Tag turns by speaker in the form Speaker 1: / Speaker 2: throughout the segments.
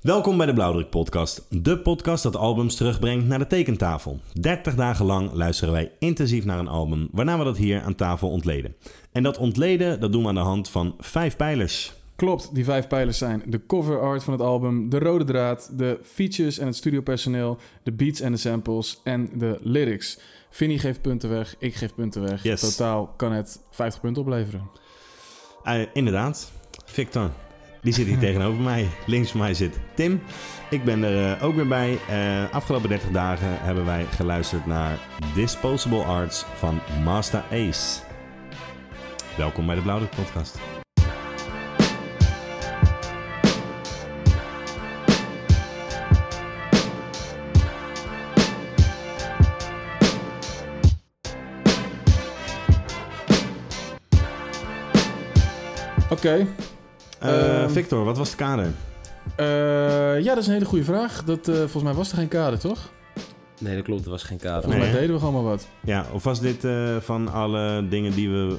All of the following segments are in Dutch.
Speaker 1: Welkom bij de Blauwdruk Podcast. De podcast dat albums terugbrengt naar de tekentafel. 30 dagen lang luisteren wij intensief naar een album, waarna we dat hier aan tafel ontleden. En dat ontleden, dat doen we aan de hand van vijf pijlers.
Speaker 2: Klopt, die vijf pijlers zijn de cover art van het album, de rode draad, de features en het studiopersoneel, de beats en de samples en de lyrics. Vinnie geeft punten weg, ik geef punten weg.
Speaker 1: Yes.
Speaker 2: Totaal kan het 50 punten opleveren.
Speaker 1: Eh, inderdaad, Victor. Die zit hier tegenover mij. Links van mij zit Tim. Ik ben er eh, ook weer bij. Eh, afgelopen 30 dagen hebben wij geluisterd naar Disposable Arts van Master Ace. Welkom bij de Blauwdruk Podcast.
Speaker 2: Oké,
Speaker 1: Eh,
Speaker 2: Ehm,
Speaker 1: Victor, wat was het kader?
Speaker 2: eh, ja, dat is een hele goede vraag. Dat, eh, volgens mij was er geen kader, toch?
Speaker 3: Nee, dat klopt. Er was geen kader.
Speaker 2: Volgens
Speaker 1: Nee, hè?
Speaker 2: mij deden we gewoon maar wat.
Speaker 1: Ja, of was dit eh, van alle dingen die we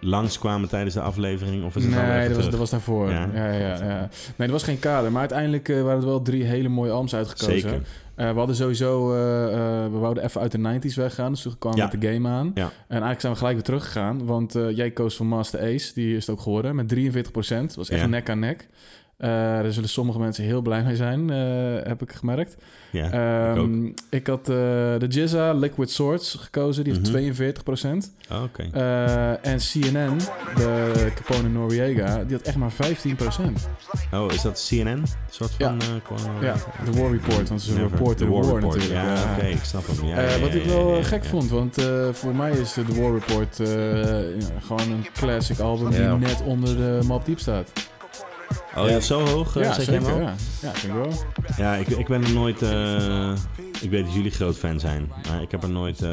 Speaker 1: langskwamen tijdens de aflevering? Of is het dan weer
Speaker 2: nee,
Speaker 1: even
Speaker 2: dat was, dat was
Speaker 1: terug?
Speaker 2: daarvoor.
Speaker 1: Ja.
Speaker 2: Ja. Ja, ja, Nee, er was geen kader. Maar uiteindelijk eh, waren er wel drie hele mooie albums uitgekozen.
Speaker 1: Zeker.
Speaker 2: Eh, we hadden sowieso, eh, eh, we wouden even uit de 90s weggaan, dus toen kwamen we
Speaker 1: Ja.
Speaker 2: met de game aan.
Speaker 1: Ja.
Speaker 2: En eigenlijk zijn we gelijk weer teruggegaan, want eh, jij koos voor Master Ace, die is het ook geworden, met 43 Dat was echt
Speaker 1: Ja.
Speaker 2: nek aan nek. Eh daar zullen sommige mensen heel blij mee zijn, eh, heb ik gemerkt.
Speaker 1: Ja.
Speaker 2: Ehm,
Speaker 1: ook.
Speaker 2: ik had eh, de Jizza Liquid Swords gekozen, die heeft
Speaker 1: Mhm.
Speaker 2: 42
Speaker 1: Oh, Oké.
Speaker 2: Eh, en CNN, de Capone Noriega, die had echt maar 15
Speaker 1: Oh, is dat CNN? Een soort
Speaker 2: Ja.
Speaker 1: van... eh, gewoon-
Speaker 2: Ja, de War Report, want ze is een
Speaker 1: Never.
Speaker 2: reporter
Speaker 1: The
Speaker 2: war,
Speaker 1: War Report.
Speaker 2: natuurlijk.
Speaker 1: Ja,
Speaker 2: Ja.
Speaker 1: oké, ik snap hem. Ja,
Speaker 2: Eh,
Speaker 1: ja,
Speaker 2: wat
Speaker 1: ja,
Speaker 2: ik wel
Speaker 1: ja,
Speaker 2: eh,
Speaker 1: ja,
Speaker 2: gek
Speaker 1: ja.
Speaker 2: vond, want eh, voor mij is eh, The War Report eh, ja, gewoon een classic album
Speaker 3: Ja.
Speaker 2: die net onder de map diep staat.
Speaker 1: Oh, ja, zo hoog eh,
Speaker 2: ja,
Speaker 1: zet jij hem
Speaker 2: zeker.
Speaker 1: al?
Speaker 2: Ja. ja, vind ik wel.
Speaker 1: Ja, ik, ik ben er nooit... eh, ik weet dat jullie groot fan zijn, maar ik heb er nooit eh,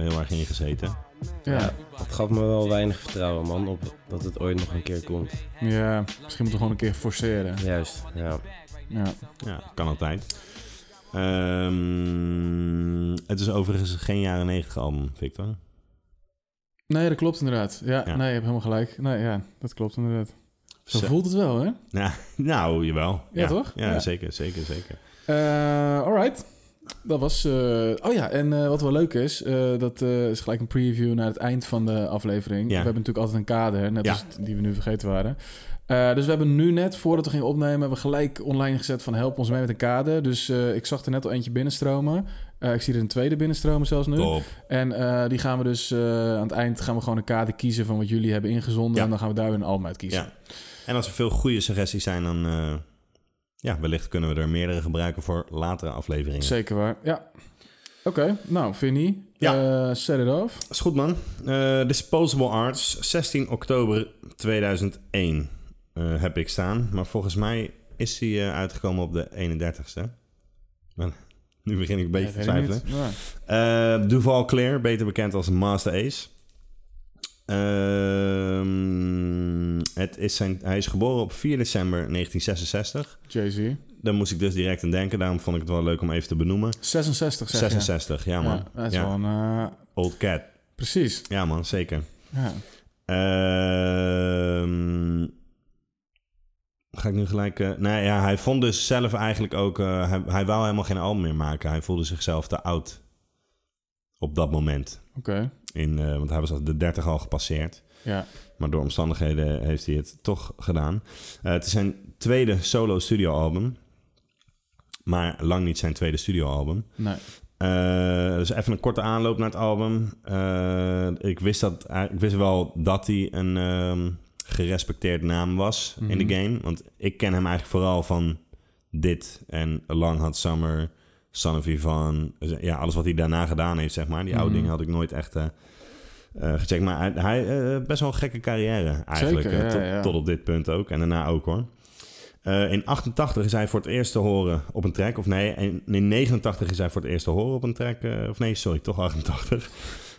Speaker 1: heel erg in gezeten.
Speaker 2: Ja.
Speaker 3: Het gaf me wel weinig vertrouwen, man, op dat het ooit nog een keer komt.
Speaker 2: Ja. misschien moeten we gewoon een keer forceren.
Speaker 3: Juist, ja.
Speaker 2: Ja.
Speaker 1: Ja, kan altijd. Ehm, het is overigens geen jaren negentig album, Victor.
Speaker 2: Nee, dat klopt inderdaad. Ja,
Speaker 1: Ja.
Speaker 2: nee, je hebt helemaal gelijk. Nee, ja, dat klopt inderdaad. Zo
Speaker 1: Zo-
Speaker 2: voelt het wel, hè?
Speaker 1: Nou, jawel.
Speaker 2: Ja, toch?
Speaker 1: Ja,
Speaker 2: Ja.
Speaker 1: zeker, zeker, zeker.
Speaker 2: Eh alright. Dat was... eh, oh ja, en eh, wat wel leuk is, eh, dat eh, is gelijk een preview naar het eind van de aflevering. We hebben natuurlijk altijd een kader, hè, net
Speaker 1: Ja.
Speaker 2: als het- die we nu vergeten waren. Eh, dus we hebben nu net, voordat we gingen opnemen, hebben we gelijk online gezet van help ons mee met een kader. Dus eh, ik zag er net al eentje binnenstromen. Eh, ik zie er een tweede binnenstromen zelfs nu.
Speaker 1: Top.
Speaker 2: En eh, die gaan we dus eh, aan het eind gaan we gewoon een kader kiezen van wat jullie hebben ingezonden.
Speaker 1: Ja.
Speaker 2: En dan gaan we daar weer een album uit kiezen.
Speaker 1: Ja. En als er veel goede suggesties zijn, dan... eh, ja, wellicht kunnen we er meerdere gebruiken voor latere afleveringen.
Speaker 2: Zeker waar, ja. Oké, nou, Vinnie,
Speaker 1: Ja.
Speaker 2: eh, set it off.
Speaker 1: Is goed, man. Eh, Disposable Arts, 16 oktober 2001 eh, heb ik staan. Maar volgens mij is die eh, uitgekomen op de 31ste. Maar nu begin ik een beetje te
Speaker 2: Ja, weet ik
Speaker 1: twijfelen.
Speaker 2: niet. Ja.
Speaker 1: Eh, Duval Clear, beter bekend als Master Ace. Ehm, het is zijn, hij is geboren op 4 december 1966.
Speaker 2: Jay-Z.
Speaker 1: Daar moest ik dus direct aan denken. Daarom vond ik het wel leuk om even te benoemen.
Speaker 2: 66 zeg
Speaker 1: 66, ja,
Speaker 2: je.
Speaker 1: man.
Speaker 2: Ja, dat is
Speaker 1: Ja.
Speaker 2: wel een... eh,
Speaker 1: Old Cat.
Speaker 2: precies.
Speaker 1: Ja man, zeker.
Speaker 2: Ja.
Speaker 1: Ehm, ga ik nu gelijk... eh, nou ja, hij vond dus zelf eigenlijk ook... eh, hij, hij wou helemaal geen album meer maken. Hij voelde zichzelf te oud op dat moment.
Speaker 2: Oké.
Speaker 1: In, eh, want hij was al de 30 al gepasseerd.
Speaker 2: Ja.
Speaker 1: Maar door omstandigheden heeft hij het toch gedaan. Eh, het is zijn tweede solo studioalbum. Maar lang niet zijn tweede studioalbum.
Speaker 2: Nee.
Speaker 1: Eh, dus even een korte aanloop naar het album. Eh, ik, wist dat, ik wist wel dat hij een ehm, gerespecteerd naam was in
Speaker 2: Mhm.
Speaker 1: de game. Want ik ken hem eigenlijk vooral van dit en A Long Hot Summer, Son of Yvonne. Dus, Ja, alles wat hij daarna gedaan heeft, zeg maar. Die oude
Speaker 2: Mhm.
Speaker 1: dingen had ik nooit echt eh, eh, gecheckt. Maar hij, hij, eh, best wel een gekke carrière eigenlijk.
Speaker 2: Zeker,
Speaker 1: eh,
Speaker 2: ja,
Speaker 1: tot,
Speaker 2: ja.
Speaker 1: tot op dit punt ook. En daarna ook hoor. Eh, in 88 is hij voor het eerst te horen op een track. Of nee, in, in 89 is hij voor het eerst te horen op een track. eh, of nee, sorry, toch 88.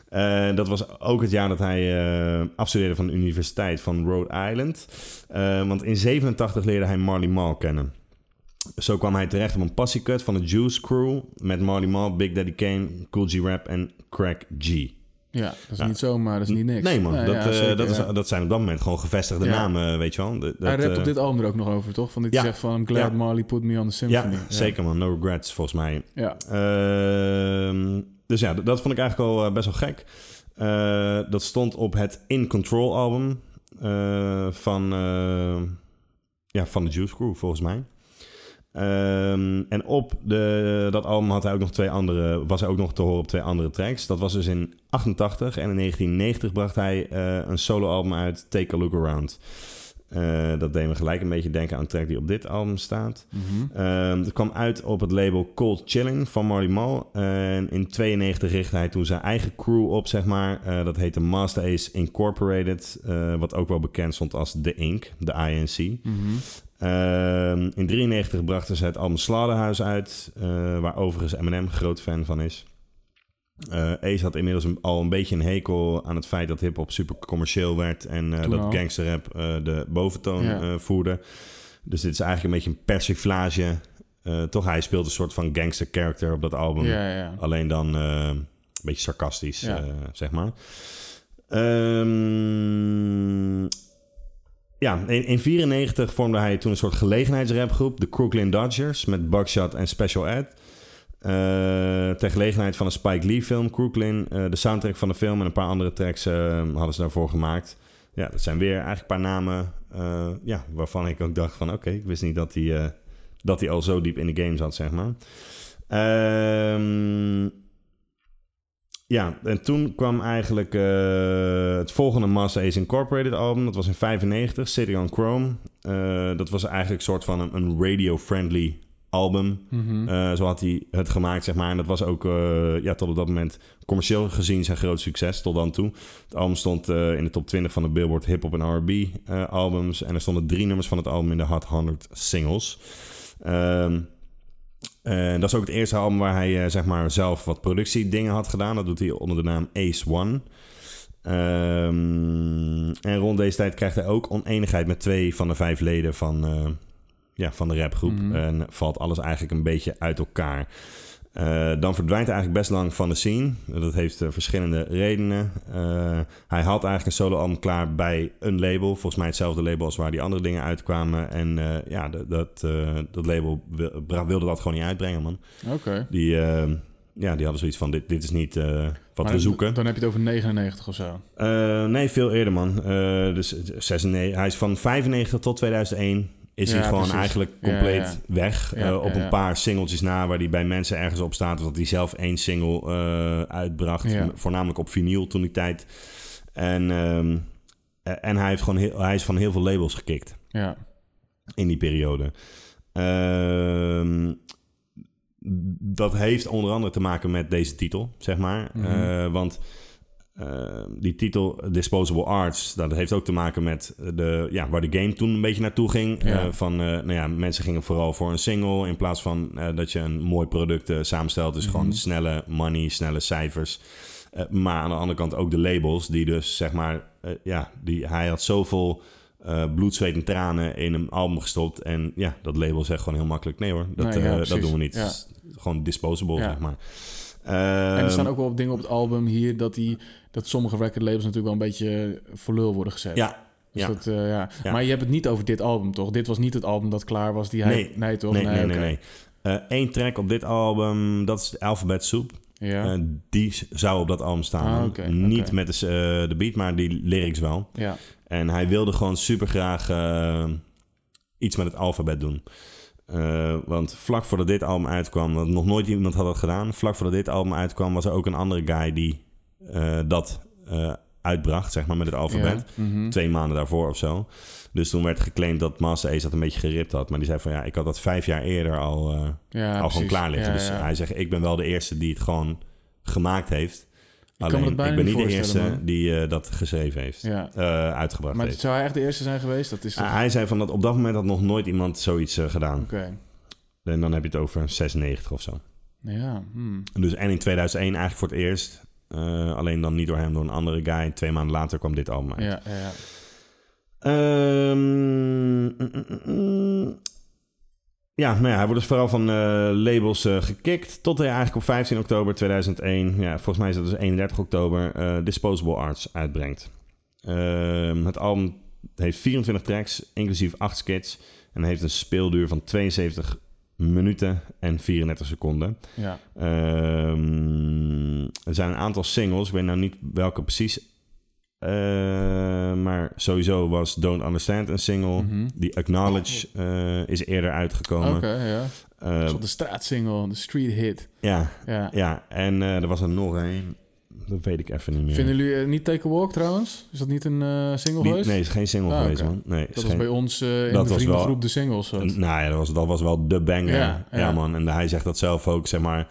Speaker 1: Eh, dat was ook het jaar dat hij eh, afstudeerde van de Universiteit van Rhode Island. Eh, want in 87 leerde hij Marley Marl kennen. Zo kwam hij terecht op een passiecut van de Juice Crew... met Marley Marl, Big Daddy Kane, Cool G Rap en Crack G.
Speaker 2: Ja, dat is
Speaker 1: Ja.
Speaker 2: niet zomaar, dat is niet niks.
Speaker 1: Nee man,
Speaker 2: Nou
Speaker 1: dat,
Speaker 2: ja,
Speaker 1: eh,
Speaker 2: zeker,
Speaker 1: dat, is,
Speaker 2: ja.
Speaker 1: dat zijn op dat moment gewoon gevestigde
Speaker 2: Ja.
Speaker 1: namen, weet je wel. Dat,
Speaker 2: Hij
Speaker 1: dat,
Speaker 2: rapt op
Speaker 1: eh,
Speaker 2: dit album er ook nog over, toch? Van dit
Speaker 1: ja.
Speaker 2: zegt van... I'm glad
Speaker 1: Ja.
Speaker 2: Marley put me on the
Speaker 1: ja,
Speaker 2: symphony.
Speaker 1: zeker man. No regrets, volgens mij.
Speaker 2: Ja.
Speaker 1: Ehm, dus ja, d- dat vond ik eigenlijk al eh, best wel gek. Eh, dat stond op het In Control album eh, van, eh, ja, van de Juice Crew, volgens mij. Ehm, en op de, dat album had hij ook nog twee andere, was hij ook nog te horen op twee andere tracks. Dat was dus in 88 en in 1990 bracht hij eh, een soloalbum uit, Take a Look Around. Eh, dat deed me gelijk een beetje denken aan een track die op dit album staat.
Speaker 2: Mhm.
Speaker 1: Ehm dat kwam uit op het label Cold Chilling van Marley Mal. En in 92 richtte hij toen zijn eigen crew op, zeg maar. Eh, dat heette Master Ace Incorporated, eh, wat ook wel bekend stond als The Inc., de INC.
Speaker 2: Mhm.
Speaker 1: Ehm, in 93 brachten ze het album Sladerhuis uit, eh, waar overigens Eminem groot fan van is. Eh, Ace had inmiddels een- al een beetje een hekel aan het feit dat hip-hop super commercieel werd en eh,
Speaker 2: Toen al.
Speaker 1: dat gangsterrap eh, de boventoon
Speaker 2: Ja.
Speaker 1: eh, voerde. Dus dit is eigenlijk een beetje een persiflage. Eh, toch, hij speelt een soort van gangster character op dat album.
Speaker 2: Ja, ja, ja.
Speaker 1: Alleen dan eh, een beetje sarcastisch,
Speaker 2: Ja.
Speaker 1: eh, zeg maar. Ehm, ja, in, in 94 vormde hij toen een soort gelegenheidsrapgroep, de Crooklyn Dodgers, met Buckshot en Special Ed. Eh, ter gelegenheid van een Spike Lee film, Crooklyn. eh, de soundtrack van de film en een paar andere tracks eh, hadden ze daarvoor gemaakt. Ja, dat zijn weer eigenlijk een paar namen eh, ja, waarvan ik ook dacht van... oké, ik wist niet dat hij eh, dat hij al zo diep in de game zat, zeg maar. Ehm, ja, en toen kwam eigenlijk eh, het volgende Master Ace Incorporated album. Dat was in 95, City on Chrome. Eh, dat was eigenlijk een soort van een, een radio-friendly album.
Speaker 2: Mhm.
Speaker 1: Eh, zo had hij het gemaakt, zeg maar. En dat was ook eh, ja, tot op dat moment commercieel gezien zijn groot succes tot dan toe. Het album stond eh, in de top 20 van de Billboard Hip Hop en R&B eh, albums. En er stonden drie nummers van het album in de Hot 100 singles. Ehm, en dat is ook het eerste album waar hij eh, zeg maar zelf wat productiedingen had gedaan. Dat doet hij onder de naam Ace One. Ehm, en rond deze tijd krijgt hij ook oneenigheid met twee van de vijf leden van, eh, ja, van de rapgroep.
Speaker 2: Mhm.
Speaker 1: En valt alles eigenlijk een beetje uit elkaar. Eh, dan verdwijnt hij eigenlijk best lang van de scene. Dat heeft eh, verschillende redenen. Eh, hij had eigenlijk een soloalbum klaar bij een label. Volgens mij hetzelfde label als waar die andere dingen uitkwamen. En eh, ja, dat, dat, eh, dat label wil- wilde dat gewoon niet uitbrengen, man.
Speaker 2: Oké.
Speaker 1: Die, eh, ja, die hadden zoiets van, dit, dit is niet eh, wat
Speaker 2: Maar
Speaker 1: we
Speaker 2: dan-
Speaker 1: zoeken.
Speaker 2: Dan heb je het over 99 of zo.
Speaker 1: Eh, nee, veel eerder, man. Eh, dus 96, hij is van 95 tot 2001 is
Speaker 2: Ja,
Speaker 1: hij gewoon
Speaker 2: precies.
Speaker 1: eigenlijk
Speaker 2: Ja,
Speaker 1: compleet
Speaker 2: ja.
Speaker 1: weg.
Speaker 2: Ja,
Speaker 1: Eh, op
Speaker 2: ja, ja.
Speaker 1: een paar singeltjes na waar hij bij mensen ergens op staat... of dat hij zelf één single eh, uitbracht.
Speaker 2: Ja.
Speaker 1: Voornamelijk op vinyl toen die tijd. En, ehm, eh, en hij, heeft gewoon heel, hij is van heel veel labels gekikt
Speaker 2: Ja.
Speaker 1: in die periode. Ehm, dat heeft onder andere te maken met deze titel, zeg maar.
Speaker 2: Mhm.
Speaker 1: Eh, want eh, die titel Disposable Arts, nou, dat heeft ook te maken met de, ja, waar de game toen een beetje naartoe ging.
Speaker 2: Ja.
Speaker 1: Eh, van, eh, nou ja, mensen gingen vooral voor een single in plaats van eh, dat je een mooi product eh, samenstelt. Dus gewoon
Speaker 2: Mhm.
Speaker 1: snelle money, snelle cijfers. Eh, maar aan de andere kant ook de labels, die dus zeg maar, eh, ja, die, hij had zoveel eh bloed, zweet en tranen in een album gestopt. En ja, dat label zegt gewoon heel makkelijk: nee hoor, dat,
Speaker 2: Nee, ja,
Speaker 1: eh, dat
Speaker 2: precies.
Speaker 1: doen we niet.
Speaker 2: Ja.
Speaker 1: Het is Gewoon disposable,
Speaker 2: Ja.
Speaker 1: zeg maar.
Speaker 2: en
Speaker 1: Ehm,
Speaker 2: er staan ook wel op dingen op het album hier dat, die, dat sommige recordlabels natuurlijk wel een beetje voor lul worden gezet.
Speaker 1: Ja,
Speaker 2: Dus
Speaker 1: Ehm, ja.
Speaker 2: Dat, eh, ja.
Speaker 1: Ja.
Speaker 2: Maar je hebt het niet over dit album, toch? Dit was niet het album dat klaar was die hij...
Speaker 1: Nee.
Speaker 2: toch?
Speaker 1: nee, nee,
Speaker 2: oké.
Speaker 1: nee. nee. Eén track op dit album, dat is Alphabet Soup.
Speaker 2: Ja,
Speaker 1: Eh, die s- zou op dat album staan.
Speaker 2: Ah, oké,
Speaker 1: Niet
Speaker 2: oké.
Speaker 1: met de, s- eh, de beat, maar die lyrics wel.
Speaker 2: ja.
Speaker 1: En hij wilde gewoon super graag iets met het alfabet doen. Eh, want vlak voordat dit album uitkwam, want nog nooit iemand had dat gedaan. Vlak voordat dit album uitkwam, was er ook een andere guy die eh, dat eh, uitbracht, zeg maar, met het alfabet.
Speaker 2: Ja. Mhm.
Speaker 1: Twee maanden daarvoor of zo. Dus toen werd geclaimd dat Master Ace dat een beetje geript had. Maar die zei van ja, ik had dat vijf jaar eerder al, eh,
Speaker 2: Ja,
Speaker 1: al
Speaker 2: precies.
Speaker 1: gewoon klaar liggen.
Speaker 2: Ja,
Speaker 1: dus
Speaker 2: ja.
Speaker 1: hij zegt, ik ben wel de eerste die het gewoon gemaakt heeft.
Speaker 2: me
Speaker 1: Alleen,
Speaker 2: dat bijna
Speaker 1: ik ben
Speaker 2: niet
Speaker 1: niet de eerste
Speaker 2: voorstellen, man.
Speaker 1: die eh, dat geschreven heeft.
Speaker 2: Ja.
Speaker 1: eh, uitgebracht
Speaker 2: Maar
Speaker 1: heeft.
Speaker 2: zou hij echt de eerste zijn geweest? Dat is toch...
Speaker 1: Ah, hij zei van dat op dat moment had nog nooit iemand zoiets eh, gedaan.
Speaker 2: Oké.
Speaker 1: En dan heb je het over 96 of zo.
Speaker 2: Ja. hmm.
Speaker 1: Dus en in 2001 eigenlijk voor het eerst. Eh, alleen dan niet door hem, door een andere guy. Twee maanden later kwam dit album uit.
Speaker 2: Ja, ja, ja.
Speaker 1: Ehm, mm, mm, mm. Ja, nou ja, hij wordt dus vooral van eh, labels eh, gekikt. Tot hij eigenlijk op 15 oktober 2001, ja, volgens mij is dat dus 31 oktober, eh, Disposable Arts uitbrengt. Ehm, het album heeft 24 tracks, inclusief 8 skits. En heeft een speelduur van 72 minuten en 34 seconden.
Speaker 2: Ja.
Speaker 1: Ehm, er zijn een aantal singles. Ik weet nou niet welke precies. Eh, maar sowieso was Don't Understand een single.
Speaker 2: Mhm.
Speaker 1: Die Acknowledge eh, is eerder
Speaker 2: Oké,
Speaker 1: uitgekomen.
Speaker 2: ja.
Speaker 1: Eh,
Speaker 2: Zoals de straatsingle, de street hit.
Speaker 1: ja,
Speaker 2: Ja.
Speaker 1: ja, en eh, er was er nog één. Dat weet ik even niet meer.
Speaker 2: Vinden jullie eh, niet Take a Walk trouwens? Is dat niet een eh, single
Speaker 1: Die-
Speaker 2: geweest?
Speaker 1: Nee, is geen single
Speaker 2: Ah,
Speaker 1: geweest,
Speaker 2: oké.
Speaker 1: man. Nee, is
Speaker 2: dat was
Speaker 1: geen-
Speaker 2: bij ons eh, in
Speaker 1: Dat
Speaker 2: de
Speaker 1: was wel-
Speaker 2: vriendengroep de singles. soort.
Speaker 1: Nou ja, dat was, dat was wel de banger.
Speaker 2: Ja,
Speaker 1: Ja,
Speaker 2: ja.
Speaker 1: man. En hij zegt dat zelf ook, zeg maar.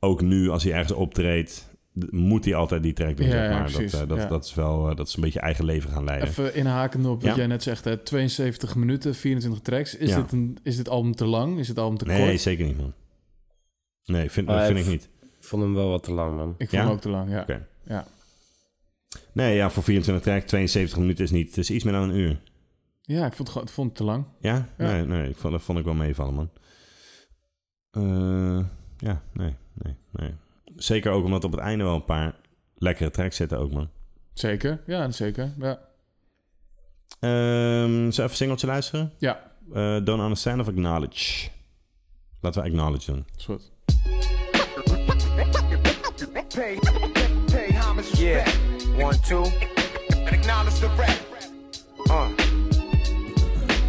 Speaker 1: Ook nu, als hij ergens optreedt, d- moet hij altijd die track doen,
Speaker 2: Ja,
Speaker 1: zeg
Speaker 2: ja,
Speaker 1: maar. dat,
Speaker 2: precies,
Speaker 1: eh, dat,
Speaker 2: ja.
Speaker 1: dat is wel, eh, dat is een beetje eigen leven gaan leiden.
Speaker 2: Even inhakend op wat
Speaker 1: Ja.
Speaker 2: jij net zegt, hè, 72 minuten, 24 tracks. Is,
Speaker 1: Ja.
Speaker 2: dit een, is dit album te lang? Is dit album te
Speaker 1: nee,
Speaker 2: kort?
Speaker 1: zeker niet, man. Nee, vind,
Speaker 3: Ah,
Speaker 1: dat vind
Speaker 3: ik-
Speaker 1: ik niet.
Speaker 3: Ik vond hem wel wat te lang, man.
Speaker 2: Ik vond
Speaker 1: Ja?
Speaker 2: hem ook te lang, ja.
Speaker 1: Oké.
Speaker 2: Ja.
Speaker 1: Nee, ja, voor 24 track, 72 minuten is niet... Het is iets meer dan een uur.
Speaker 2: Ja, ik vond het, gewoon- ik vond het te lang.
Speaker 1: Ja?
Speaker 2: Ja.
Speaker 1: Nee, nee ik vond, dat vond ik wel meevallen, man. Eh, ja, nee, nee, nee. Zeker ook omdat op het einde wel een paar lekkere tracks zitten ook, man.
Speaker 2: Zeker, ja, zeker. Ja.
Speaker 1: Ehm zullen we even een singeltje luisteren?
Speaker 2: Ja.
Speaker 1: Eh, Don't Understand of Acknowledge? Laten we Acknowledge doen.
Speaker 2: Soort.
Speaker 4: Pay, pay homage,
Speaker 5: Yeah,
Speaker 4: respect,
Speaker 5: one, two.
Speaker 4: acknowledge the rap.
Speaker 5: Uh.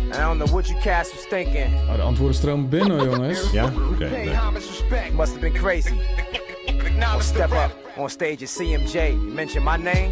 Speaker 5: And I don't know what you cats was thinking.
Speaker 2: Nou, de antwoorden stromen binnen, hoor, jongens.
Speaker 1: Ja? Oké,
Speaker 4: Pay
Speaker 1: leuk.
Speaker 4: homage, respect,
Speaker 5: Must have been crazy. Or
Speaker 4: acknowledge the
Speaker 5: step
Speaker 4: rap.
Speaker 5: up on stage at CMJ. You mention my name?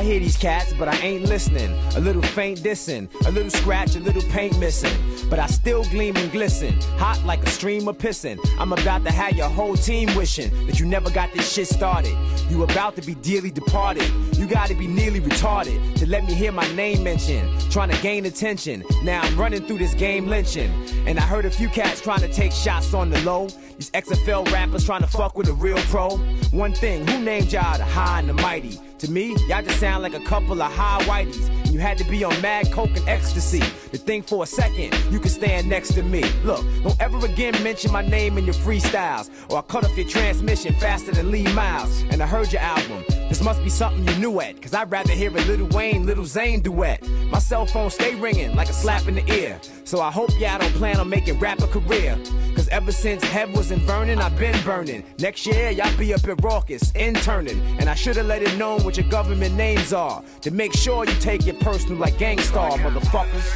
Speaker 5: I hear these cats, but I ain't listening. A little faint dissing, a little scratch, a little paint missing. But I still gleam and glisten, hot like a stream of pissing. I'm about to have your whole team wishing that you never got this shit started. You about to be dearly departed. You gotta be nearly retarded to let me hear my name mentioned. Trying to gain attention. Now I'm running through this game lynching. And I heard a few cats trying to take shots on the low. These XFL rappers trying to fuck with a real pro. One thing, who named y'all the high and the mighty? To me, y'all just sound like a couple of high whiteys. And you had to be on mad coke and ecstasy to think for a second you could stand next to me. Look, don't ever again mention my name in your freestyles, or I cut off your transmission faster than Lee Miles. And I heard your album. This must be something you knew at, cause I'd rather hear a Little Wayne, Little Zane duet. My cell phone stay ringing like a slap in the ear. So I hope y'all don't plan on making rap a career. Cause ever since Hev was in Vernon, I've been burning. Next year, y'all be up at Raucus, interning. And I should've let it known what your government names are. To make sure you take it personal like Gangstar, motherfuckers.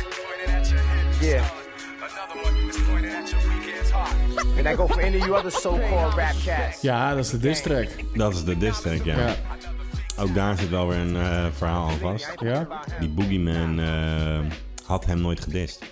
Speaker 5: Yeah. And I go for any of you other so-called rap cats.
Speaker 2: Ja, dat is de diss track.
Speaker 1: Dat is de diss track, ja.
Speaker 2: Ja.
Speaker 1: Ook daar zit wel weer een eh, verhaal aan vast.
Speaker 2: ja?
Speaker 1: Die Boogeyman eh, had hem nooit gedist.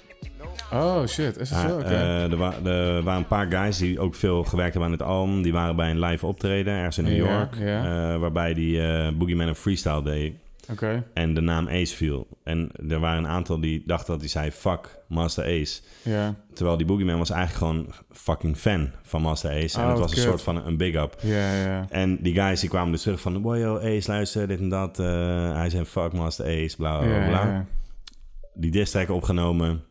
Speaker 1: eh,
Speaker 2: Oh, shit. Is het
Speaker 1: Ah,
Speaker 2: zo? Oké.
Speaker 1: er, wa- er waren een paar guys die ook veel gewerkt hebben aan het album. Die waren bij een live optreden ergens in New
Speaker 2: Ja,
Speaker 1: York.
Speaker 2: ja.
Speaker 1: eh, waarbij die eh Boogeyman een freestyle deed.
Speaker 2: Oké.
Speaker 1: En de naam Ace viel. En er waren een aantal die dachten dat hij zei... Fuck, Master Ace.
Speaker 2: Ja.
Speaker 1: Terwijl die Boogeyman was eigenlijk gewoon fucking fan van Master Ace. En
Speaker 2: Oh,
Speaker 1: het was
Speaker 2: kut.
Speaker 1: een soort van een big up.
Speaker 2: Ja, ja.
Speaker 1: En die guys die kwamen dus terug van... Boy, yo, Ace, luister, dit en dat. eh, hij zei fuck Master Ace, bla, bla,
Speaker 2: Ja,
Speaker 1: bla.
Speaker 2: ja, ja.
Speaker 1: Die diss track opgenomen.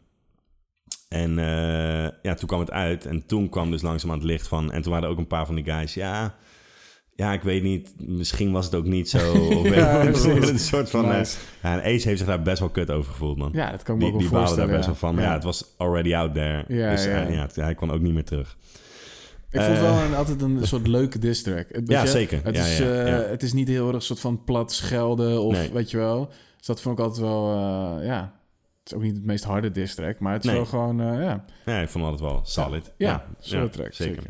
Speaker 1: En eh, ja, toen kwam het uit. En toen kwam dus langzaam aan het licht van... En toen waren er ook een paar van die guys... Ja, ja ik weet niet. Misschien was het ook niet zo. Of
Speaker 2: Ja, precies.
Speaker 1: een soort van... eh,
Speaker 2: Nice.
Speaker 1: ja, en Ace heeft zich daar best wel kut over gevoeld, man.
Speaker 2: Ja, dat kan ik me
Speaker 1: Die,
Speaker 2: ook
Speaker 1: die
Speaker 2: wel
Speaker 1: baalde daar
Speaker 2: voorstellen.
Speaker 1: best wel van. Maar ja.
Speaker 2: Ja.
Speaker 1: het was already out there.
Speaker 2: Ja,
Speaker 1: dus
Speaker 2: ja.
Speaker 1: Hij, ja, hij kwam ook niet meer terug.
Speaker 2: Ik vond het
Speaker 1: Eh,
Speaker 2: wel een, altijd een soort leuke diss track. Het- weet
Speaker 1: Ja,
Speaker 2: je,
Speaker 1: zeker.
Speaker 2: Het,
Speaker 1: Ja,
Speaker 2: is,
Speaker 1: ja,
Speaker 2: eh,
Speaker 1: ja.
Speaker 2: het is niet heel erg soort van plat schelden of
Speaker 1: Nee.
Speaker 2: weet je wel. Dus dat vond ik altijd wel, eh, ja... Het is ook niet het meest harde diss track, maar het is
Speaker 1: Nee.
Speaker 2: wel gewoon, eh, ja...
Speaker 1: Ja, ik vond het altijd wel solid.
Speaker 2: Ja, solid track, zeker.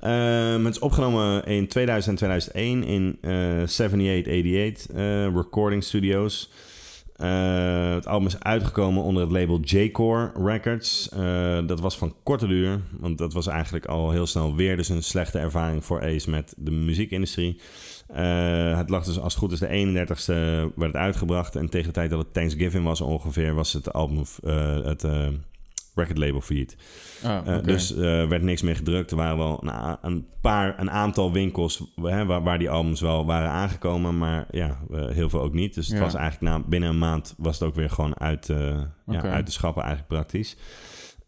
Speaker 1: Ehm, het is opgenomen in 2000 en 2001 in eh 7888 eh, Recording Studios. Eh, het album is uitgekomen onder het label J-Core Records. Eh, dat was van korte duur, want dat was eigenlijk al heel snel weer dus een slechte ervaring voor Ace met de muziekindustrie. Eh, het lag dus als het goed is de 31ste werd het uitgebracht en tegen de tijd dat het Thanksgiving was ongeveer was het album eh, het eh, recordlabel failliet.
Speaker 2: Ah,
Speaker 1: Eh,
Speaker 2: oké.
Speaker 1: Dus eh, werd niks meer gedrukt. Er waren wel een, a- een paar, een aantal winkels hè, waar, waar die albums wel waren aangekomen. Maar ja, eh, heel veel ook niet. Dus het
Speaker 2: Ja.
Speaker 1: was eigenlijk na, binnen een maand was het ook weer gewoon uit, eh,
Speaker 2: Oké.
Speaker 1: ja, uit de schappen eigenlijk praktisch.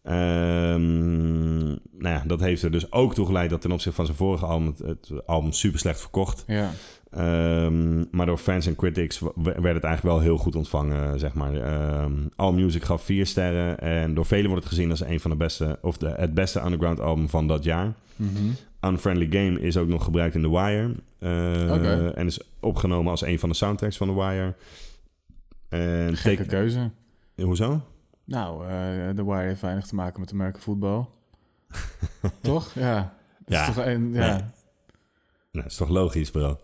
Speaker 1: Ehm, nou ja, dat heeft er dus ook toe geleid dat ten opzichte van zijn vorige album... het, het album super slecht verkocht.
Speaker 2: Ja.
Speaker 1: Ehm, maar door fans en critics w- werd het eigenlijk wel heel goed ontvangen, zeg maar. Ehm Allmusic gaf vier sterren en door velen wordt het gezien als een van de beste... of de, het beste underground album van dat jaar.
Speaker 2: Mhm.
Speaker 1: Unfriendly Game is ook nog gebruikt in The Wire. Eh,
Speaker 2: Oké.
Speaker 1: En is opgenomen als een van de soundtracks van The Wire. En
Speaker 2: Gekke
Speaker 1: take,
Speaker 2: keuze.
Speaker 1: hoezo?
Speaker 2: Nou, eh The Wire heeft weinig te maken met Amerikaanse voetbal. toch? Ja. Dat
Speaker 1: Ja.
Speaker 2: Is toch een, ja.
Speaker 1: Nee. Nou, is toch logisch, bro?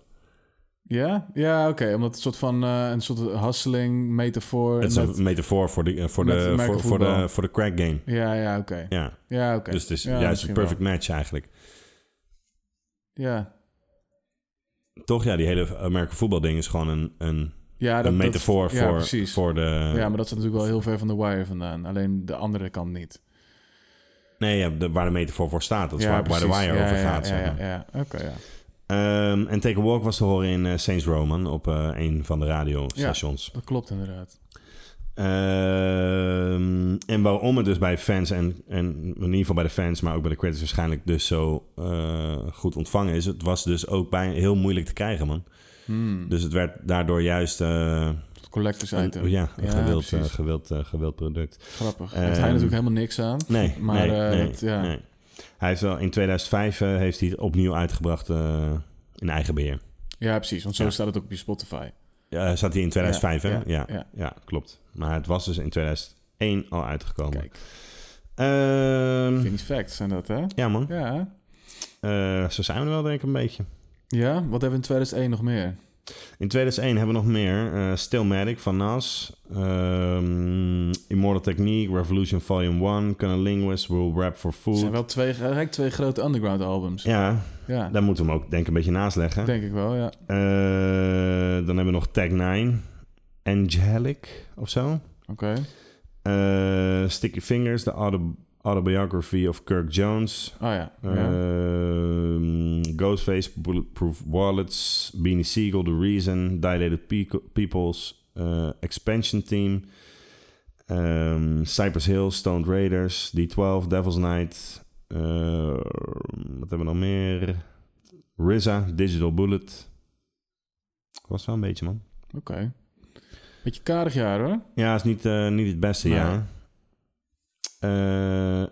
Speaker 2: Ja, ja oké. Omdat het een soort van eh, een soort hasseling, metafoor.
Speaker 1: Het is
Speaker 2: met-
Speaker 1: een metafoor voor de, eh, voor
Speaker 2: met
Speaker 1: de,
Speaker 2: merken
Speaker 1: voor, voor de,
Speaker 2: voetbal.
Speaker 1: voor de crack game.
Speaker 2: Ja, ja, oké.
Speaker 1: Ja.
Speaker 2: Ja, oké.
Speaker 1: Dus het is
Speaker 2: Ja,
Speaker 1: juist een
Speaker 2: misschien
Speaker 1: perfect match eigenlijk.
Speaker 2: wel. Ja.
Speaker 1: Toch, ja, die hele Amerikaanse voetbalding is gewoon een, een,
Speaker 2: Ja, dat,
Speaker 1: een
Speaker 2: dat-
Speaker 1: metafoor
Speaker 2: ja,
Speaker 1: voor,
Speaker 2: precies.
Speaker 1: voor eh, de...
Speaker 2: Ja, maar dat is natuurlijk wel heel ver van The Wire vandaan. Alleen de andere kant niet.
Speaker 1: Nee, ja, de- waar de metafoor voor staat. Dat is
Speaker 2: ja,
Speaker 1: waar, waar de
Speaker 2: precies.
Speaker 1: wire
Speaker 2: Ja,
Speaker 1: over
Speaker 2: ja,
Speaker 1: gaat.
Speaker 2: Ja,
Speaker 1: zeg maar.
Speaker 2: ja, ja. oké, ja.
Speaker 1: Ehm, en Take a Walk was te horen in eh, Saints Roman op eh, een van de radiostations.
Speaker 2: Dat klopt inderdaad.
Speaker 1: Ehm, en waarom het dus bij fans en, en in ieder geval bij de fans, maar ook bij de critics waarschijnlijk dus zo eh, goed ontvangen is. Het was dus ook bij, heel moeilijk te krijgen, man.
Speaker 2: Hmm.
Speaker 1: Dus het werd daardoor juist eh,
Speaker 2: Collectors
Speaker 1: een,
Speaker 2: item.
Speaker 1: ja, een
Speaker 2: Ja,
Speaker 1: gewild, eh,
Speaker 2: precies.
Speaker 1: gewild, eh, gewild product.
Speaker 2: Grappig.
Speaker 1: Ehm,
Speaker 2: Heeft hij natuurlijk helemaal niks aan.
Speaker 1: Nee,
Speaker 2: Maar,
Speaker 1: nee,
Speaker 2: eh,
Speaker 1: nee,
Speaker 2: dat- ja.
Speaker 1: nee. Hij heeft wel in 2005 eh, heeft hij het opnieuw uitgebracht eh, in eigen beheer.
Speaker 2: Ja, precies. Want zo
Speaker 1: Ja.
Speaker 2: staat het ook op je Spotify.
Speaker 1: Ja, eh, zat hij in 2005,
Speaker 2: Ja,
Speaker 1: hè?
Speaker 2: ja,
Speaker 1: Ja, ja.
Speaker 2: ja.
Speaker 1: klopt. Maar het was dus in 2001 al uitgekomen.
Speaker 2: Kijk,
Speaker 1: Ehm,
Speaker 2: Vinnie's Facts zijn dat, hè?
Speaker 1: ja, man.
Speaker 2: Ja.
Speaker 1: Eh, zo zijn we er wel, denk ik, een beetje.
Speaker 2: Ja, wat hebben we in 2001 nog meer?
Speaker 1: In 2001 hebben we nog meer. eh Stillmatic van Nas. ehm, Immortal Technique, Revolution Volume 1. Can a Linguist, Will Rap for
Speaker 2: Er
Speaker 1: Food.
Speaker 2: zijn wel twee, eigenlijk twee grote underground albums. Ja,
Speaker 1: Ja, daar moeten we hem ook denk ik een beetje naast leggen.
Speaker 2: denk ik wel, ja.
Speaker 1: Eh, dan hebben we nog Tag 9. Angelic of zo.
Speaker 2: Oké.
Speaker 1: Eh, Sticky Fingers, de auto- autobiography of Kirk Jones.
Speaker 2: Oh ja.
Speaker 1: Eh,
Speaker 2: ja.
Speaker 1: Ehm, Ghostface, Bulletproof Wallets, Beanie Siegel, The Reason, Dilated Pe- Peoples, eh, Expansion Team, ehm, Cypress Hill, Stoned Raiders, D12, Devil's Night, eh, wat hebben we nog meer? RZA, Digital Bullet. Was wel een beetje, man.
Speaker 2: Oké. Beetje karig jaar, hoor.
Speaker 1: Ja, is niet, eh, niet het beste
Speaker 2: Nee.
Speaker 1: jaar. Eh,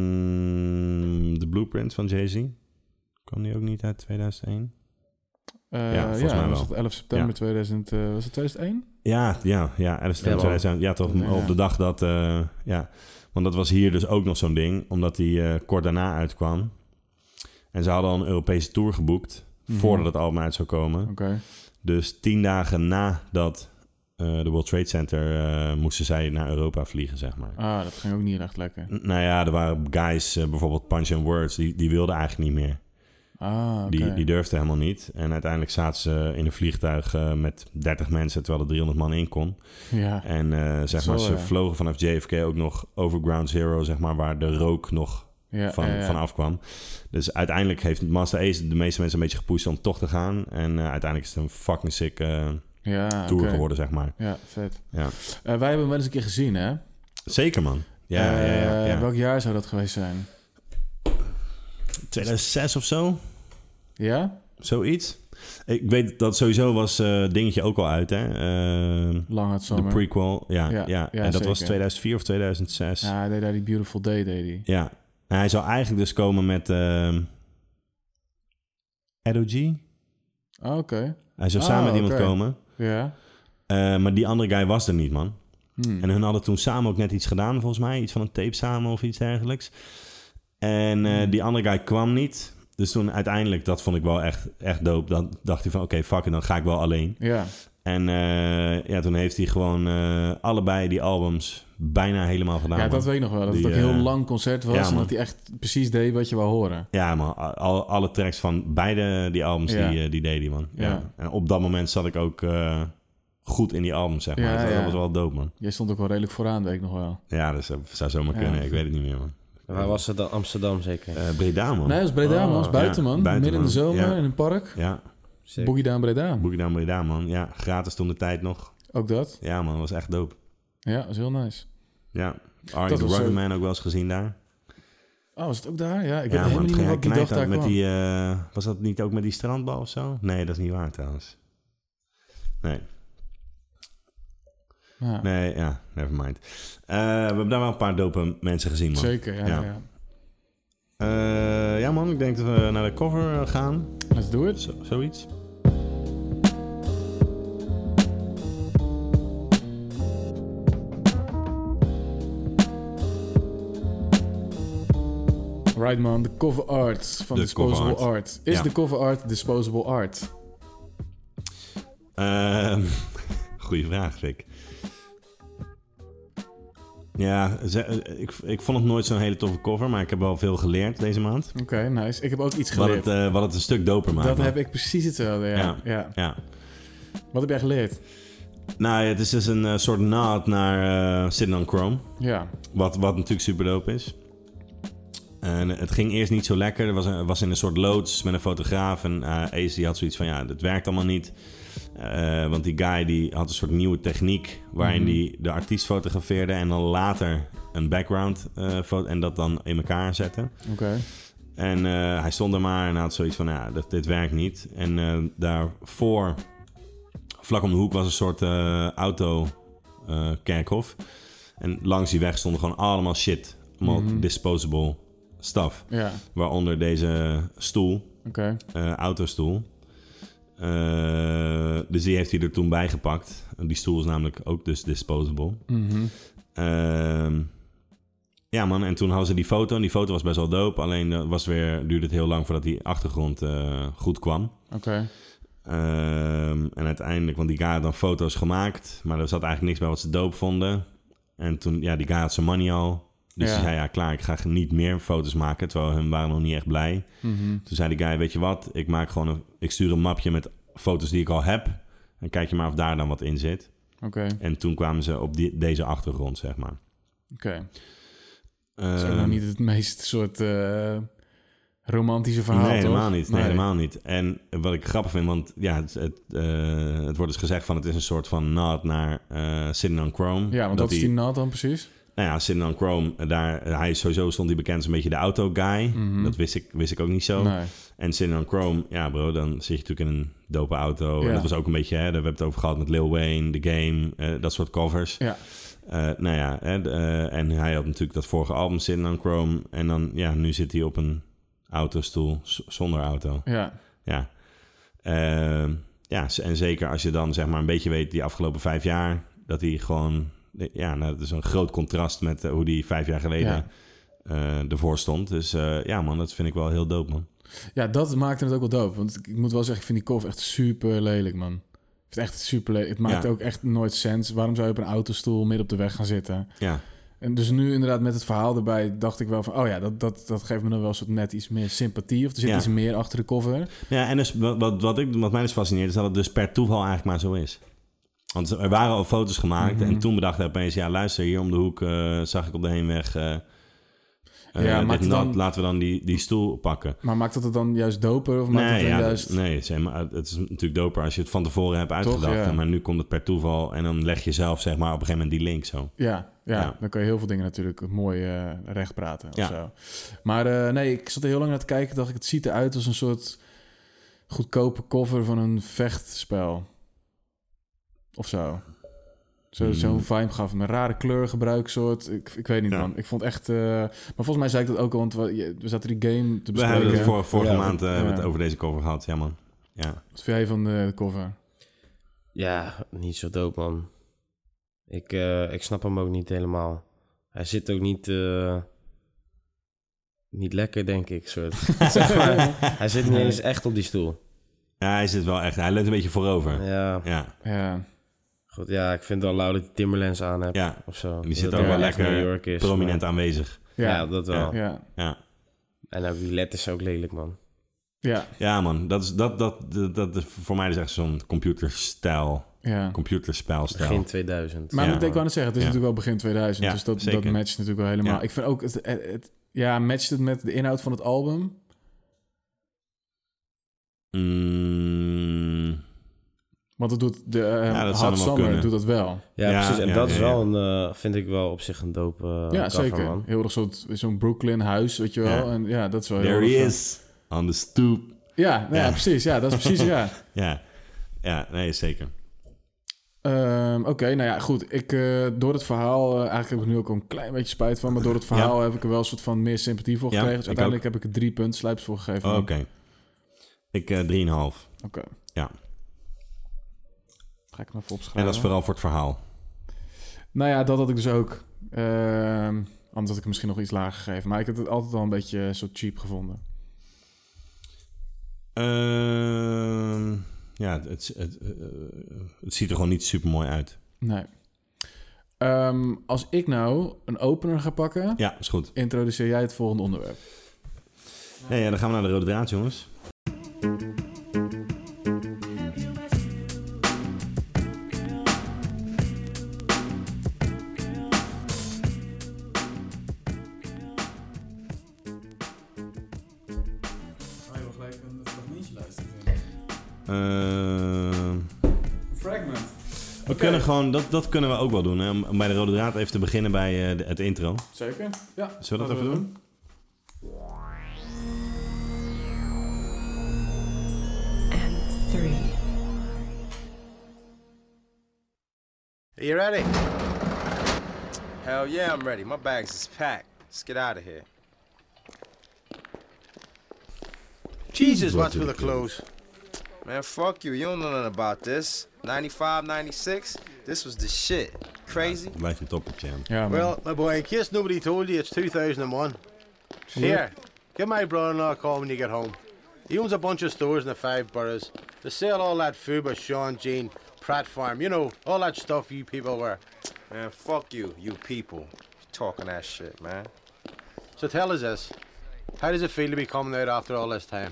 Speaker 1: en de Blueprint van Jay-Z. Kwam die ook niet uit 2001?
Speaker 2: Eh,
Speaker 1: Ja,
Speaker 2: ja,
Speaker 1: volgens mij
Speaker 2: was
Speaker 1: wel.
Speaker 2: het 11 september
Speaker 1: Ja.
Speaker 2: 2000, eh, was het 2001?
Speaker 1: Ja, ja, ja. Er is
Speaker 3: Ja, wel.
Speaker 1: 2000, ja, toch
Speaker 2: Ja.
Speaker 1: op de dag dat... eh, ja. Want dat was hier dus ook nog zo'n ding. Omdat die eh, kort daarna uitkwam. En ze hadden al een Europese tour geboekt.
Speaker 2: Mhm.
Speaker 1: Voordat het album uit zou komen.
Speaker 2: Oké.
Speaker 1: Dus tien dagen nadat eh de World Trade Center... eh, moesten zij naar Europa vliegen, zeg maar.
Speaker 2: Ah, dat ging ook niet echt lekker.
Speaker 1: N- Nou ja, er waren guys, eh, bijvoorbeeld Punch and Words, die, die wilden eigenlijk niet meer.
Speaker 2: Ah, oké.
Speaker 1: Die, die durfden helemaal niet. En uiteindelijk zaten ze in een vliegtuig eh, met 30 mensen, terwijl er 300 man in kon.
Speaker 2: Ja.
Speaker 1: En eh, zeg
Speaker 2: Zo,
Speaker 1: maar, ze
Speaker 2: ja.
Speaker 1: vlogen vanaf JFK ook nog over Ground Zero, zeg maar, waar de rook nog
Speaker 2: ja,
Speaker 1: van,
Speaker 2: ja, ja.
Speaker 1: van afkwam. Dus uiteindelijk heeft Master Ace de meeste mensen een beetje gepusht om toch te gaan. En eh, uiteindelijk is het een fucking sick eh,
Speaker 2: Ja, oké.
Speaker 1: tour geworden, zeg maar.
Speaker 2: Ja, vet.
Speaker 1: Ja.
Speaker 2: Eh, wij hebben hem wel eens een keer gezien, hè?
Speaker 1: Zeker, man. Ja, ja, ja,
Speaker 2: Eh,
Speaker 1: ja.
Speaker 2: Welk jaar zou dat geweest zijn?
Speaker 1: 2006 of zo?
Speaker 2: Ja?
Speaker 1: Zoiets. Ik weet dat sowieso was eh, dingetje ook al uit, hè? Eh,
Speaker 2: Lang had
Speaker 1: de
Speaker 2: zomer.
Speaker 1: prequel. Ja, ja,
Speaker 2: Ja, ja,
Speaker 1: en dat was
Speaker 2: zeker.
Speaker 1: 2004 of 2006. Ja.
Speaker 2: Ja, hij deed daar die Beautiful Day, deed hij.
Speaker 1: En hij zou eigenlijk dus komen met ehm Edo G.
Speaker 2: Ah, oké.
Speaker 1: Hij zou
Speaker 2: Oh,
Speaker 1: samen met iemand
Speaker 2: oké.
Speaker 1: komen.
Speaker 2: Ja.
Speaker 1: Eh, maar die andere guy was er niet, man.
Speaker 2: Hmm.
Speaker 1: En hun hadden toen samen ook net iets gedaan, volgens mij. Iets van een tape samen of iets dergelijks. En
Speaker 2: Hmm.
Speaker 1: eh, die andere guy kwam niet. Dus toen uiteindelijk, dat vond ik wel echt, echt dope. Dan dacht hij van, oké, fuck it, dan ga ik wel alleen.
Speaker 2: Ja.
Speaker 1: En eh, ja, toen heeft hij gewoon eh, allebei die albums bijna helemaal gedaan.
Speaker 2: ja, dat
Speaker 1: man.
Speaker 2: weet ik nog wel. Dat
Speaker 1: Die,
Speaker 2: het ook een heel
Speaker 1: eh,
Speaker 2: lang concert was.
Speaker 1: ja,
Speaker 2: en
Speaker 1: man.
Speaker 2: dat hij echt precies deed wat je wou horen.
Speaker 1: Ja, man. Al, alle tracks van beide die albums,
Speaker 2: Ja.
Speaker 1: die, eh, die deed hij, man. Ja.
Speaker 2: Ja.
Speaker 1: En op dat moment zat ik ook eh, goed in die albums, zeg maar.
Speaker 2: Ja,
Speaker 1: dat, dat
Speaker 2: ja.
Speaker 1: was wel dope, man.
Speaker 2: Jij stond ook wel redelijk vooraan, weet ik nog wel.
Speaker 1: Ja, dat zou, zou zomaar
Speaker 2: Ja.
Speaker 1: kunnen. Ik weet het niet meer, man.
Speaker 3: Waar was het dan? Amsterdam zeker?
Speaker 1: Eh, Breda, man.
Speaker 2: Nee, dat was Breda, man. Dat
Speaker 3: Ah,
Speaker 2: was buiten,
Speaker 1: Oh, ja,
Speaker 2: man.
Speaker 1: buiten,
Speaker 2: Midden in de
Speaker 1: man.
Speaker 2: zomer,
Speaker 1: Ja.
Speaker 2: in een park.
Speaker 1: Ja,
Speaker 3: Sick.
Speaker 2: Boogie Down Breda.
Speaker 1: boek dan Breda, man. Ja, gratis toen de tijd nog.
Speaker 2: Ook dat.
Speaker 1: Ja, man, was echt dope.
Speaker 2: Ja, dat is heel nice.
Speaker 1: Ja, Arjen the
Speaker 2: was zo-
Speaker 1: Rubberman ook wel eens gezien daar.
Speaker 2: Oh, was het ook daar? Ja, ik weet
Speaker 1: Ja, man,
Speaker 2: helemaal
Speaker 1: het
Speaker 2: niet
Speaker 1: ging
Speaker 2: meer wat die dag
Speaker 1: knijten
Speaker 2: daar
Speaker 1: met
Speaker 2: kwam.
Speaker 1: die, eh, Was dat niet ook met die strandbal of zo? Nee, dat is niet waar trouwens. Nee,
Speaker 2: Ja,
Speaker 1: nee, ja, never mind. Eh, we hebben daar wel een paar dope mensen gezien, man.
Speaker 2: Zeker, ja, ja.
Speaker 1: Ja.
Speaker 2: ja.
Speaker 1: Eh, ja, man, ik denk dat we naar de cover eh, gaan.
Speaker 2: Let's do it.
Speaker 1: Zo- zoiets.
Speaker 2: Right man, de cover art van
Speaker 1: De
Speaker 2: Disposable
Speaker 1: cover art.
Speaker 2: Art. Is
Speaker 1: Ja.
Speaker 2: de cover art Disposable Art?
Speaker 1: Ehm goeie vraag, Rick. Ja, ze- eh, ik, ik vond het nooit zo'n hele toffe cover, maar ik heb wel veel geleerd deze maand.
Speaker 2: Oké, nice. Ik heb ook iets
Speaker 1: Wat
Speaker 2: geleerd.
Speaker 1: het, eh, wat het een stuk doper maakt.
Speaker 2: dat
Speaker 1: man.
Speaker 2: heb ik precies hetzelfde, ja.
Speaker 1: Ja.
Speaker 2: Ja.
Speaker 1: Ja.
Speaker 2: Wat heb jij geleerd?
Speaker 1: Nou, ja, het is dus een eh, soort naad naar eh Sitting on Chrome.
Speaker 2: Ja,
Speaker 1: Wat, wat natuurlijk super dope is. En het ging eerst niet zo lekker. Er was, een- was in een soort loods met een fotograaf. En eh Ace die had zoiets van, ja, dat werkt allemaal niet. Eh, want die guy die had een soort nieuwe techniek... waarin hij de artiest fotografeerde... en dan later een background eh, foto... en dat dan in elkaar zette.
Speaker 2: oké.
Speaker 1: En eh, hij stond er maar en had zoiets van, ja, dit, dit werkt niet. En eh, daarvoor, vlak om de hoek, was een soort eh, auto eh, kerkhof. En langs die weg stonden gewoon allemaal shit. Allemaal disposable stuff.
Speaker 2: Ja,
Speaker 1: Waaronder deze stoel,
Speaker 2: oké.
Speaker 1: eh, autostoel. Eh, dus die heeft hij er toen bij gepakt. Die stoel is namelijk ook dus disposable.
Speaker 2: Mhm.
Speaker 1: Ehm, ja, man. En toen hadden ze die foto. En die foto was best wel dope. Alleen eh, was weer, duurde het heel lang voordat die achtergrond eh, goed kwam.
Speaker 2: Oké,
Speaker 1: Ehm, en uiteindelijk, want die guy had dan foto's gemaakt. Maar er zat eigenlijk niks bij wat ze dope vonden. En toen, ja, die guy had zijn money al. Dus
Speaker 2: Ja.
Speaker 1: hij zei, ja, klaar, ik ga niet meer foto's maken. Terwijl hun waren nog niet echt blij.
Speaker 2: Mhm,
Speaker 1: Toen zei die guy, weet je wat? Ik, maak gewoon een, ik stuur een mapje met foto's die ik al heb. En kijk je maar of daar dan wat in zit.
Speaker 2: oké,
Speaker 1: En toen kwamen ze op die, deze achtergrond, zeg maar.
Speaker 2: oké. Dat is ook
Speaker 1: Ehm,
Speaker 2: nog niet het meest soort eh, romantische verhaal,
Speaker 1: nee,
Speaker 2: toch?
Speaker 1: helemaal niet. Nee, helemaal niet. En wat ik grappig vind, want ja, het, het, eh, het wordt dus gezegd van het is een soort van nod naar eh Sitting on Chrome.
Speaker 2: Ja, want dat, is
Speaker 1: hij-
Speaker 2: die naad dan precies.
Speaker 1: Nou ja, Sitting on Chrome, eh, daar, hij is sowieso stond hij bekend als een beetje de auto-guy. Dat wist ik, wist ik ook niet zo.
Speaker 2: Mhm. Nee.
Speaker 1: En Sitting on Chrome, ja bro, dan zit je natuurlijk in een dope auto. En
Speaker 2: Ja.
Speaker 1: dat was ook een beetje, hè, daar hebben we het over gehad met Lil Wayne, The Game, eh, dat soort covers.
Speaker 2: Ja,
Speaker 1: Eh, nou ja, hè, de, eh, en hij had natuurlijk dat vorige album Sitting on Chrome. En dan, ja, nu zit hij op een autostoel z- zonder auto.
Speaker 2: ja,
Speaker 1: Ja. Ehm, ja, z- en zeker als je dan zeg maar een beetje weet die afgelopen vijf jaar, dat hij gewoon, ja, nou, dat is een groot contrast met eh, hoe die vijf jaar geleden
Speaker 2: Ja.
Speaker 1: eh, ervoor stond. Dus eh, ja, man, dat vind ik wel heel dope, man.
Speaker 2: ja, dat maakte het ook wel dope. Want ik ik moet wel zeggen, ik vind die cover echt super lelijk, man. Ik vind Het, echt super lelijk. het maakt
Speaker 1: Ja.
Speaker 2: ook echt nooit sens. Waarom zou je op een autostoel midden op de weg gaan zitten?
Speaker 1: Ja,
Speaker 2: En dus nu inderdaad met het verhaal erbij dacht ik wel van... oh ja, dat, dat, dat geeft me dan wel een soort net iets meer sympathie... of er zit
Speaker 1: Ja.
Speaker 2: iets meer achter de cover.
Speaker 1: ja en dus, wat, wat, wat, ik, wat mij dus fascineert is dat het dus per toeval eigenlijk maar zo is. Want er waren al foto's gemaakt
Speaker 2: Mhm.
Speaker 1: en toen bedacht hij opeens, ja, luister, hier om de hoek eh, zag ik op de heenweg. eh
Speaker 2: Ja,
Speaker 1: ja,
Speaker 2: maakt het dan-
Speaker 1: laten we dan die, die stoel pakken.
Speaker 2: Maar maakt dat het dan juist doper of maakt
Speaker 1: nee,
Speaker 2: het dan
Speaker 1: ja,
Speaker 2: juist...
Speaker 1: dat- nee, zeg maar, het is natuurlijk doper als je het van tevoren hebt uitgedacht.
Speaker 2: ja.
Speaker 1: Maar nu komt het per toeval en dan leg je zelf zeg maar, op een gegeven moment die link zo.
Speaker 2: Ja, ja,
Speaker 1: Ja.
Speaker 2: dan kan je heel veel dingen natuurlijk mooi eh, recht praten of
Speaker 1: Ja.
Speaker 2: zo. Maar eh, nee, ik zat er heel lang naar te kijken. dacht ik, het ziet eruit als een soort goedkope cover van een vechtspel. Of zo. Zo-
Speaker 1: Hmm.
Speaker 2: Zo'n vibe gaf me. Een rare kleurgebruiksoort. Ik, ik weet niet,
Speaker 1: Ja.
Speaker 2: man. Ik vond echt... eh, maar volgens mij zei ik dat ook al, want we, je- we zaten die game te
Speaker 1: We
Speaker 2: bespreken.
Speaker 1: hebben het voor, vorige
Speaker 3: Ja.
Speaker 1: maand eh,
Speaker 2: Ja.
Speaker 1: hebben we het over deze cover gehad. Ja, man. Ja.
Speaker 2: Wat vind jij van de, de cover?
Speaker 3: Ja, niet zo dope, man. Ik, eh, ik snap hem ook niet helemaal. Hij zit ook niet... eh, niet lekker, denk ik, soort. Zeg maar, hij zit niet eens echt op die stoel.
Speaker 1: ja, hij zit wel echt. Hij leunt een beetje voorover. Ja,
Speaker 3: Ja,
Speaker 1: ja.
Speaker 2: Ja,
Speaker 3: goed. Ja, ik vind het wel lauw dat hij Timberlands aan hebt of zo.
Speaker 1: Die zit
Speaker 3: Dat
Speaker 1: ook
Speaker 3: het
Speaker 1: wel
Speaker 3: echt New
Speaker 1: lekker
Speaker 3: York is,
Speaker 1: prominent aanwezig.
Speaker 3: maar- Ja,
Speaker 2: ja,
Speaker 3: dat wel.
Speaker 2: ja. ja.
Speaker 1: Ja.
Speaker 3: En ook die letters ook lelijk, man.
Speaker 2: ja.
Speaker 1: ja, man. Dat is, dat, dat, dat, dat is voor mij dus echt zo'n computerstijl. Computerspelstijl.
Speaker 3: Begin 2000.
Speaker 2: Maar
Speaker 1: Ja.
Speaker 2: dat ik wou net zeggen, het is
Speaker 1: Ja.
Speaker 2: natuurlijk wel begin 2000,
Speaker 1: Ja,
Speaker 2: dus dat, dat
Speaker 1: zeker.
Speaker 2: matcht natuurlijk wel helemaal.
Speaker 1: Ja.
Speaker 2: Ik vind ook, het, het, het- ja, matcht het met de inhoud van het album?
Speaker 1: Mm,
Speaker 2: Want dat doet de eh,
Speaker 1: Ja, dat zou
Speaker 2: Hot
Speaker 1: hem wel
Speaker 2: Summer
Speaker 1: kunnen.
Speaker 2: doet dat wel.
Speaker 3: Ja,
Speaker 1: Ja,
Speaker 3: precies. En
Speaker 1: ja,
Speaker 3: dat
Speaker 1: ja,
Speaker 3: is wel een, eh, vind ik wel op zich een dope eh
Speaker 2: ja,
Speaker 3: cover,
Speaker 2: zeker.
Speaker 3: man.
Speaker 2: Heel erg soort zo'n Brooklyn huis, weet je wel.
Speaker 1: Ja.
Speaker 2: En ja, dat is wel heel
Speaker 1: There he
Speaker 2: erg, eh,
Speaker 1: is, on the stoop.
Speaker 2: Ja, nou ja,
Speaker 1: Ja.
Speaker 2: precies. Ja, dat is precies, ja.
Speaker 1: Ja, ja nee, zeker.
Speaker 2: Ehm, Oké, nou ja, goed. Ik, eh, door het verhaal, eh, eigenlijk heb ik er nu ook al een klein beetje spijt van, maar door het verhaal heb ik er wel een soort van meer sympathie voor
Speaker 1: Ja,
Speaker 2: gekregen. Dus
Speaker 1: ik
Speaker 2: uiteindelijk heb ik er drie punten slijps voor gegeven.
Speaker 1: Oh, Oké. Ik eh 3,5.
Speaker 2: Oké.
Speaker 1: Ja.
Speaker 2: Ga ik hem even opschrijven.
Speaker 1: En dat is vooral voor het verhaal.
Speaker 2: Nou ja, dat had ik dus ook. Ehm, anders had ik hem misschien nog iets lager gegeven. Maar ik heb het altijd al een beetje eh, zo cheap gevonden.
Speaker 1: Ehm, ja, het, het, eh, het ziet er gewoon niet super mooi uit.
Speaker 2: Nee. Ehm, als ik nou een opener ga pakken,
Speaker 1: Ja, is goed.
Speaker 2: introduceer jij het volgende onderwerp.
Speaker 1: Hey, ja, dan gaan we naar de rode draad, jongens.
Speaker 2: Ga je wel gelijk een fragmentje luisteren?
Speaker 1: Ehm,
Speaker 2: Een fragment.
Speaker 1: we kunnen gewoon, dat, dat kunnen we ook wel doen. Hè? Om om bij de rode draad even te beginnen bij eh, de- het intro.
Speaker 2: Zeker? Ja.
Speaker 1: Zullen we dat even doen?
Speaker 6: and three.
Speaker 5: Are you ready? Hell yeah, I'm ready. My bags is packed. Let's get out of here.
Speaker 7: Jesus, what's with the clothes?
Speaker 5: Man, fuck you. You don't know nothing about this. 95, 96, this was the shit. Crazy?
Speaker 1: Blijft een toppetje. hè.
Speaker 2: Ja, man.
Speaker 7: Well, my boy, in case nobody told you, it's 2001. Here, give my brother-in-law a call when you get home. He owns a bunch of stores in the five boroughs. They sell all that food by Sean Jean, Pratt Farm, you know, all that stuff you people wear.
Speaker 5: Man, fuck you, you people. You talking that shit, man.
Speaker 7: So tell us this, how does it feel to be coming out after all this time?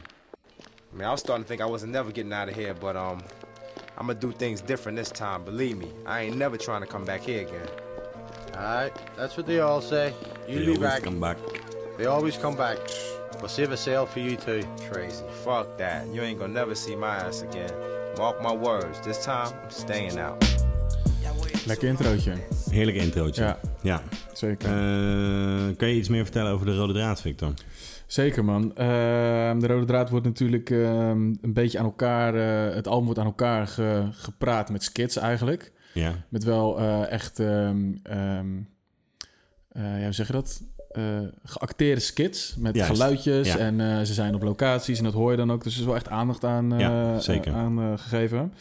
Speaker 5: I mean, I was starting to think I wasn't never getting out of here, but um, I'm gonna do things different this time. Believe me, I ain't never trying to come back here again.
Speaker 7: Aye, that's what they all say. You'll
Speaker 1: Yo,
Speaker 7: be back.
Speaker 1: Come back.
Speaker 7: They always come back. We'll save a sale for you too.
Speaker 5: Crazy. Fuck that. You ain't gonna never see my ass again. Mark my words. This time, I'm staying out.
Speaker 2: Lekker introotje.
Speaker 1: Heerlijk introotje.
Speaker 2: Ja.
Speaker 1: ja.
Speaker 2: Zeker.
Speaker 1: Eh, kan je iets meer vertellen over de rode draad, Victor?
Speaker 2: Zeker, man. Ehm, de rode draad wordt natuurlijk ehm, een beetje aan elkaar... eh, het album wordt aan elkaar ge- gepraat met skits eigenlijk.
Speaker 1: Ja.
Speaker 2: Met wel eh, echt... ehm, ehm, eh, ja, hoe zeg je dat? Eh, geacteerde skits met
Speaker 1: Juist,
Speaker 2: geluidjes.
Speaker 1: ja.
Speaker 2: En eh, ze zijn op locaties en dat hoor je dan ook. Dus er is wel echt aandacht aan, eh,
Speaker 1: Ja, zeker.
Speaker 2: eh, aan eh, gegeven.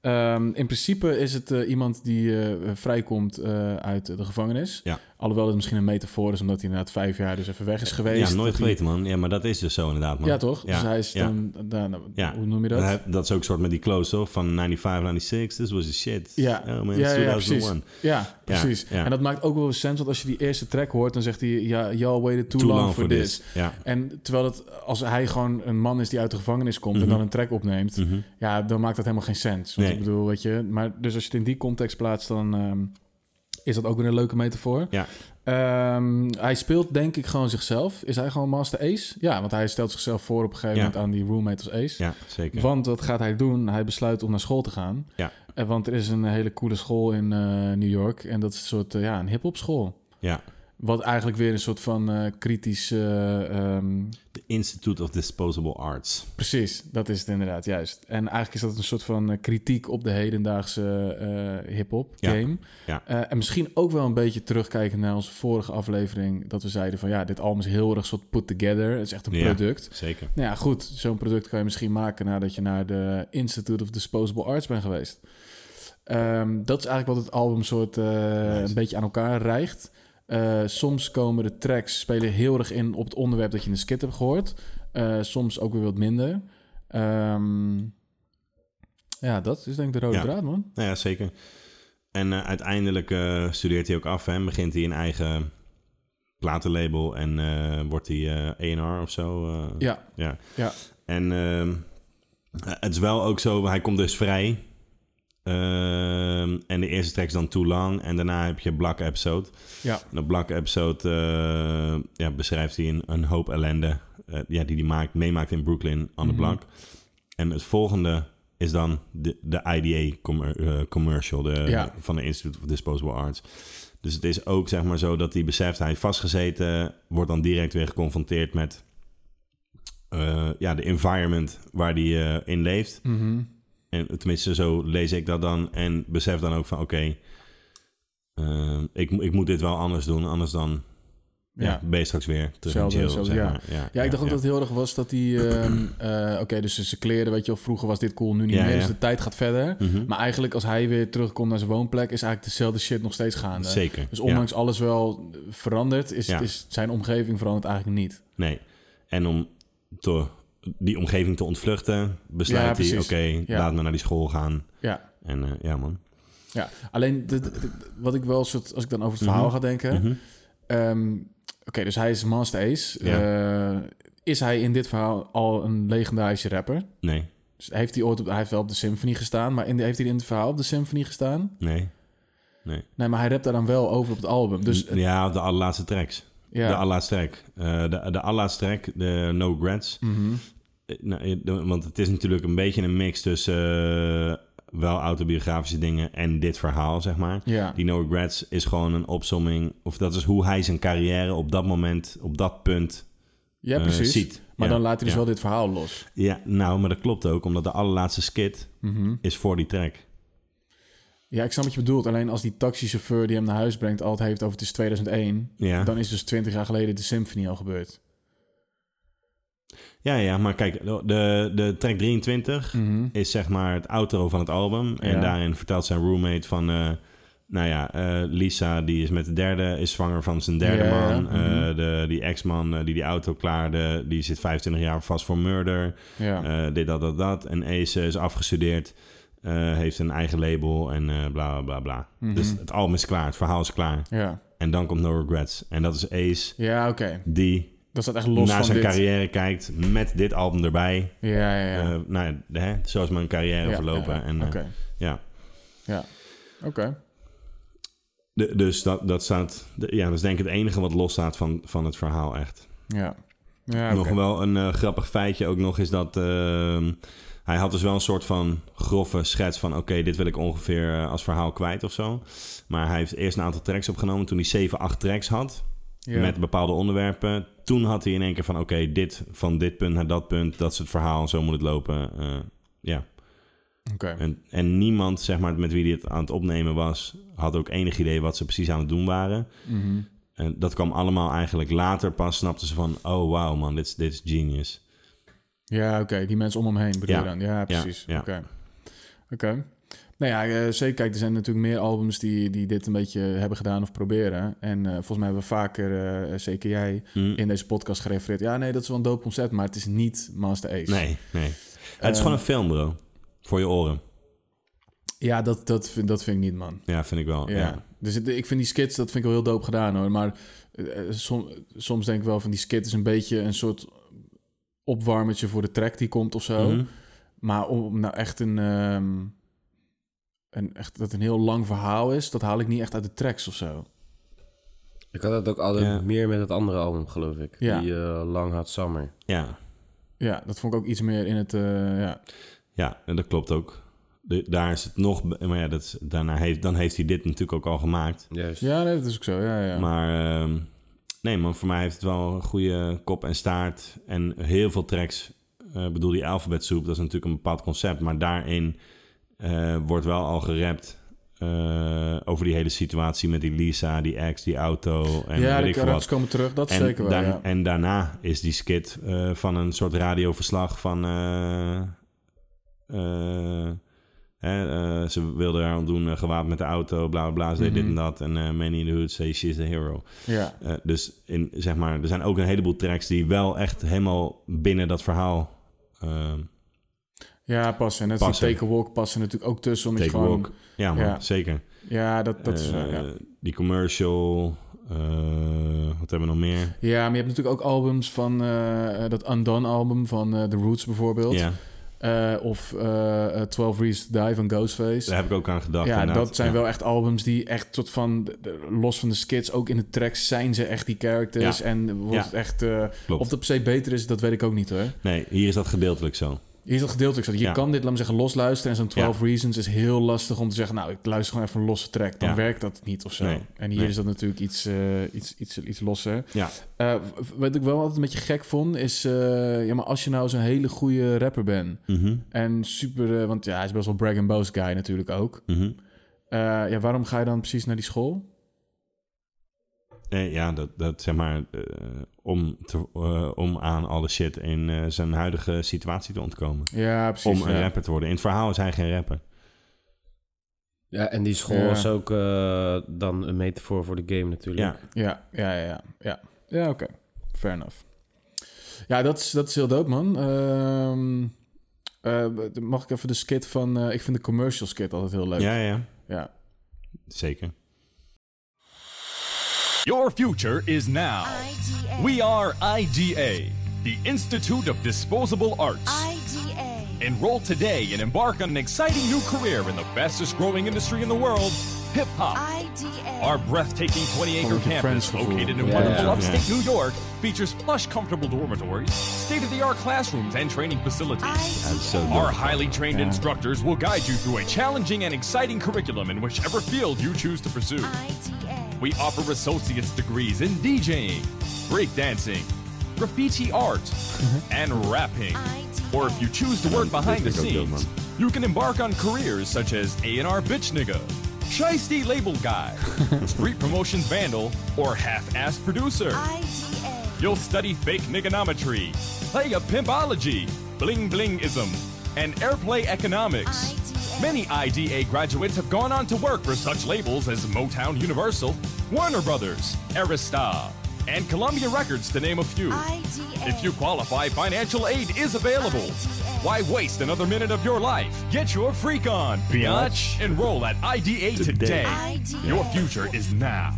Speaker 2: Ehm, in principe is het eh, iemand die eh, vrijkomt eh, uit de gevangenis.
Speaker 1: Ja.
Speaker 2: Alhoewel het misschien een metafoor is, omdat hij inderdaad vijf jaar dus even weg is geweest.
Speaker 1: Ja, nooit
Speaker 2: Dat hij-
Speaker 1: geweten, man. Ja, maar dat is dus zo inderdaad, man.
Speaker 2: Ja, toch?
Speaker 1: Ja,
Speaker 2: Dus hij is
Speaker 1: ja.
Speaker 2: dan... dan- nou,
Speaker 1: Ja.
Speaker 2: Hoe noem je dat?
Speaker 1: Hij- Dat is ook soort met die close, toch? Van 95, 96, this was a shit.
Speaker 2: Ja,
Speaker 1: Oh man,
Speaker 2: ja,
Speaker 1: it's
Speaker 2: ja, ja, precies.
Speaker 1: 2001.
Speaker 2: Ja, precies.
Speaker 1: ja.
Speaker 2: En dat maakt ook wel eens sens, want als je die eerste track hoort, dan zegt hij, ja, y'all waited too, long, for this.
Speaker 1: Ja.
Speaker 2: En terwijl dat, als hij gewoon een man is die uit de gevangenis komt en dan een track opneemt, ja, dan maakt dat helemaal geen sens. Want
Speaker 1: Mhm. Nee.
Speaker 2: ik bedoel, weet je, maar dus als je het in die context plaatst, dan ehm, is dat ook weer een leuke metafoor.
Speaker 1: Ja.
Speaker 2: Ehm, hij speelt denk ik gewoon zichzelf. Is hij gewoon Master Ace? Ja, want hij stelt zichzelf voor op een gegeven
Speaker 1: Ja.
Speaker 2: moment aan die roommate als Ace.
Speaker 1: ja, zeker.
Speaker 2: Want wat gaat hij doen? Hij besluit om naar school te gaan.
Speaker 1: Ja.
Speaker 2: Eh, Want er is een hele coole school in eh, New York. En dat is een soort eh, ja, een hip-hop school.
Speaker 1: ja.
Speaker 2: Wat eigenlijk weer een soort van eh, kritisch. eh, ehm,
Speaker 1: The Institute of Disposable Arts.
Speaker 2: precies, dat is het inderdaad, juist. En eigenlijk is dat een soort van eh, kritiek op de hedendaagse eh hip-hop
Speaker 1: Ja.
Speaker 2: game.
Speaker 1: Ja.
Speaker 2: Eh, en misschien ook wel een beetje terugkijken naar onze vorige aflevering. Dat we zeiden van ja, dit album is heel erg soort put together. Het is echt een
Speaker 1: Ja.
Speaker 2: product.
Speaker 1: Zeker.
Speaker 2: Nou ja, goed. Zo'n product kan je misschien maken nadat je naar de Institute of Disposable Arts bent geweest. Ehm, dat is eigenlijk wat het album soort eh, een beetje aan elkaar rijgt. Eh, soms komen de tracks spelen heel erg in op het onderwerp dat je in de skit hebt gehoord. Eh, soms ook weer wat minder. Ehm, ja, dat is denk ik de rode
Speaker 1: Ja.
Speaker 2: draad, man.
Speaker 1: Nou ja, zeker. En eh, uiteindelijk eh, studeert hij ook af en begint hij een eigen platenlabel en eh, wordt hij eh A&R of zo. eh,
Speaker 2: Ja,
Speaker 1: ja.
Speaker 2: ja.
Speaker 1: En ehm, het is wel ook zo, hij komt dus vrij. Ehm, en de eerste track is dan Too Long. En daarna heb je Black Episode.
Speaker 2: Ja.
Speaker 1: En op Black Episode eh, ja, beschrijft hij een, een hoop ellende eh, ja, die hij maakt, meemaakt in Brooklyn aan de Black. En het volgende is dan de, de IDA commer- eh, commercial de,
Speaker 2: Ja.
Speaker 1: van de Institute of Disposable Arts. Dus het is ook zeg maar zo dat hij beseft, hij heeft vastgezeten, wordt dan direct weer geconfronteerd met eh, ja, de environment waar hij eh, in leeft.
Speaker 2: Mhm.
Speaker 1: En tenminste, zo lees ik dat dan en besef dan ook van oké, eh, ik, mo- ik moet dit wel anders doen, anders dan ja.
Speaker 2: Ja.
Speaker 1: ben je straks weer terug in
Speaker 2: Hetzelfde,
Speaker 1: jail,
Speaker 2: hetzelfde,
Speaker 1: zeg
Speaker 2: ja.
Speaker 1: maar. ja.
Speaker 2: Ja, ik dacht ook
Speaker 1: ja.
Speaker 2: dat het heel erg was dat hij... ehm, eh, Oké, dus zijn kleren, weet je wel, vroeger was dit cool, nu niet
Speaker 1: Ja,
Speaker 2: meer.
Speaker 1: ja.
Speaker 2: Dus de tijd gaat verder.
Speaker 1: Mhm.
Speaker 2: Maar eigenlijk als hij weer terugkomt naar zijn woonplek... is eigenlijk dezelfde shit nog steeds gaande.
Speaker 1: Zeker,
Speaker 2: Dus
Speaker 1: ja.
Speaker 2: ondanks alles wel veranderd... Is,
Speaker 1: Ja.
Speaker 2: is zijn omgeving verandert eigenlijk niet.
Speaker 1: Nee. En om te, die omgeving te ontvluchten,
Speaker 2: Ja,
Speaker 1: besluit hij:
Speaker 2: precies.
Speaker 1: oké,
Speaker 2: Ja.
Speaker 1: laat me naar die school gaan.
Speaker 2: Ja,
Speaker 1: En eh, ja, man.
Speaker 2: ja. alleen de- de- de- wat ik wel soort... als ik dan over het
Speaker 1: Mhm.
Speaker 2: verhaal ga denken... ehm, Oké, dus hij is Master Ace. Eh, is hij in dit verhaal al een legendarische rapper?
Speaker 1: Nee,
Speaker 2: Dus heeft hij ooit op, hij heeft wel op de symfonie gestaan, maar in de, heeft hij in het verhaal op de symfonie gestaan?
Speaker 1: nee.
Speaker 2: Nee, maar hij rapt daar dan wel over op het album. Dus eh,
Speaker 1: ja, de allerlaatste tracks.
Speaker 2: ja,
Speaker 1: De allerlaatste track. Eh, de, de allerlaatste track, de No Grants.
Speaker 2: Mhm.
Speaker 1: Eh, nou, eh, de- want het is natuurlijk een beetje een mix tussen eh, wel autobiografische dingen en dit verhaal, zeg maar.
Speaker 2: ja,
Speaker 1: Die No Regrets is gewoon een opsomming. Of dat is hoe hij zijn carrière op dat moment, op dat punt
Speaker 2: ja,
Speaker 1: eh,
Speaker 2: precies.
Speaker 1: ziet.
Speaker 2: maar
Speaker 1: Ja,
Speaker 2: dan laat hij dus
Speaker 1: ja.
Speaker 2: wel dit verhaal los.
Speaker 1: Ja, nou, maar dat klopt ook, omdat de allerlaatste skit
Speaker 2: Mhm.
Speaker 1: is voor die track.
Speaker 2: Ja, ik snap wat je bedoelt. Alleen als die taxichauffeur die hem naar huis brengt altijd heeft over het is 2001,
Speaker 1: Ja.
Speaker 2: dan is dus 20 jaar geleden de symfonie al gebeurd.
Speaker 1: Ja, ja, maar kijk, de, de track 23 is zeg maar het outro van het album. En
Speaker 2: Ja.
Speaker 1: daarin vertelt zijn roommate van, eh, nou ja, eh, Lisa, die is met de derde, is zwanger van zijn derde
Speaker 2: Ja, Mhm. ja, ja.
Speaker 1: man. Eh, de, die ex-man eh, die die auto klaarde, die zit 25 jaar vast voor murder.
Speaker 2: Ja.
Speaker 1: Eh, dit, dat, dat, dat. En Ace is afgestudeerd, eh, heeft een eigen label en eh, bla, bla, bla.
Speaker 2: Mhm.
Speaker 1: Dus het album is klaar, het verhaal is klaar.
Speaker 2: ja,
Speaker 1: En dan komt No Regrets. En dat is Ace
Speaker 2: ja oké.
Speaker 1: die
Speaker 2: Dat staat echt los
Speaker 1: naar
Speaker 2: van
Speaker 1: zijn
Speaker 2: dit.
Speaker 1: carrière kijkt met dit album erbij.
Speaker 2: Ja, ja, ja.
Speaker 1: Eh, nou ja, de- hè, zo is mijn carrière
Speaker 2: Ja,
Speaker 1: verlopen.
Speaker 2: ja, ja.
Speaker 1: En, eh,
Speaker 2: Oké,
Speaker 1: ja.
Speaker 2: ja. Oké.
Speaker 1: De- dus dat, dat staat... de- ja, dat is denk ik het enige wat losstaat van, van het verhaal echt.
Speaker 2: ja. Ja, oké.
Speaker 1: Nog wel een eh, grappig feitje ook nog is dat... ehm, hij had dus wel een soort van grove schets van... oké, dit wil ik ongeveer eh, als verhaal kwijt of zo. Maar hij heeft eerst een aantal tracks opgenomen. Toen hij 7, 8 tracks had
Speaker 2: Ja.
Speaker 1: met bepaalde onderwerpen... toen had hij in één keer van... oké, dit van dit punt naar dat punt. Dat is het verhaal, zo moet het lopen. Eh, ja.
Speaker 2: Oké.
Speaker 1: En, en niemand, zeg maar, met wie die het aan het opnemen was, had ook enig idee wat ze precies aan het doen waren. En dat kwam allemaal eigenlijk later pas, snapten ze van, oh wauw man, dit is, dit is genius.
Speaker 2: Ja, oké. Die mensen om hem heen bedoel
Speaker 1: Ja.
Speaker 2: je dan. Ja, precies.
Speaker 1: ja.
Speaker 2: Oké. Oké. Nou ja, eh, zeker. Kijk, er zijn natuurlijk meer albums die, die dit een beetje hebben gedaan of proberen. En eh, volgens mij hebben we vaker, eh, zeker jij,
Speaker 1: Hm?
Speaker 2: in deze podcast gerefereerd. Ja, nee, dat is wel een dope concept, maar het is niet Master Ace.
Speaker 1: Nee, nee.
Speaker 2: Eh.
Speaker 1: het is gewoon een film, bro. Voor je oren.
Speaker 2: Ehm, Ja, dat, dat, vind- dat vind ik niet, man.
Speaker 1: Ja, vind ik wel.
Speaker 2: Ja.
Speaker 1: Ja. Oh, ja.
Speaker 2: Dus het- ik vind die skits, dat vind ik wel heel dope gedaan hoor. Maar eh, eh, som- soms denk ik wel van die skit is een beetje een soort opwarmetje voor de track die komt of zo.
Speaker 1: Mhm.
Speaker 2: Maar om, om nou echt een, ehm, een echt dat een heel lang verhaal is, dat haal ik niet echt uit de tracks of zo.
Speaker 3: Ik had dat ook altijd
Speaker 1: Ja.
Speaker 3: meer met het andere album, geloof ik.
Speaker 2: Ja.
Speaker 3: Die eh, Long Hot Summer.
Speaker 1: Ja,
Speaker 2: Ja, dat vond ik ook iets meer in het. eh, ja.
Speaker 1: en dat klopt ook. De- daar is het nog... be- Maar ja, dat is, daarna heeft, dan heeft hij dit natuurlijk ook al gemaakt.
Speaker 3: Juist.
Speaker 2: ja, nee, dat is ook zo. Ja, ja.
Speaker 1: Maar ehm, nee man, voor mij heeft het wel een goede kop en staart. En heel veel tracks. Eh, Ik bedoel, die alphabet Soup, dat is natuurlijk een bepaald concept. Maar daarin eh, wordt wel al gerapt eh, over die hele situatie met die Lisa, die ex, die auto en
Speaker 2: ja, de
Speaker 1: eh, weet ik veel
Speaker 2: karakters
Speaker 1: wat.
Speaker 2: komen terug, dat
Speaker 1: En,
Speaker 2: zeker wel.
Speaker 1: daar-
Speaker 2: ja.
Speaker 1: en daarna is die skit eh, van een soort radioverslag van... eh, eh, hè, eh, ze wilde haar ontdoen, eh, gewapend met de auto, bla bla bla. Ze deed dit en
Speaker 2: Mhm.
Speaker 1: dat. En eh Manny in the Hood say she's the hero.
Speaker 2: ja.
Speaker 1: Eh, dus in, zeg maar, er zijn ook een heleboel tracks die wel echt helemaal binnen dat verhaal. ehm
Speaker 2: ja, passen. Net als die
Speaker 1: Passen.
Speaker 2: Take a Walk passen natuurlijk ook tussen. Omdat
Speaker 1: take
Speaker 2: je
Speaker 1: a
Speaker 2: gewoon,
Speaker 1: walk. Ja, man,
Speaker 2: ja.
Speaker 1: zeker.
Speaker 2: Ja, dat, dat is. wel,
Speaker 1: Eh,
Speaker 2: ja.
Speaker 1: Die commercial. eh, wat hebben we nog meer?
Speaker 2: Ja, maar je hebt natuurlijk ook albums van eh, eh, dat Undone album van eh, The Roots bijvoorbeeld.
Speaker 1: Ja,
Speaker 2: Eh, of eh eh, 12 Reasons to Die van Ghostface.
Speaker 1: daar heb ik ook aan gedacht.
Speaker 2: Ja,
Speaker 1: inderdaad.
Speaker 2: dat zijn
Speaker 1: Ja.
Speaker 2: wel echt albums die echt soort van, de- de- los van de skits, ook in de tracks zijn ze echt die characters.
Speaker 1: Ja.
Speaker 2: En wordt
Speaker 1: Ja.
Speaker 2: het echt, eh,
Speaker 1: Klopt.
Speaker 2: of dat per se beter is, dat weet ik ook niet hoor.
Speaker 1: Nee, hier is dat gedeeltelijk zo.
Speaker 2: Hier is dat gedeeltelijk zo. Je
Speaker 1: Ja.
Speaker 2: kan dit, laat me zeggen, losluisteren. En zo'n 12 Reasons is heel lastig om te zeggen... nou, ik luister gewoon even een losse track. Dan
Speaker 1: Ja.
Speaker 2: werkt dat niet of zo.
Speaker 1: Nee.
Speaker 2: En hier
Speaker 1: Nee.
Speaker 2: is dat natuurlijk iets, eh, iets, iets, iets losser.
Speaker 1: Ja.
Speaker 2: Eh, w- wat ik wel altijd een beetje gek vond, is... eh, ja, maar als je nou zo'n hele goede rapper bent...
Speaker 1: Mhm.
Speaker 2: en super... eh, want ja, hij is best wel brag and boast guy natuurlijk ook.
Speaker 1: Mhm.
Speaker 2: Eh, ja, waarom ga je dan precies naar die school?
Speaker 1: Eh, ja, dat, dat zeg maar eh, om, te, eh, om aan alle shit in eh, zijn huidige situatie te ontkomen.
Speaker 2: Ja, precies.
Speaker 1: om eh, een
Speaker 2: ja.
Speaker 1: rapper te worden. In het verhaal is hij geen rapper.
Speaker 3: Ja, en die school
Speaker 2: Ja.
Speaker 3: is ook eh, dan een metafoor voor de game natuurlijk.
Speaker 1: Ja,
Speaker 2: Ja, ja, ja, ja. Ja, ja oké. Fair enough. Ja, dat is, dat is heel dope, man. Ehm, eh, mag ik even de skit van... eh, ik vind de commercial skit altijd heel leuk.
Speaker 1: ja, ja.
Speaker 2: ja.
Speaker 1: Zeker.
Speaker 8: Your future is now.
Speaker 9: IDA.
Speaker 8: We are IDA, the Institute of Disposable Arts.
Speaker 9: IDA.
Speaker 8: Enroll today and embark on an exciting new career in the fastest growing industry in the world hip hop.
Speaker 9: IDA.
Speaker 8: Our breathtaking 20 acre
Speaker 2: Like a French
Speaker 8: campus,
Speaker 2: school.
Speaker 8: located in
Speaker 2: Yeah.
Speaker 8: wonderful
Speaker 3: Yeah.
Speaker 8: upstate New York, features plush, comfortable dormitories, state of the art classrooms, and training facilities.
Speaker 9: IDA.
Speaker 1: Zo
Speaker 8: Our
Speaker 1: dope.
Speaker 8: highly trained instructors will guide you through a challenging and exciting curriculum in whichever field you choose to pursue.
Speaker 9: IDA.
Speaker 8: We offer associate's degrees in DJing, breakdancing, graffiti art, and rapping. Or if you choose to work behind the
Speaker 1: Think I'll go,
Speaker 8: scenes,
Speaker 1: man.
Speaker 8: you can embark on careers such as A&R Bitch Nigga, Shiesty Label Guy, Street Promotions Vandal, or Half-Ass Producer.
Speaker 9: IDA.
Speaker 8: You'll study fake niggonometry, play a pimpology, bling blingism, and airplay economics.
Speaker 9: IDA.
Speaker 8: Many IDA graduates have gone on to work for such labels as Motown Universal, Warner Brothers, Arista, and Columbia Records, to name a few.
Speaker 9: IDA.
Speaker 8: If you qualify, financial aid is available.
Speaker 9: IDA.
Speaker 8: Why waste another minute of your life? Get your freak on, biatch. Enroll at IDA today.
Speaker 9: IDA.
Speaker 8: Your future is now.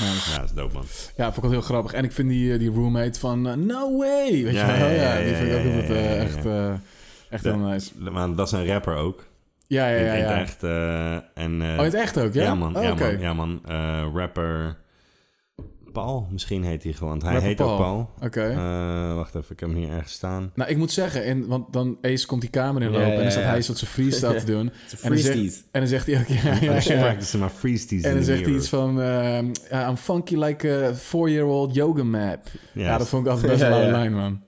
Speaker 1: Ja, dat is dope, man.
Speaker 2: ja, vond ik altijd heel grappig. En ik vind die, eh, die roommate van... eh, no way! Weet
Speaker 1: Ja,
Speaker 2: je wel?
Speaker 1: ja, ja,
Speaker 2: die
Speaker 1: ja,
Speaker 2: vind ik ook
Speaker 1: ja,
Speaker 2: altijd
Speaker 1: ja,
Speaker 2: eh,
Speaker 1: ja, ja.
Speaker 2: echt, eh, echt
Speaker 1: Ja.
Speaker 2: heel nice.
Speaker 1: Maar dat is een rapper ook.
Speaker 2: Ja, ja,
Speaker 1: In
Speaker 2: ja.
Speaker 1: het
Speaker 2: ja.
Speaker 1: echt. eh, en, eh,
Speaker 2: Oh, in het echt ook, ja?
Speaker 1: Ja, man.
Speaker 2: Oh,
Speaker 1: ja,
Speaker 2: oké.
Speaker 1: man. Ja, man. Eh, rapper Paul, misschien heet hij gewoon. Hij
Speaker 2: Rapper
Speaker 1: heet ook
Speaker 2: Paul.
Speaker 1: Paul.
Speaker 2: Oké.
Speaker 1: Eh, wacht even, ik heb hem hier ergens staan.
Speaker 2: Nou, ik moet zeggen, en, want dan Ace komt die kamer in lopen
Speaker 3: Ja, ja,
Speaker 2: en dan staat
Speaker 3: ja.
Speaker 2: hij tot zijn freestyle te doen. en, dan
Speaker 3: freestyle.
Speaker 2: zegt, en dan zegt hij ook, ja, ja,
Speaker 1: She
Speaker 2: ja.
Speaker 1: practices my freesties
Speaker 2: En dan
Speaker 1: in the
Speaker 2: zegt hij
Speaker 1: mirror.
Speaker 2: iets van... ehm, "Yeah, I'm funky like a four-year-old yoga map. Ja, dat vond ik altijd best een
Speaker 3: Ja,
Speaker 2: leuke
Speaker 3: ja.
Speaker 2: lijn, man.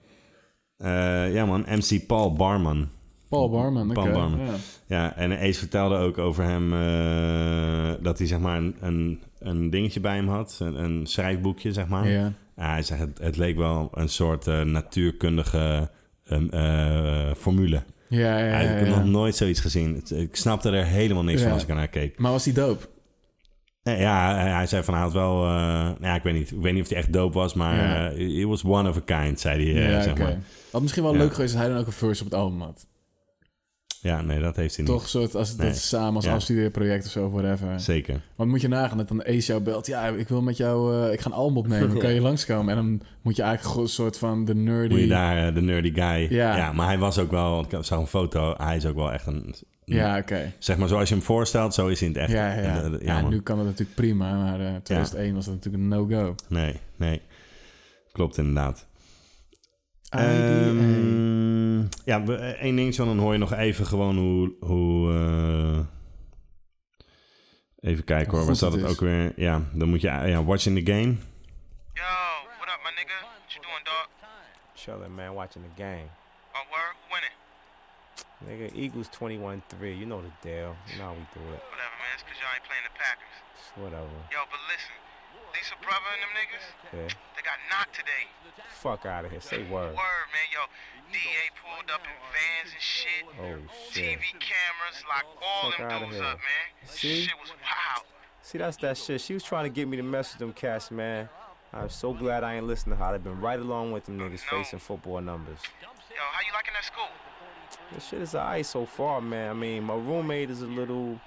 Speaker 1: Eh, ja, man. MC Paul Barman.
Speaker 2: Paul Barman, oké.
Speaker 1: Paul Barman.
Speaker 2: Ja.
Speaker 1: Ja, en Ace vertelde ook over hem eh, dat hij zeg maar een, een, een dingetje bij hem had, een, een schrijfboekje zeg maar.
Speaker 2: Ja.
Speaker 1: Ja, hij zegt, het, het leek wel een soort eh, natuurkundige ehm, eh, formule.
Speaker 2: Ja, ja,
Speaker 1: Hij-
Speaker 2: ja,
Speaker 1: ik heb nog
Speaker 2: ja.
Speaker 1: nooit zoiets gezien. Het- Ik snapte er helemaal niks
Speaker 2: Ja.
Speaker 1: van als ik ernaar keek.
Speaker 2: Maar was die dope?
Speaker 1: Nee, Ja, hij- hij zei van hij had wel... eh, nou ja, ik weet, niet, ik weet niet of hij echt dope was, maar
Speaker 2: Ja.
Speaker 1: eh, it was one of a kind, zei hij. eh,
Speaker 2: ja,
Speaker 1: zeg
Speaker 2: oké.
Speaker 1: maar.
Speaker 2: Had misschien wel
Speaker 1: Ja.
Speaker 2: leuk geweest als hij dan ook een verse op het album had.
Speaker 1: Ja, nee, dat heeft hij
Speaker 2: Toch
Speaker 1: niet.
Speaker 2: soort als
Speaker 1: Nee.
Speaker 2: dat samen als
Speaker 1: Ja.
Speaker 2: afstudeerproject of zo, whatever.
Speaker 1: Zeker.
Speaker 2: Want moet je nagaan dat dan Ace jou belt. Ja, ik wil met jou, eh, ik ga een album opnemen. Kan je langskomen? En dan moet je eigenlijk gewoon een soort van de nerdy...
Speaker 1: Moet je daar eh, de nerdy guy...
Speaker 2: Ja.
Speaker 1: ja, maar hij was ook wel... want Ik zag een foto. Hij is ook wel echt een...
Speaker 2: Ja, oké.
Speaker 1: Zeg maar, zoals je hem voorstelt, zo is hij in het echt.
Speaker 2: Ja, ja, ja.
Speaker 1: En, eh,
Speaker 2: Ja,
Speaker 1: man.
Speaker 2: nu kan dat natuurlijk prima, maar eh 2001 was dat natuurlijk een no-go.
Speaker 1: Nee, nee. Klopt inderdaad.
Speaker 2: IDA.
Speaker 1: Ehm, ja, we- eh, één ding, zo, dan hoor je nog even gewoon hoe... hoe eh, even kijken hoor,
Speaker 2: Hoe
Speaker 1: waar
Speaker 2: goed
Speaker 1: zat
Speaker 2: het
Speaker 1: het
Speaker 2: is.
Speaker 1: ook weer? Ja, dan moet je... Ja, watch in the game.
Speaker 10: Yo, what up, my nigga? What you doing, dog?
Speaker 5: Chilling, man, watching the game.
Speaker 10: Oh, word, winning.
Speaker 5: Nigga, Eagles 21 3. You know the deal. You know how we do it.
Speaker 10: Whatever, man. It's because y'all ain't playing the Packers.
Speaker 5: It's whatever.
Speaker 10: Yo, but listen. Lisa Brother and them niggas,
Speaker 5: Yeah.
Speaker 10: they got knocked today.
Speaker 5: Fuck out of here. Say word.
Speaker 10: Word, man. Yo, DA pulled up in vans and shit.
Speaker 5: Oh, shit.
Speaker 10: TV cameras, like all
Speaker 5: Fuck
Speaker 10: them
Speaker 5: outta
Speaker 10: dudes
Speaker 5: here.
Speaker 10: up, man.
Speaker 5: See?
Speaker 10: Shit was wild.
Speaker 5: See, that's that shit. She was trying to get me to mess with them cats, man. I'm so glad I ain't listening to her. I've been right along with them niggas facing football numbers.
Speaker 10: Yo, how you liking that school?
Speaker 5: This shit is alright so far, man. I mean, my roommate is a little,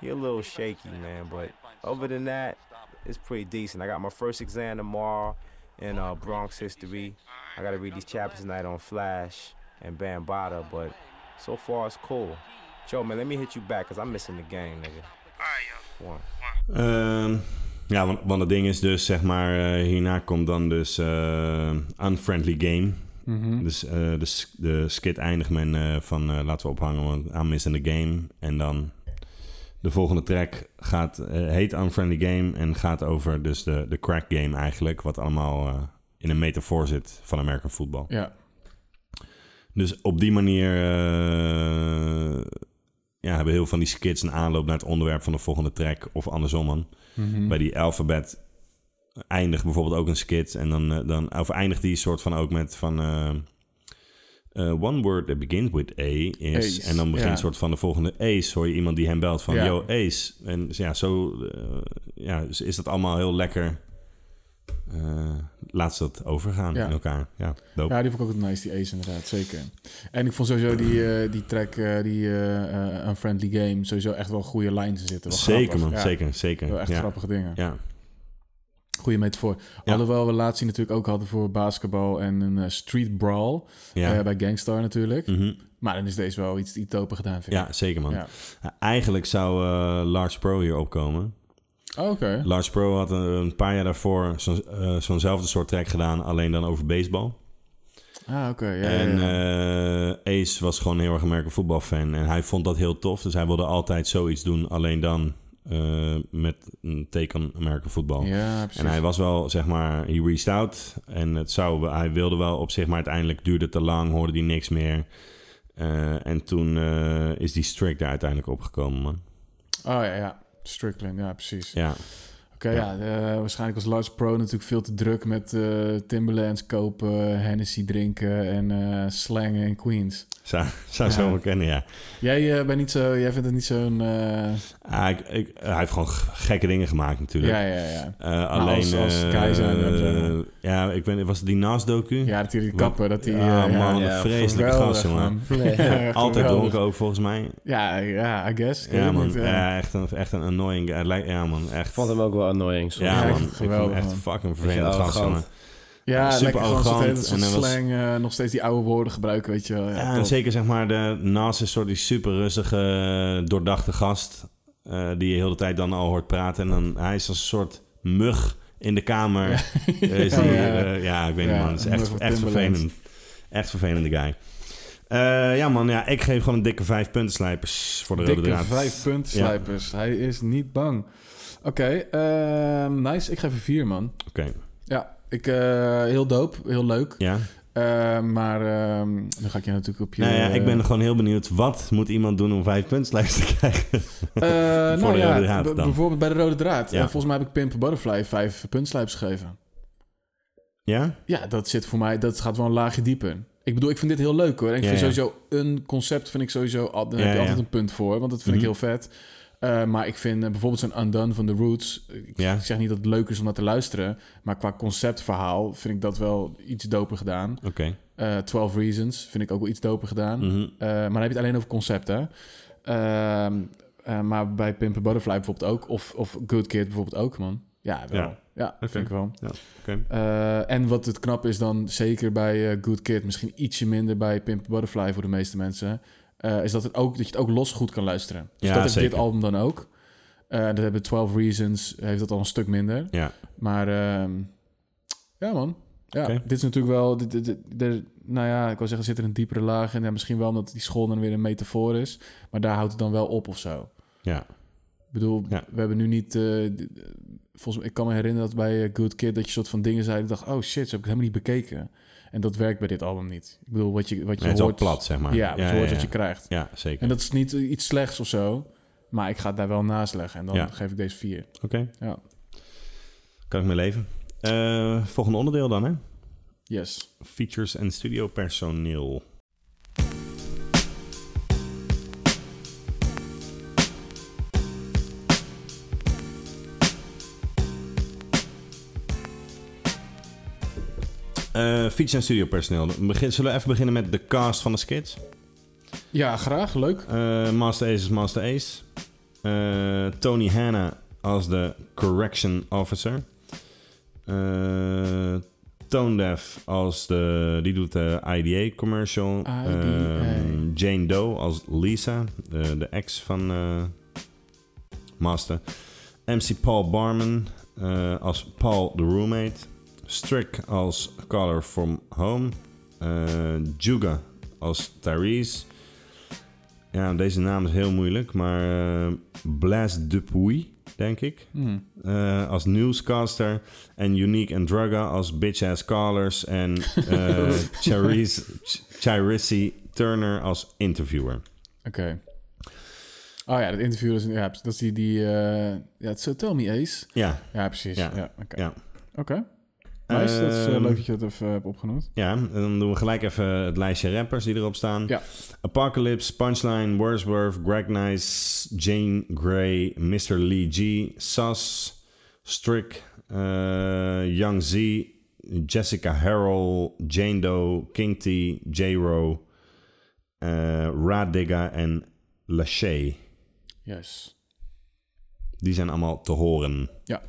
Speaker 5: he a little shaky, man. But other than that, it's pretty decent. I got my first exam tomorrow in uh, Bronx history. I gotta read these chapters tonight on Flash and Bambada, but so far it's cool. Joe, man, let me hit you back, cause I'm missing the game, nigga.
Speaker 10: All right, yo.
Speaker 5: One.
Speaker 1: Ehm, ja, want, want het ding is dus, zeg maar, eh, hierna komt dan dus eh, Unfriendly Game. Dus eh, de, s- de skit eindigt men eh, van eh, laten we ophangen, want I'm missing the game. En dan de volgende track gaat, eh, heet Unfriendly Game en gaat over dus de, de crack game eigenlijk. Wat allemaal eh, in een metafoor zit van American football.
Speaker 2: Ja.
Speaker 1: Dus op die manier eh, ja, hebben heel veel van die skits een aanloop naar het onderwerp van de volgende track of andersom. man.
Speaker 2: Mhm.
Speaker 1: Bij die alfabet eindigt bijvoorbeeld ook een skit en dan, eh, dan of eindigt die soort van ook met van eh, eh, one word that begins with A is
Speaker 2: Ace,
Speaker 1: en dan begint
Speaker 2: ja.
Speaker 1: soort van de volgende Ace hoor je iemand die hem belt van
Speaker 2: Ja.
Speaker 1: yo Ace en ja zo eh, ja is, is dat allemaal heel lekker eh, laat ze dat overgaan
Speaker 2: Ja.
Speaker 1: in elkaar ja dope.
Speaker 2: Ja, die vond ik ook nice, die Ace inderdaad, zeker. En ik vond sowieso die, eh, die track, eh, die eh, eh, Unfriendly Game, sowieso echt wel goede lines in zitten. Wel
Speaker 1: Zeker
Speaker 2: grappig.
Speaker 1: man,
Speaker 2: Ja,
Speaker 1: zeker, zeker.
Speaker 2: Wel echt
Speaker 1: ja.
Speaker 2: grappige dingen.
Speaker 1: Ja.
Speaker 2: Goede metafoor.
Speaker 1: Ja.
Speaker 2: Alhoewel we laatst die natuurlijk ook hadden voor basketbal en een eh, street brawl.
Speaker 1: Ja.
Speaker 2: eh, bij Gangstar natuurlijk.
Speaker 1: Mhm.
Speaker 2: Maar dan is deze wel iets iets doper gedaan, vind ik.
Speaker 1: ja, zeker man.
Speaker 2: Ja.
Speaker 1: Eigenlijk zou eh, Lars Pro hier opkomen.
Speaker 2: Oh, Oké.
Speaker 1: Lars Pro had een, een paar jaar daarvoor zo'n- eh, zo'nzelfde soort track gedaan, alleen dan over baseball.
Speaker 2: Ah, oké. ja,
Speaker 1: en
Speaker 2: ja, ja.
Speaker 1: eh, Ace was gewoon heel erg een merken voetbalfan en hij vond dat heel tof. Dus hij wilde altijd zoiets doen, alleen dan eh, met een teken merken voetbal.
Speaker 2: ja, precies.
Speaker 1: eh, En hij was wel, zeg maar, he reached out. En het zou, hij wilde wel op zich, maar uiteindelijk duurde het te lang, hoorde hij niks meer. Eh, en toen eh, is die streak daar uiteindelijk opgekomen, man.
Speaker 2: Oh ja, ja. Strickland, ja, precies.
Speaker 1: Ja,
Speaker 2: Oké, ja. eh, waarschijnlijk was Lars Pro natuurlijk veel te druk met eh, Timberlands kopen, Hennessy drinken en eh slangen in Queens.
Speaker 1: zou, zou zo wel kennen, ja.
Speaker 2: Jij, eh, bent niet zo, jij vindt het niet zo'n... eh,
Speaker 1: Ah, ik, ik, hij heeft gewoon g- gekke dingen gemaakt, natuurlijk.
Speaker 2: ja, ja, ja.
Speaker 1: Eh, alleen,
Speaker 2: als- als
Speaker 1: eh,
Speaker 2: keizer, dan zijn
Speaker 1: ja, ik ben, was het die NAS-docu?
Speaker 2: Ja, dat hij die kapper, dat hij...
Speaker 1: Ah,
Speaker 2: eh,
Speaker 1: man,
Speaker 2: ja,
Speaker 1: een vreselijke
Speaker 2: geweldig,
Speaker 1: gast, man.
Speaker 3: Nee.
Speaker 2: Ja,
Speaker 1: Altijd
Speaker 2: geweldig.
Speaker 1: dronken ook, volgens mij.
Speaker 2: Ja, ja, I guess. Ik weet
Speaker 1: Ja,
Speaker 2: het
Speaker 1: man.
Speaker 2: niet, eh.
Speaker 1: ja, echt, een, echt een annoying guy. Het lijkt- Ja, man. Echt.
Speaker 3: Ik vond hem ook wel annoying soms.
Speaker 1: Ja,
Speaker 2: Ja,
Speaker 1: man.
Speaker 2: echt
Speaker 1: Ik vond hem
Speaker 2: geweldig,
Speaker 1: echt
Speaker 2: man.
Speaker 1: fucking
Speaker 3: Beetje
Speaker 1: vervelend gast,
Speaker 3: arrogant.
Speaker 1: man.
Speaker 2: ja,
Speaker 1: super
Speaker 2: lekker gewoon zo'n
Speaker 1: arrogant
Speaker 2: hele soort
Speaker 1: en hij was-
Speaker 2: slang, eh, nog steeds die oude woorden gebruiken, weet je wel. Ja,
Speaker 1: Ja, en
Speaker 2: top.
Speaker 1: Eh, zeker zeg maar de naast is soort die super rustige, doordachte gast. eh, die je heel de tijd dan al hoort praten. En dan, hij is als een soort mug in de kamer. Eh, is die,
Speaker 2: Ja.
Speaker 1: eh, ja, ik weet
Speaker 2: Ja,
Speaker 1: niet man. Het is
Speaker 2: een mug
Speaker 1: echt,
Speaker 2: van
Speaker 1: echt
Speaker 2: Timberland.
Speaker 1: vervelend. Echt vervelende guy. Eh, ja man, ja, ik geef gewoon een dikke vijf punten slijpers voor de
Speaker 2: Dikke
Speaker 1: rode draad.
Speaker 2: vijf punten
Speaker 1: Ja.
Speaker 2: slijpers. Hij is niet bang. Oké, ehm, nice. Ik geef er vier, man.
Speaker 1: Oké,
Speaker 2: Ja, ik, eh, heel dope. Heel leuk.
Speaker 1: ja.
Speaker 2: Eh, maar ehm nu ga ik je natuurlijk op je...
Speaker 1: Nou ja, ik ben
Speaker 2: eh,
Speaker 1: gewoon heel benieuwd. Wat moet iemand doen om vijf punten slijpers te krijgen?
Speaker 2: nou
Speaker 1: voor de
Speaker 2: ja,
Speaker 1: rode draad
Speaker 2: b-
Speaker 1: dan.
Speaker 2: Bijvoorbeeld bij de rode draad.
Speaker 1: Ja.
Speaker 2: Eh, volgens mij heb ik Pimp a Butterfly vijf puntslijpers gegeven.
Speaker 1: ja?
Speaker 2: Ja, dat zit voor mij... Dat gaat wel een laagje dieper. Ik bedoel, ik vind dit heel leuk hoor. En ik
Speaker 1: Ja,
Speaker 2: vind
Speaker 1: ja.
Speaker 2: sowieso een concept vind ik sowieso... Al, daar heb je
Speaker 1: Ja, ja. Mhm.
Speaker 2: altijd een punt voor. Want dat vind ik heel vet. Eh, maar ik vind eh, bijvoorbeeld zo'n Undone van The Roots... eh, Ik
Speaker 1: Ja.
Speaker 2: zeg niet dat het leuk is om naar te luisteren. Maar qua conceptverhaal vind ik dat wel iets doper gedaan.
Speaker 1: Oké.
Speaker 2: Eh, 12 Reasons vind ik ook wel iets doper gedaan.
Speaker 1: Mhm.
Speaker 2: Eh, maar dan heb je het alleen over concepten. Ehm eh, maar bij Pimp a Butterfly bijvoorbeeld ook. Of, of Good Kid bijvoorbeeld ook, man. Ja, wel.
Speaker 1: Ja.
Speaker 2: Ja, vind ik wel.
Speaker 1: Ja, oké.
Speaker 2: Eh, en wat het knap is dan, zeker bij eh, Good Kid... misschien ietsje minder bij Pimp a Butterfly voor de meeste mensen... eh, is dat, het ook, dat je het ook los goed kan luisteren. Dus
Speaker 1: Ja,
Speaker 2: dat is
Speaker 1: zeker.
Speaker 2: dit album dan ook. Eh, dat hebben 12 Reasons, heeft dat al een stuk minder.
Speaker 1: Ja.
Speaker 2: Maar ehm, ja, man. Ja,
Speaker 1: Oké.
Speaker 2: dit is natuurlijk wel... Dit, dit- dit- er- nou ja, ik wil zeggen, zit er een diepere laag in. Ja, misschien wel omdat die school dan weer een metafoor is. Maar daar houdt het dan wel op of zo.
Speaker 1: Ja.
Speaker 2: Ik bedoel,
Speaker 1: Ja.
Speaker 2: we hebben nu niet... eh, d- eh, volgens mij, ik kan me herinneren dat bij eh, Good Kid... dat je soort van dingen zei. Ik dacht, oh shit, zo heb ik het helemaal niet bekeken. En dat werkt bij dit album niet. Ik bedoel, wat je, wat je
Speaker 1: het is al
Speaker 2: hoort...
Speaker 1: plat, zeg maar.
Speaker 2: Ja, wat je hoort wat je krijgt.
Speaker 1: Ja, zeker.
Speaker 2: En dat is niet eh, iets slechts of zo. Maar ik ga het daar wel naast leggen. En dan
Speaker 1: Ja.
Speaker 2: geef ik deze vier.
Speaker 1: Oké.
Speaker 2: Ja.
Speaker 1: Kan ik mee leven. Eh, volgende onderdeel dan, hè?
Speaker 2: Yes.
Speaker 1: Features en studiopersoneel. Eh features en studiopersoneel. Begin- Zullen we even beginnen met de cast van de skits?
Speaker 2: Ja, graag. Leuk.
Speaker 1: Eh, Master Ace is Master Ace. Eh, Tony Hanna als de Correction Officer. Eh Tone Deaf als de... Die doet de IDA commercial.
Speaker 2: IDA.
Speaker 1: Ehm, Jane Doe als Lisa. De, de ex van eh, Master. MC Paul Barman eh, als Paul the Roommate. Strick als Caller from Home. eh, Juga als Tyrese. Ja, deze naam is heel moeilijk, maar eh, Blaise Dupuy, denk ik.
Speaker 2: Hmm.
Speaker 1: Eh, als newscaster. En Unique and Drugga als bitch-ass callers. En eh Charisse Charisse Turner als interviewer.
Speaker 2: Oké. Oh ja, dat interview is, ja, dat is die, die eh, ja, het is Tell Me Ace.
Speaker 1: Ja,
Speaker 2: Ja, precies.
Speaker 1: Ja.
Speaker 2: Ja, oké.
Speaker 1: ja.
Speaker 2: Oké. Nice, dat is eh,
Speaker 1: Ehm,
Speaker 2: leuk dat je dat even hebt opgenoemd.
Speaker 1: Ja, en dan doen we gelijk even het lijstje rappers die erop staan.
Speaker 2: Ja.
Speaker 1: Apocalypse, Punchline, Wordsworth, Greg Nice, Jane Grey, Mr. Lee G, Sus, Strick, eh, Young Z, Jessica Harrell, Jane Doe, King T, J-Ro, eh Radiga en Lachey.
Speaker 2: Juist.
Speaker 1: Die zijn allemaal te horen.
Speaker 2: Ja.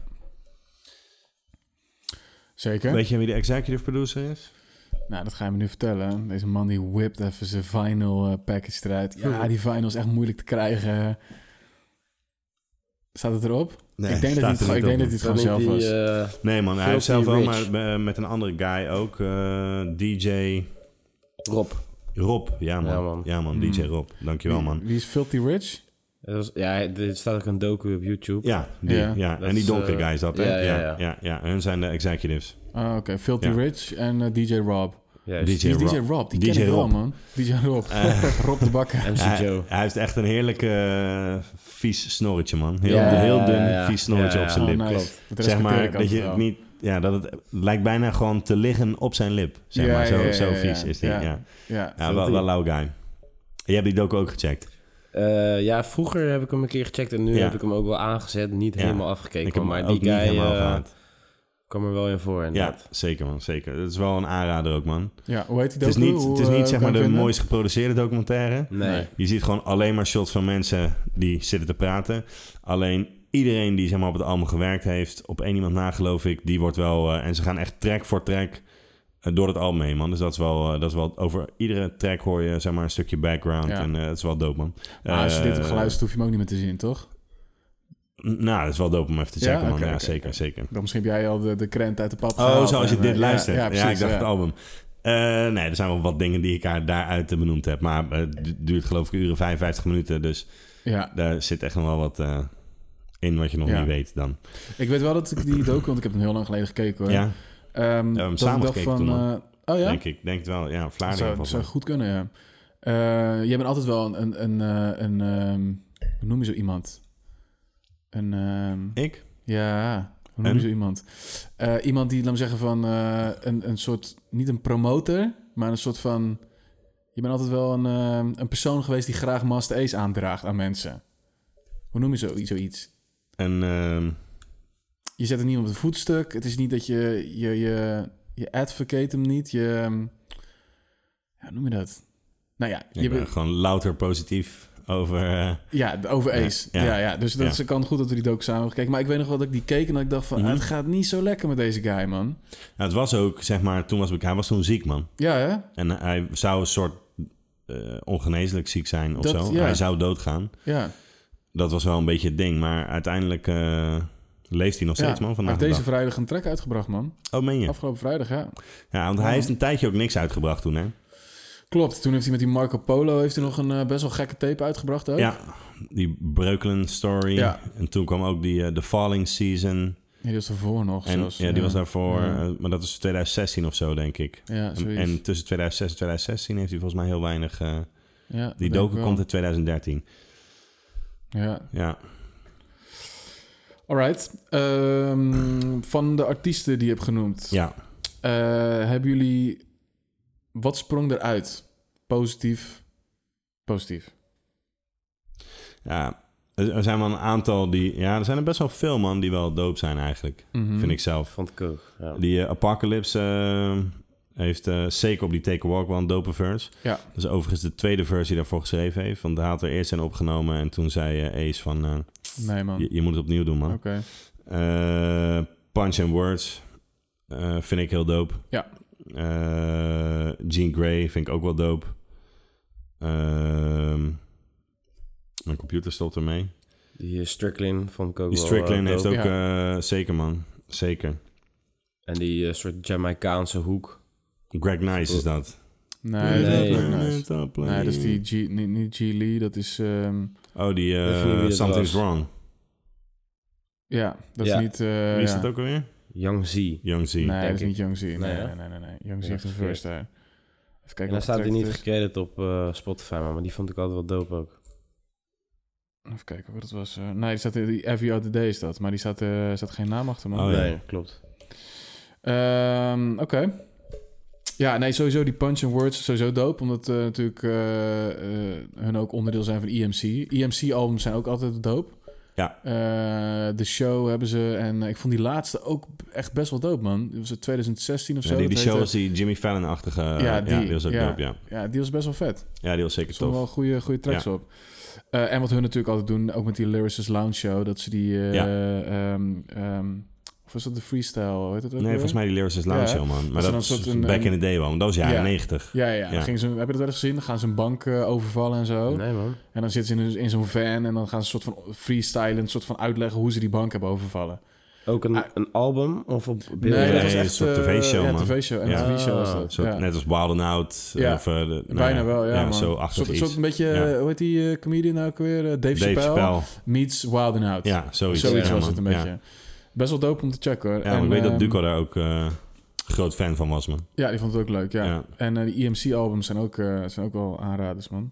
Speaker 2: Zeker.
Speaker 1: Weet je wie de executive producer is?
Speaker 2: Nou, dat ga je me nu vertellen. Deze man die whipt even zijn vinyl eh, package eruit.
Speaker 1: Hm.
Speaker 2: Ja, die vinyl is echt moeilijk te krijgen. Staat het erop?
Speaker 1: Nee,
Speaker 2: ik denk dat
Speaker 1: staat
Speaker 2: hij het,
Speaker 1: er
Speaker 2: gewoon- ik
Speaker 1: niet
Speaker 2: denk
Speaker 1: op.
Speaker 2: dat hij het gewoon zelf was.
Speaker 3: eh,
Speaker 1: Nee man, hij heeft zelf
Speaker 3: Filthy
Speaker 1: wel,
Speaker 3: Rich.
Speaker 1: maar eh, met een andere guy ook. eh, DJ...
Speaker 3: Rob.
Speaker 1: Rob, ja man. Ja
Speaker 3: Ja,
Speaker 1: man,
Speaker 3: man.
Speaker 2: Mm.
Speaker 1: DJ Rob. Dankjewel man.
Speaker 2: Wie- Wie is Filthy Rich?
Speaker 3: Dat was- ja, er staat ook een docu op YouTube.
Speaker 1: Ja, die, ja.
Speaker 2: Ja.
Speaker 3: Dat
Speaker 1: en die
Speaker 3: is,
Speaker 1: donkere
Speaker 3: eh,
Speaker 1: guy is dat, hè?
Speaker 3: ja, ja,
Speaker 1: ja,
Speaker 3: ja.
Speaker 1: ja, ja. Hun zijn de executives.
Speaker 2: Ah, oké. Filthy
Speaker 1: Ja.
Speaker 2: Rich en eh, DJ Rob.
Speaker 3: Juist.
Speaker 1: DJ
Speaker 2: Die is DJ
Speaker 1: Rob.
Speaker 2: Rob, die
Speaker 1: DJ
Speaker 2: ken ik wel,
Speaker 1: Rob. Eh.
Speaker 2: man. DJ Rob. Rob de Bakker.
Speaker 3: MC
Speaker 1: Hij,
Speaker 3: Joe.
Speaker 1: hij heeft echt een heerlijk eh, vies snorretje, man. Heel,
Speaker 3: Ja,
Speaker 1: heel dun,
Speaker 3: ja, ja.
Speaker 1: vies snorretje
Speaker 3: Ja,
Speaker 1: op
Speaker 3: ja.
Speaker 1: zijn
Speaker 2: Oh,
Speaker 1: lip.
Speaker 2: nice.
Speaker 3: klopt.
Speaker 2: Dat
Speaker 1: Zeg
Speaker 2: respecteer
Speaker 1: maar
Speaker 2: ik
Speaker 1: dat
Speaker 2: altijd
Speaker 1: je
Speaker 2: wel.
Speaker 1: het niet... Ja, dat het lijkt bijna gewoon te liggen op zijn lip. Zeg
Speaker 2: Ja,
Speaker 1: maar, zo,
Speaker 2: ja, ja,
Speaker 1: zo
Speaker 2: ja,
Speaker 1: vies
Speaker 2: ja.
Speaker 1: is die. Ja,
Speaker 2: Ja.
Speaker 1: ja.
Speaker 2: Ja.
Speaker 1: wel, wel lauw guy. Je hebt die docu ook gecheckt.
Speaker 3: Eh, ja, vroeger heb ik hem een keer gecheckt en nu
Speaker 1: Ja.
Speaker 3: heb ik hem ook wel aangezet. Niet
Speaker 1: Ja.
Speaker 3: helemaal
Speaker 1: Ik
Speaker 3: afgekeken,
Speaker 1: heb
Speaker 3: maar
Speaker 1: hem
Speaker 3: die
Speaker 1: ook
Speaker 3: guy
Speaker 1: niet helemaal
Speaker 3: eh,
Speaker 1: gehaald.
Speaker 3: kwam er wel in voor.
Speaker 1: Ja,
Speaker 3: inderdaad.
Speaker 1: zeker man, zeker. Het is wel een aanrader ook, man.
Speaker 2: ja, hoe heet die
Speaker 1: Het is niet, het is
Speaker 2: eh,
Speaker 1: niet zeg maar de
Speaker 2: mooiste.
Speaker 1: mooist geproduceerde documentaire.
Speaker 3: Nee.
Speaker 1: Je ziet gewoon alleen maar shots van mensen die zitten te praten. Alleen iedereen die zeg maar, op het album gewerkt heeft, op één iemand na geloof ik, die wordt wel... eh, en ze gaan echt track voor track eh, door het album heen, man. Dus dat is wel... eh, dat is wel over iedere track hoor je zeg maar, een stukje background.
Speaker 2: Ja.
Speaker 1: En eh het is wel dope, man.
Speaker 2: Maar Ah, als je dit
Speaker 1: Eh,
Speaker 2: hebt geluisterd, hoef je hem ook niet meer te zien, toch?
Speaker 1: n- Nou, dat is wel dope om even te
Speaker 2: Ja?
Speaker 1: checken, man.
Speaker 2: Oké,
Speaker 1: ja,
Speaker 2: oké,
Speaker 1: zeker,
Speaker 2: oké. Oh,
Speaker 1: zeker.
Speaker 2: Dan misschien heb jij al de, de krent uit de pap
Speaker 1: Oh,
Speaker 2: gehaald
Speaker 1: zoals je
Speaker 2: en,
Speaker 1: dit
Speaker 2: eh,
Speaker 1: luistert. Ja,
Speaker 2: precies,
Speaker 1: ik dacht het album. Eh, nee, er zijn wel wat dingen die ik haar daaruit eh, benoemd heb. Maar eh, het du- duurt geloof ik uren 55 minuten. Dus
Speaker 2: Ja,
Speaker 1: daar zit echt nog wel wat eh, in wat je nog
Speaker 2: Ja.
Speaker 1: niet weet dan.
Speaker 2: ik weet wel dat ik die docu, want ik heb hem heel lang geleden gekeken hoor.
Speaker 1: Ja,
Speaker 2: Ehm,
Speaker 1: hem
Speaker 2: dat
Speaker 1: samen
Speaker 2: ik dacht
Speaker 1: gekeken
Speaker 2: van,
Speaker 1: toen, man.
Speaker 2: eh, oh ja?
Speaker 1: denk ik. Denk het wel. Ja,
Speaker 2: Dat
Speaker 1: Vlaardingen
Speaker 2: zou, dat
Speaker 1: volgens
Speaker 2: zou
Speaker 1: mij.
Speaker 2: goed kunnen, ja. Eh, jij bent altijd wel een... een, een, eh, een ehm, hoe noem je zo iemand? Een... ehm,
Speaker 1: Ik?
Speaker 2: Ja, hoe noem
Speaker 1: En?
Speaker 2: je zo iemand? Eh, iemand die, laat me zeggen, van eh, een, een soort, niet een promotor, maar een soort van... Je bent altijd wel een, eh, een persoon geweest die graag Master Ace aandraagt aan mensen. Hoe noem je zo, zoiets?
Speaker 1: En ehm,
Speaker 2: Je zet er niemand op het voetstuk. Het is niet dat je, je, je, je advocate hem niet. Je, ehm, ja, hoe noem je dat? Nou ja, je
Speaker 1: ik ben
Speaker 2: bent-
Speaker 1: gewoon louter positief over... eh,
Speaker 2: Ja, de- over
Speaker 1: Ja,
Speaker 2: Ace.
Speaker 1: ja.
Speaker 2: Ja, ja, dus dat
Speaker 1: Ja.
Speaker 2: is het kan goed dat we die docu samen hebben gekeken. Maar ik weet nog wel dat ik die keek en dat ik dacht van...
Speaker 1: Mhm.
Speaker 2: ah, het gaat niet zo lekker met deze guy, man.
Speaker 1: nou, het was ook, zeg maar, toen was ik- hij was toen ziek, man.
Speaker 2: Ja, hè?
Speaker 1: En hij zou een soort eh, ongeneeslijk ziek zijn of
Speaker 2: Dat-
Speaker 1: zo.
Speaker 2: ja.
Speaker 1: Hij zou doodgaan.
Speaker 2: Ja.
Speaker 1: dat was wel een beetje het ding. Maar uiteindelijk eh, leeft hij nog steeds,
Speaker 2: ja.
Speaker 1: man.
Speaker 2: Hij
Speaker 1: Vandaag
Speaker 2: heeft
Speaker 1: de
Speaker 2: deze
Speaker 1: dag.
Speaker 2: vrijdag een track uitgebracht, man.
Speaker 1: Oh, meen je?
Speaker 2: Afgelopen vrijdag, ja.
Speaker 1: Ja, want hij heeft een tijdje ook niks uitgebracht toen, hè?
Speaker 2: Klopt. Toen heeft hij met die Marco Polo heeft hij nog een eh, best wel gekke tape uitgebracht ook.
Speaker 1: Ja, die Breukelen story.
Speaker 2: Ja.
Speaker 1: En toen kwam ook die eh, The Falling Season.
Speaker 2: Ja, die was ervoor nog.
Speaker 1: En,
Speaker 2: zelfs.
Speaker 1: ja, die was daarvoor.
Speaker 2: Ja.
Speaker 1: eh, maar dat is 2016 of zo, denk ik.
Speaker 2: Ja,
Speaker 1: En,
Speaker 2: zoiets.
Speaker 1: en tussen 2006 en 2016 heeft hij volgens mij heel weinig... eh,
Speaker 2: Ja, dat
Speaker 1: die
Speaker 2: denk ik
Speaker 1: docu
Speaker 2: wel.
Speaker 1: komt in 2013.
Speaker 2: Ja.
Speaker 1: Ja.
Speaker 2: Alright. Ehm, van de artiesten die je hebt genoemd.
Speaker 1: ja.
Speaker 2: Eh, hebben jullie... Wat sprong eruit? Positief. Positief.
Speaker 1: ja. Er er zijn wel een aantal die... Ja, er zijn er best wel veel, man, die wel doop zijn eigenlijk.
Speaker 2: Mhm.
Speaker 1: Vind ik zelf.
Speaker 3: Vond ik ook. Ja.
Speaker 1: Die eh, Apocalypse eh, heeft eh, zeker op die Take a Walk wel een dope verse.
Speaker 2: Ja.
Speaker 1: Dat is overigens de tweede verse die daarvoor geschreven heeft. Want hij had er eerst zijn opgenomen en toen zei eh, Ace van... eh,
Speaker 2: Nee, man.
Speaker 1: je, je moet het opnieuw doen, man.
Speaker 2: Oké.
Speaker 1: Eh, Punch and Words eh, vind ik heel dope.
Speaker 2: Ja.
Speaker 1: Eh, Jean Grey vind ik ook wel dope. Ehm, mijn computer stopt ermee.
Speaker 3: Die eh, Strickland vond ik ook
Speaker 1: Die
Speaker 3: wel
Speaker 1: Strickland
Speaker 3: eh,
Speaker 1: heeft ook...
Speaker 3: dope.
Speaker 1: eh, zeker, man. Zeker.
Speaker 3: En die eh, soort Jamaicaanse hoek.
Speaker 1: Greg Nice is dat.
Speaker 2: Nee, dat is
Speaker 3: Nee.
Speaker 2: ook nice.
Speaker 1: Metaplane.
Speaker 2: Nee, dat is die G, niet, niet G Lee, dat is... ehm,
Speaker 1: Oh, die eh,
Speaker 3: Ik weet niet wie dat
Speaker 1: Something's
Speaker 3: was.
Speaker 1: Wrong.
Speaker 2: ja, dat is
Speaker 3: Ja.
Speaker 2: niet... eh,
Speaker 1: Wie is
Speaker 2: ja.
Speaker 1: dat ook alweer?
Speaker 3: Young Z.
Speaker 1: Young Z.
Speaker 2: Nee, dat
Speaker 3: denk
Speaker 2: is
Speaker 3: ik.
Speaker 2: niet Young Z. Nee,
Speaker 3: Nee, hè?
Speaker 2: nee, nee, nee. nee. Young Z
Speaker 3: Ja,
Speaker 2: heeft een
Speaker 3: verkeerd.
Speaker 2: first daar. Even
Speaker 3: En
Speaker 2: kijken
Speaker 3: dan
Speaker 2: wat
Speaker 3: staat hij
Speaker 2: track
Speaker 3: niet
Speaker 2: het is.
Speaker 3: gecredit op eh, Spotify, maar maar die vond ik altijd wel dope ook.
Speaker 2: Even kijken wat het was. eh. nee, die staat, die Every Other Day is dat. Maar die staat, eh staat geen naam achter, man.
Speaker 1: Oh, ja.
Speaker 3: Nee, klopt.
Speaker 2: Ehm, Oké. Ja, nee, sowieso die punch and words sowieso dope. Omdat eh, natuurlijk eh, eh, hun ook onderdeel zijn van E EMC. EMC-albums zijn ook altijd dope.
Speaker 1: Ja.
Speaker 2: Eh, de show hebben ze... En ik vond die laatste ook echt best wel dope, man. Die was het 2016 of zo.
Speaker 1: Ja, die,
Speaker 2: dat
Speaker 1: die show
Speaker 2: heette-
Speaker 1: was die Jimmy Fallon-achtige. eh,
Speaker 2: Ja,
Speaker 1: Ja,
Speaker 2: die-
Speaker 1: die was ook
Speaker 2: ja.
Speaker 1: dope, ja.
Speaker 2: Ja, die was best wel vet.
Speaker 1: Ja, die was zeker
Speaker 2: Er stonden
Speaker 1: tof.
Speaker 2: wel goede, goede tracks op. Eh, en wat hun natuurlijk altijd doen, ook met die Lyricist Lounge Show, dat ze die... eh,
Speaker 1: Ja.
Speaker 2: ehm, ehm, of was dat de freestyle? Hoe heet dat ook
Speaker 1: Nee,
Speaker 2: weer?
Speaker 1: volgens mij die Lyricist Lounge
Speaker 2: Ja, hè?
Speaker 1: Show, man. Maar
Speaker 2: Dat ze
Speaker 1: dat
Speaker 2: dan
Speaker 1: was
Speaker 2: een soort een-
Speaker 1: back
Speaker 2: een-
Speaker 1: in the day, man. Dat was jaren
Speaker 2: Ja.
Speaker 1: 90.
Speaker 2: Ja, ja. ja. Dan
Speaker 1: Ja.
Speaker 2: gingen ze, heb je dat wel eens gezien? Dan gaan ze een bank eh, overvallen en zo.
Speaker 3: Nee, man.
Speaker 2: En dan zitten ze in, in zo'n van en dan gaan ze een soort van freestylen, een soort van uitleggen hoe ze die bank hebben overvallen.
Speaker 3: Ook een,
Speaker 2: Ah.
Speaker 3: een album of op
Speaker 2: Nee,
Speaker 3: beelden?
Speaker 2: dat was
Speaker 1: een
Speaker 2: echt...
Speaker 1: soort
Speaker 2: eh,
Speaker 1: TV-show,
Speaker 2: ja,
Speaker 1: man.
Speaker 2: tv-show.
Speaker 1: Ja.
Speaker 2: Ja, tv-show was
Speaker 3: Ah,
Speaker 2: dat.
Speaker 1: Een soort-
Speaker 2: ja.
Speaker 1: Net als Wild and Out.
Speaker 2: Ja,
Speaker 1: of, eh, de- nou
Speaker 2: Bijna wel, ja. man.
Speaker 1: zo
Speaker 2: soort,
Speaker 1: achtig
Speaker 2: soort,
Speaker 1: iets.
Speaker 2: een beetje,
Speaker 1: Ja.
Speaker 2: hoe heet die eh, comedian nou ook weer? Eh, Dave,
Speaker 1: Dave
Speaker 2: Chappelle,
Speaker 1: Chappelle.
Speaker 2: meets Wild and Out.
Speaker 1: Ja, zoiets.
Speaker 2: Zoiets
Speaker 1: ja,
Speaker 2: was
Speaker 1: man.
Speaker 2: het een
Speaker 1: Ja.
Speaker 2: beetje. Best wel dope om te checken hoor.
Speaker 1: Ja, maar ik weet
Speaker 2: ehm,
Speaker 1: dat Duco daar ook eh, groot fan van was, man.
Speaker 2: Ja, die vond het ook leuk, ja.
Speaker 1: Ja.
Speaker 2: En eh, die EMC-albums zijn, ook, eh, zijn ook wel aanraders, man.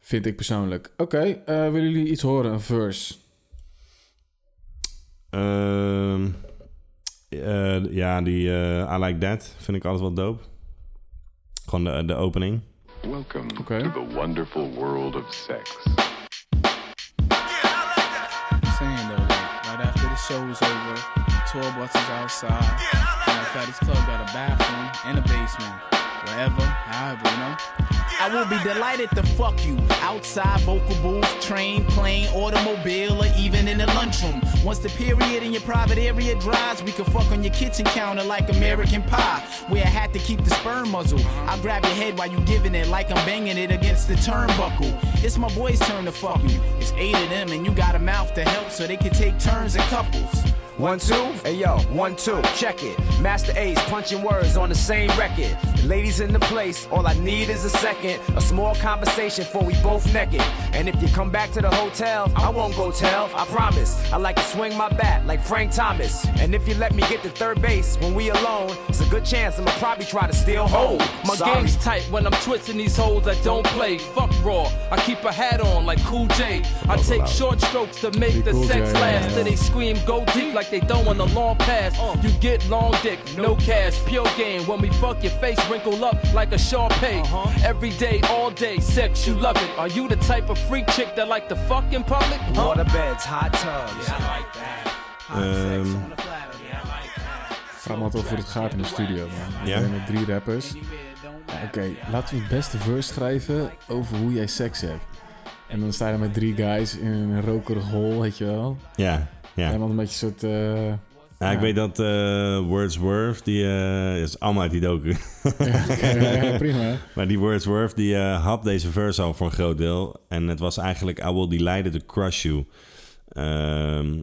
Speaker 2: Vind ik persoonlijk. Oké, eh, willen jullie iets horen? Een verse?
Speaker 1: Ehm, eh, ja, die eh, I Like That vind ik altijd wel dope. Gewoon de, de opening.
Speaker 11: Welcome
Speaker 2: Okay.
Speaker 11: to the wonderful world of sex.
Speaker 12: saying though, like, right after the show was over, tour buses outside. Matter of fact, this club got a bathroom and a basement. Wherever, however, you know.
Speaker 5: I will be delighted to fuck you outside vocal booth, train, plane, automobile, or even in the lunchroom. Once the period in your private area dries, we can fuck on your kitchen counter like American Pie. Wear a hat to keep the sperm muzzle. I'll grab your head while you giving it like I'm banging it against the turnbuckle. It's my boy's turn to fuck you. It's eight of them, and you got a mouth to help so they can take turns in couples. One, two, hey yo, one, two, check it. Master Ace punching words on the same record. The ladies in the place, all I need is a second. A small conversation for we both naked. And if you come back to the hotel, I won't go tell, I promise. I like to swing my bat like Frank Thomas. And if you let me get to third base when we alone, it's a good chance I'ma probably try to steal home.
Speaker 13: My game's tight when I'm twisting these holes I don't play. Fuck raw, I keep a hat on like Cool J. I take short strokes to make the
Speaker 2: Cool J,
Speaker 13: sex
Speaker 2: yeah,
Speaker 13: last. Till
Speaker 2: yeah.
Speaker 13: they scream, go deep like they throwing a long pass.
Speaker 5: uh,
Speaker 13: You get long dick, no cash, pure game. When we fuck your face, wrinkle up like a Sharpay.
Speaker 5: uh-huh.
Speaker 13: Every day, all day, sex, you love it. Are you the type of freak chick that like to fuck in public? Huh?
Speaker 5: Water beds, hot tubs.
Speaker 1: Ehm,
Speaker 2: Vraag me altijd af hoe het gaat in de studio, man.
Speaker 1: Ja?
Speaker 2: Ja? Met drie rappers. Ja, Oké, laten we het beste verse schrijven over hoe jij seks hebt. En dan sta je met drie guys in een rokerig hol, weet je wel.
Speaker 1: ja, ja.
Speaker 2: Helemaal een beetje een soort... eh,
Speaker 1: Ja, Nou, ik
Speaker 2: Ja.
Speaker 1: weet dat eh, Wordsworth, die eh, is allemaal uit die docu.
Speaker 2: ja, prima.
Speaker 1: maar die Wordsworth, die eh, had deze verse al voor een groot deel. En het was eigenlijk, I will delight to crush you. Ehm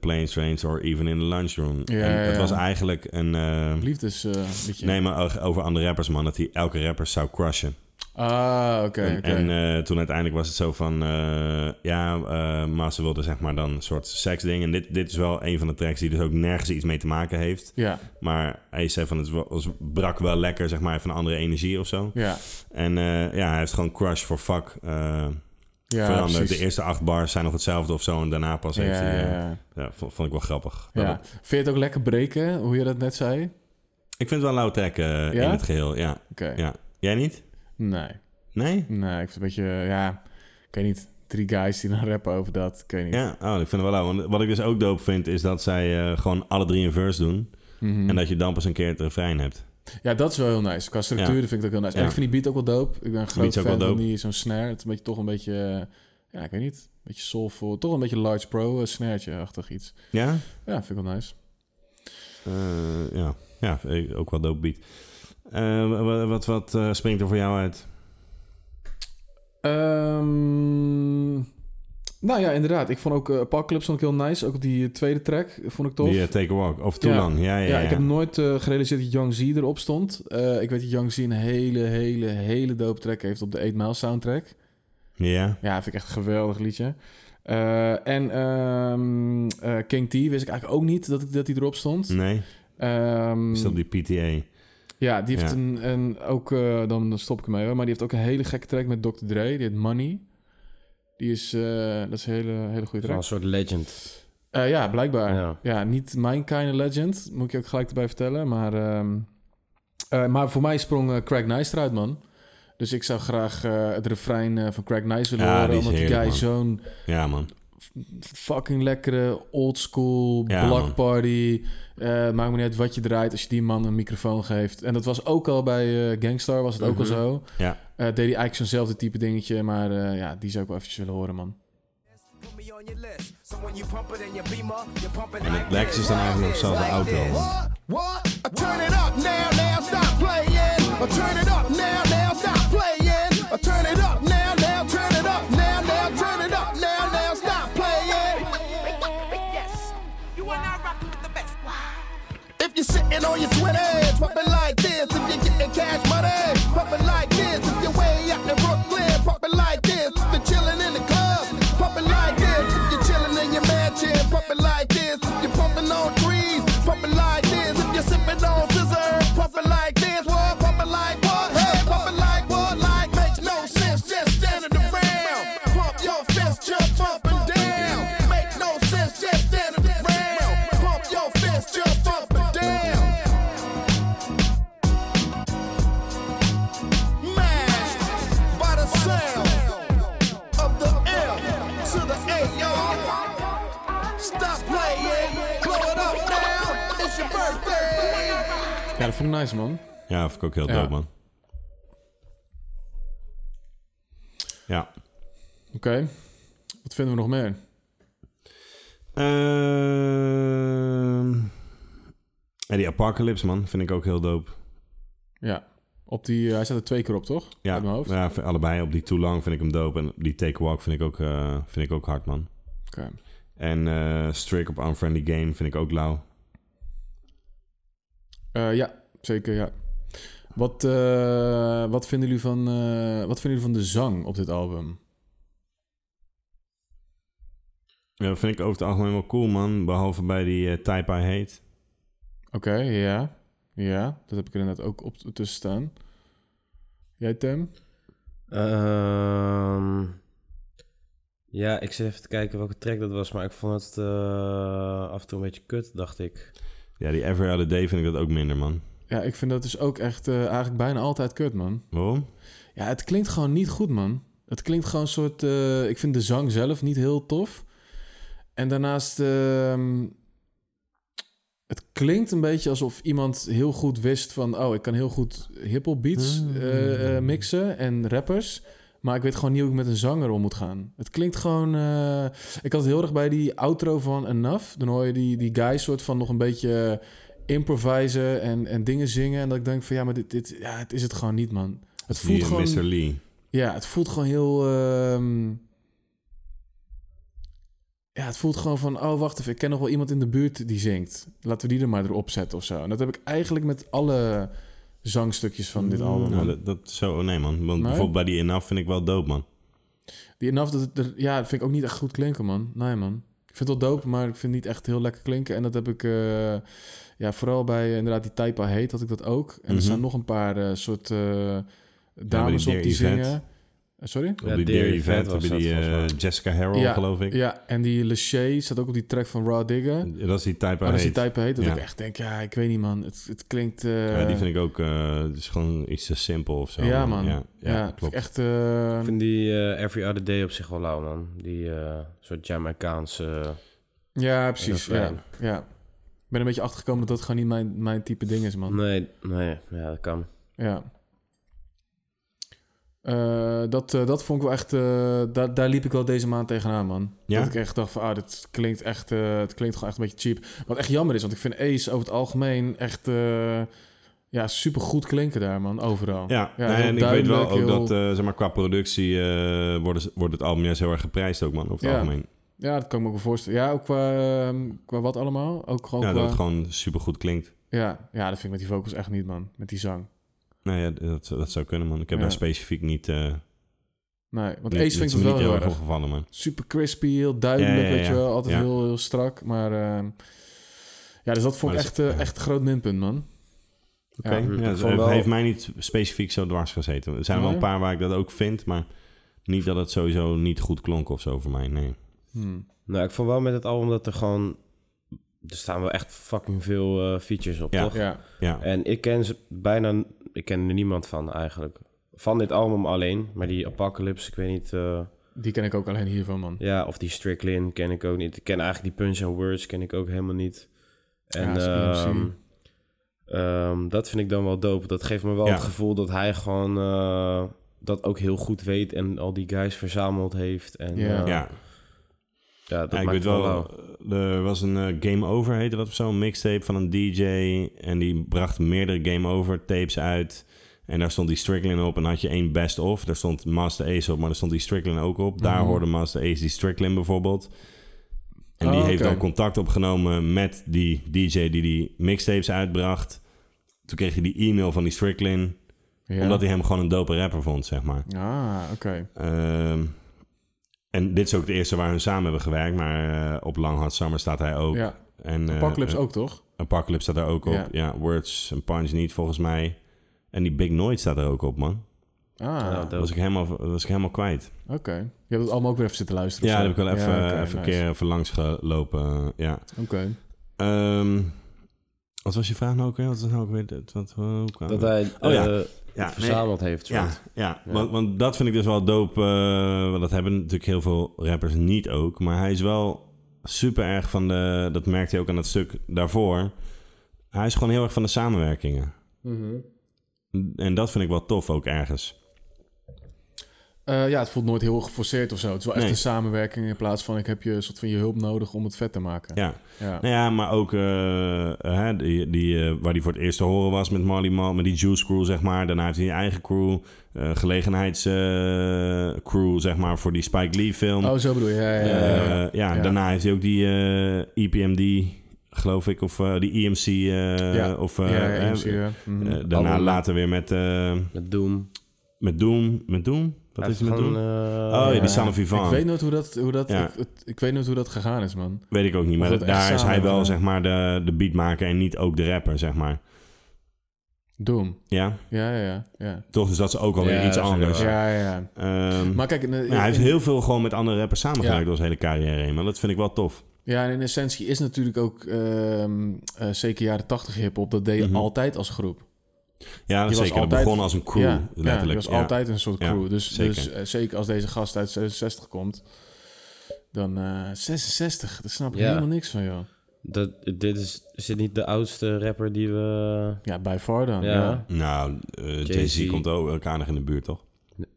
Speaker 1: planes, trains, or even in the lunchroom.
Speaker 2: Ja,
Speaker 1: en het
Speaker 2: ja.
Speaker 1: was eigenlijk een... eh,
Speaker 2: Liefdes, eh, een beetje.
Speaker 1: nee, maar o- over andere rappers, man. Dat hij elke rapper zou crushen.
Speaker 2: Ah, oké, oké.
Speaker 1: En eh, toen uiteindelijk was het zo van... eh, ja, eh, maar ze wilde zeg maar dan een soort seksding. En dit, dit is wel een van de tracks die dus ook nergens iets mee te maken heeft.
Speaker 2: Ja,
Speaker 1: Maar hij zei van het was, brak wel lekker, zeg maar, van andere energie of zo.
Speaker 2: ja.
Speaker 1: En eh, ja, hij heeft gewoon crush voor fuck eh,
Speaker 2: ja
Speaker 1: veranderd.
Speaker 2: precies.
Speaker 1: De eerste acht bars zijn nog hetzelfde of zo. En daarna pas
Speaker 2: Ja,
Speaker 1: heeft hij. eh, ja,
Speaker 2: ja,
Speaker 1: vond, vond ik wel grappig.
Speaker 2: ja.
Speaker 1: Dat-
Speaker 2: Ja. Vind je het ook lekker breken, hoe je dat net zei? Oké.
Speaker 1: Ik vind het wel een lauw track eh,
Speaker 2: Ja?
Speaker 1: in het geheel. Ja. ja. Jij niet?
Speaker 2: Nee.
Speaker 1: Nee?
Speaker 2: Nee, ik vind het een beetje, ja, ik weet niet, drie guys die dan rappen over dat, ik weet niet.
Speaker 1: Ja, oh, ik vind het wel lauw. Want wat ik dus ook dope vind, is dat zij eh, gewoon alle drie een verse doen.
Speaker 2: Mhm.
Speaker 1: En dat je dan pas een keer het refrein hebt.
Speaker 2: Ja, dat is wel heel nice. Qua structuur
Speaker 1: Ja.
Speaker 2: vind ik dat heel nice. En
Speaker 1: Ja.
Speaker 2: ik vind die beat ook wel dope. Ik ben een groot
Speaker 1: beat is ook
Speaker 2: fan
Speaker 1: wel
Speaker 2: van
Speaker 1: dope.
Speaker 2: die zo'n snare. Het is een beetje, toch een beetje, eh, ja, ik weet niet, een beetje soulful. Toch een beetje large pro uh, snaartje-achtig iets.
Speaker 1: Ja?
Speaker 2: Ja, vind ik wel nice.
Speaker 1: Eh, ja. ja, ook wel dope beat. Eh, wa- wa- wat wat eh, springt er voor jou uit?
Speaker 2: Ehm, Nou ja, inderdaad. Ik vond ook eh Park Clubs vond ik heel nice. Ook die eh, tweede track eh, vond ik tof.
Speaker 1: Die eh, Take a Walk. Of Too Long. Ja, ja, ja.
Speaker 2: ik heb nooit eh, gerealiseerd dat Young Z erop stond. Eh, ik weet dat Young Z een hele, hele, hele dope track heeft op de 8 Mile soundtrack.
Speaker 1: Ja.
Speaker 2: Ja, vind ik echt een geweldig liedje. Eh, en ehm, eh, King T wist ik eigenlijk ook niet dat, dat hij erop stond.
Speaker 1: Nee.
Speaker 2: Ehm,
Speaker 1: Is dat die PTA?
Speaker 2: ja, die heeft
Speaker 1: Ja.
Speaker 2: Een, een, ook, eh, dan dan stop ik ermee hoor, maar die heeft ook een hele gekke track met Dr. Dre, die heet Money. Die is, eh, dat is een hele, hele goede
Speaker 3: Wel
Speaker 2: track.
Speaker 3: een soort legend.
Speaker 2: Eh, ja, blijkbaar. Ja.
Speaker 3: Ja.
Speaker 2: niet mijn kind of legend, moet ik je ook gelijk erbij vertellen. Maar, ehm, eh, maar voor mij sprong eh, Craig Nice eruit, man. Dus ik zou graag eh, het refrein eh, van Craig Nice willen
Speaker 1: Ja,
Speaker 2: horen,
Speaker 1: die is
Speaker 2: omdat die guy
Speaker 1: heerlijk,
Speaker 2: zo'n
Speaker 1: Ja, man.
Speaker 2: fucking lekkere old school
Speaker 1: Ja,
Speaker 2: block
Speaker 1: man.
Speaker 2: party. Eh maakt me niet uit wat je draait als je die man een microfoon geeft. En dat was ook al bij eh, Gangstar, was het ook al
Speaker 1: Mhm.
Speaker 2: zo.
Speaker 1: Ja.
Speaker 2: Eh, deed hij eigenlijk zo'nzelfde type dingetje, maar eh, ja, die zou ik wel eventjes willen horen, man.
Speaker 1: En het lekkerste is dan eigenlijk nog zelfs de auto. man.
Speaker 4: What? I turn it up now, now stop playing. I turn it up now, now stop playing. I turn it up now, now turn it up now, now turn it up now, now stop playing. Yes, you are now rocking with the best. If you're sitting on your Twitter, pumping like this. If you're getting cash money, pumping like this. If you're way out in Brooklyn, pumping like this. If you're chilling in the club, pumping like this. If you're chilling in your mansion, pumping like this. If you're pumping on trees, pumping like this. If you're sipping on scissors, pumping like this. What? Pumping like what? Hey, pumping like what? Like makes no sense. Just standing around. Pump your fist, jump up and down. Make no sense. Just standing around. Pump your fist, jump up and down. Mashed by the sound of the L to the A, y'all. Stop playing, blow it up now. It's your birthday.
Speaker 2: Ja, dat vond ik nice, man.
Speaker 1: Ja, vind ik ook heel
Speaker 2: Ja.
Speaker 1: dope, man. Ja.
Speaker 2: Oké, wat vinden we nog meer?
Speaker 1: Ehm, en die Apocalypse, man, vind ik ook heel dope.
Speaker 2: Ja, op die, eh, hij staat er twee keer op, toch?
Speaker 1: Ja,
Speaker 2: Uit mijn hoofd.
Speaker 1: ja, vind- allebei. Op die Too Long vind ik hem dope. En op die Take a Walk vind ik ook, eh, vind ik ook hard, man.
Speaker 2: Oké.
Speaker 1: En eh Strik op Unfriendly Game vind ik ook lauw.
Speaker 2: Eh, ja, zeker, ja. Wat, eh, wat, vinden jullie van, eh, wat vinden jullie van de zang op dit album?
Speaker 1: Ja, vind ik over het algemeen wel cool, man. Behalve bij die eh, Type I Hate.
Speaker 2: Oké, ja. Ja, dat heb ik er inderdaad ook op tussen staan. Jij, Tim?
Speaker 3: Ehm, ja, ik zit even te kijken welke track dat was, maar ik vond het eh, af en toe een beetje kut, dacht ik.
Speaker 1: Ja, die Every Other Day vind ik dat ook minder, man.
Speaker 2: Ja, ik vind dat dus ook echt eh, eigenlijk bijna altijd kut, man.
Speaker 1: Waarom?
Speaker 2: Ja, het klinkt gewoon niet goed, man. Het klinkt gewoon een soort... eh, ik vind de zang zelf niet heel tof. En daarnaast... ehm, het klinkt een beetje alsof iemand heel goed wist van... Oh, ik kan heel goed hiphop beats eh, eh, mixen en rappers. Maar ik weet gewoon niet hoe ik met een zanger om moet gaan. Het klinkt gewoon... eh, ik had het heel erg bij die outro van Enough. Dan hoor je die, die guy soort van nog een beetje improvisen en, en dingen zingen. En dat ik denk van ja, maar dit, dit ja, het is het gewoon niet, man. Het voelt
Speaker 1: Die, eh,
Speaker 2: gewoon...
Speaker 1: Mr. Lee.
Speaker 2: Ja, het voelt gewoon heel. ehm, Ja, het voelt gewoon van. Oh, wacht even. Ik ken nog wel iemand in de buurt die zingt. Laten we die er maar erop zetten of zo. En dat heb ik eigenlijk met alle zangstukjes van dit album.
Speaker 1: Nou,
Speaker 2: Oh, man.
Speaker 1: dat, dat zo... Nee, man. Want
Speaker 2: Nee?
Speaker 1: bijvoorbeeld bij die Enough vind ik wel dope, man.
Speaker 2: Die enough dat het er, ja, dat vind ik ook niet echt goed klinken, man. Nee, man. Ik vind het wel dope, maar ik vind het niet echt heel lekker klinken. En dat heb ik, eh, ja, vooral bij eh, inderdaad die Typa Heet had ik dat ook. En er
Speaker 1: Mhm.
Speaker 2: zijn nog een paar eh, soort eh,
Speaker 1: Ja, maar die
Speaker 2: dames op
Speaker 1: Dear
Speaker 2: die
Speaker 1: Yvette.
Speaker 2: zingen. Eh, sorry?
Speaker 1: Op die Dear Yvette, op die eh, Jessica Harrell,
Speaker 2: ja,
Speaker 1: geloof ik.
Speaker 2: Ja, en die Lachey staat ook op die track van Raw Digger. Maar
Speaker 1: Dat is die Type I
Speaker 2: Oh, dat is die
Speaker 1: Hate.
Speaker 2: type heet dat
Speaker 1: Ja.
Speaker 2: ik echt denk, ja, ik weet niet man, het, het klinkt... eh,
Speaker 1: Ja, die vind ik ook... eh, Het is gewoon iets te simpel of zo.
Speaker 2: Ja man, ja,
Speaker 1: Ja, ja,
Speaker 2: klopt.
Speaker 1: klopt.
Speaker 2: echt... eh,
Speaker 3: Ik vind die eh, Every Other Day op zich wel lauw, man. Die eh, soort Jamaicaanse...
Speaker 2: ja, precies. Ja,
Speaker 3: refrein.
Speaker 2: ja. Ik ben een beetje achtergekomen dat dat gewoon niet mijn, mijn type ding is man.
Speaker 3: Nee, nee, ja, dat kan.
Speaker 2: Ja. Eh, dat, eh, dat vond ik wel echt... eh, daar, daar liep ik wel deze maand tegenaan, man.
Speaker 1: Ja?
Speaker 2: Dat ik echt dacht van, ah, dit klinkt echt... eh, het klinkt gewoon echt een beetje cheap. Wat echt jammer is, want ik vind Ace over het algemeen echt... eh, Ja, supergoed klinken daar, man. Overal.
Speaker 1: Ja,
Speaker 2: heel
Speaker 1: en ik weet wel
Speaker 2: duidelijk,
Speaker 1: ook
Speaker 2: heel-
Speaker 1: dat eh, zeg maar, qua productie eh, worden ze- wordt het album juist heel erg geprijsd ook, man, over het
Speaker 2: ja.
Speaker 1: algemeen.
Speaker 2: Ja, dat kan ik me ook wel voorstellen. Ja, ook qua, ehm, qua wat allemaal? Ook gewoon
Speaker 1: Ja,
Speaker 2: qua...
Speaker 1: dat het gewoon supergoed klinkt.
Speaker 2: Ja, ja, dat vind ik met die vocals echt niet, man. Met die zang.
Speaker 1: Nou ja, dat, dat zou kunnen, man. Ik heb
Speaker 2: Ja.
Speaker 1: daar specifiek niet... eh,
Speaker 2: Nee, want
Speaker 1: niet-
Speaker 2: Ace vindt
Speaker 1: is
Speaker 2: het
Speaker 1: me
Speaker 2: wel
Speaker 1: niet
Speaker 2: heel
Speaker 1: erg
Speaker 2: erg.
Speaker 1: opgevallen, man.
Speaker 2: Super crispy, heel duidelijk,
Speaker 1: Ja, ja, ja,
Speaker 2: weet je wel.
Speaker 1: ja.
Speaker 2: Altijd
Speaker 1: Ja.
Speaker 2: heel, heel strak, maar... ehm, ja, dus dat vond ik
Speaker 1: Maar
Speaker 2: echt, eh, echt een groot minpunt, man.
Speaker 1: Oké, ja,
Speaker 2: ik
Speaker 1: dus
Speaker 2: vond
Speaker 1: het
Speaker 2: wel-
Speaker 1: heeft mij niet specifiek zo dwars gezeten. Er zijn wel een
Speaker 2: Nee?
Speaker 1: paar waar ik dat ook vind, maar niet dat het sowieso niet goed klonk of zo voor mij, nee.
Speaker 3: Nou, ik vond wel met het album dat er gewoon... Er staan wel echt fucking veel eh, features op,
Speaker 1: Ja.
Speaker 3: toch?
Speaker 1: Ja.
Speaker 2: Eh,
Speaker 1: Ja.
Speaker 3: En ik ken ze bijna... Ik ken er niemand van, eigenlijk. Van dit album alleen, maar die Apocalypse, ik weet niet... eh,
Speaker 2: Die ken ik ook alleen hiervan, man.
Speaker 3: ja, of die Strickland ken ik ook niet. Ik ken eigenlijk die Punch and Words ken ik ook helemaal niet. En
Speaker 2: Ja, dat is
Speaker 3: ehm,
Speaker 2: EMC.
Speaker 3: ehm, dat vind ik dan wel dope. Dat geeft me wel
Speaker 1: Ja.
Speaker 3: het gevoel dat hij gewoon eh, dat ook heel goed weet en al die guys verzameld heeft. En,
Speaker 1: Ja.
Speaker 3: eh,
Speaker 1: Ja.
Speaker 3: ja, dat
Speaker 1: Ja, ik
Speaker 3: maakt
Speaker 1: weet
Speaker 3: wel,
Speaker 1: wel, eh,
Speaker 3: wel.
Speaker 1: er was een eh, Game Over, heette dat of zo, een mixtape van een DJ. En die bracht meerdere Game Over tapes uit. En daar stond die Strickland op en dan had je één Best Of. Daar stond Master Ace op, maar daar stond die Strickland ook op. Daar
Speaker 2: Mhm.
Speaker 1: hoorde Master Ace die Strickland bijvoorbeeld. En
Speaker 2: Oh,
Speaker 1: die heeft
Speaker 2: oké.
Speaker 1: dan contact opgenomen met die DJ die die mixtapes uitbracht. Toen kreeg je die e-mail van die Strickland.
Speaker 2: Ja.
Speaker 1: Omdat hij hem gewoon een dope rapper vond, zeg maar.
Speaker 2: Ah, oké.
Speaker 1: Ehm, en dit is ook de eerste waar hun samen hebben gewerkt, maar eh, op Lang Hot Summer staat hij ook.
Speaker 2: Ja.
Speaker 1: En, eh,
Speaker 2: Apocalypse
Speaker 1: eh,
Speaker 2: ook, toch?
Speaker 1: Apocalypse staat daar ook op.
Speaker 2: Ja.
Speaker 1: Ja, Words en Punch niet volgens mij. En die Big Noid staat er ook op, man.
Speaker 2: Ah, Ja, dope.
Speaker 1: dat was ik helemaal, was ik helemaal kwijt. Dus, eh,
Speaker 2: Oké. Je hebt het allemaal ook weer even zitten luisteren.
Speaker 1: Ja,
Speaker 2: of
Speaker 1: dat
Speaker 2: zo?
Speaker 1: heb ik wel even,
Speaker 2: Ja, oké,
Speaker 1: even een
Speaker 2: nice.
Speaker 1: keer even langs gelopen. eh, Ja.
Speaker 2: Oké.
Speaker 1: Ehm, wat was je vraag nou ook weer? Wat was nou ook weer? dat- wat- hoe kwam
Speaker 3: Dat
Speaker 1: het?
Speaker 3: hij, eh, het
Speaker 1: Oh nee.
Speaker 3: verzameld heeft,
Speaker 1: Ja,
Speaker 3: soort.
Speaker 1: ja,
Speaker 3: Ja.
Speaker 1: Want, want dat vind ik dus wel dope. eh, want dat hebben natuurlijk heel veel rappers niet ook. Maar hij is wel super erg van de... Dat merkte hij ook aan dat stuk daarvoor. Hij is gewoon heel erg van de samenwerkingen. En dat vind ik wel tof ook ergens.
Speaker 2: Eh, ja, het voelt nooit heel erg geforceerd of zo. Het is wel echt
Speaker 1: Nee.
Speaker 2: een samenwerking in plaats van ik heb je soort van je hulp nodig om het vet te maken.
Speaker 1: Ja.
Speaker 2: Ja.
Speaker 1: Nou ja, maar ook eh, hè, die, die, eh, waar hij voor het eerst te horen was met Marley Mal, met die Juice Crew, zeg maar. Daarna heeft hij een eigen crew, eh, gelegenheidscrew, zeg maar, voor die Spike Lee film.
Speaker 2: Oh, zo bedoel je. Ja, ja, ja,
Speaker 1: Eh,
Speaker 2: ja.
Speaker 1: ja,
Speaker 2: Ja.
Speaker 1: daarna heeft hij ook die eh, EPMD, geloof ik, of eh, die EMC. eh,
Speaker 2: Ja.
Speaker 1: Of, eh,
Speaker 2: Ja, ja,
Speaker 1: eh,
Speaker 2: EMC, ja. Mhm.
Speaker 1: eh, daarna
Speaker 3: Allemaal.
Speaker 1: later weer met... eh,
Speaker 3: met Doom.
Speaker 1: Met Doom? Met Doom? Wat
Speaker 3: Hij
Speaker 1: is het met
Speaker 3: heeft
Speaker 1: Doom?
Speaker 3: gewoon, eh,
Speaker 1: oh ja,
Speaker 3: ja.
Speaker 1: die Son of Ivan.
Speaker 2: Ik weet nooit hoe dat, hoe dat,
Speaker 1: Ja.
Speaker 2: ik, het- ik weet nooit hoe dat gegaan is, man.
Speaker 1: Weet ik ook niet,
Speaker 2: Of
Speaker 1: maar
Speaker 2: dat
Speaker 1: da-
Speaker 2: echt
Speaker 1: daar is
Speaker 2: samen
Speaker 1: hij wel
Speaker 2: hebben.
Speaker 1: zeg maar de, de beatmaker en niet ook de rapper, zeg maar.
Speaker 2: Doom.
Speaker 1: Ja?
Speaker 2: Ja, ja, ja. ja.
Speaker 1: Toch, dus dat is ook alweer
Speaker 2: Ja,
Speaker 1: iets
Speaker 2: dat is ook
Speaker 1: anders.
Speaker 2: wel waar. Ja, ja,
Speaker 1: Ehm,
Speaker 2: Maar kijk, in-
Speaker 1: nou, hij heeft
Speaker 2: in-
Speaker 1: heel veel gewoon met andere rappers samengewerkt
Speaker 2: Ja.
Speaker 1: door zijn hele carrière heen. Maar dat vind ik wel tof.
Speaker 2: Ja, en in essentie is natuurlijk ook ehm, eh, zeker jaren 80 hip-hop. Dat deed
Speaker 1: Mhm.
Speaker 2: je altijd als groep.
Speaker 1: Ja, dat
Speaker 2: Je was
Speaker 1: zeker. Dat
Speaker 2: altijd-
Speaker 1: begon als een crew,
Speaker 2: Ja, ja,
Speaker 1: letterlijk.
Speaker 2: je was
Speaker 1: Ja.
Speaker 2: altijd een soort
Speaker 1: Ja,
Speaker 2: crew. dus
Speaker 1: zeker.
Speaker 2: zeker. dus eh, zeker als deze gast uit 66 komt, dan eh 66. Daar snap ik
Speaker 3: Ja.
Speaker 2: helemaal niks van, joh.
Speaker 3: Dat, dit is, is dit niet de oudste rapper die we...
Speaker 2: Ja, by far dan. Ja.
Speaker 3: Ja.
Speaker 1: Nou, eh,
Speaker 3: Jay-Z.
Speaker 1: Jay-Z komt ook ook aardig in de buurt, toch?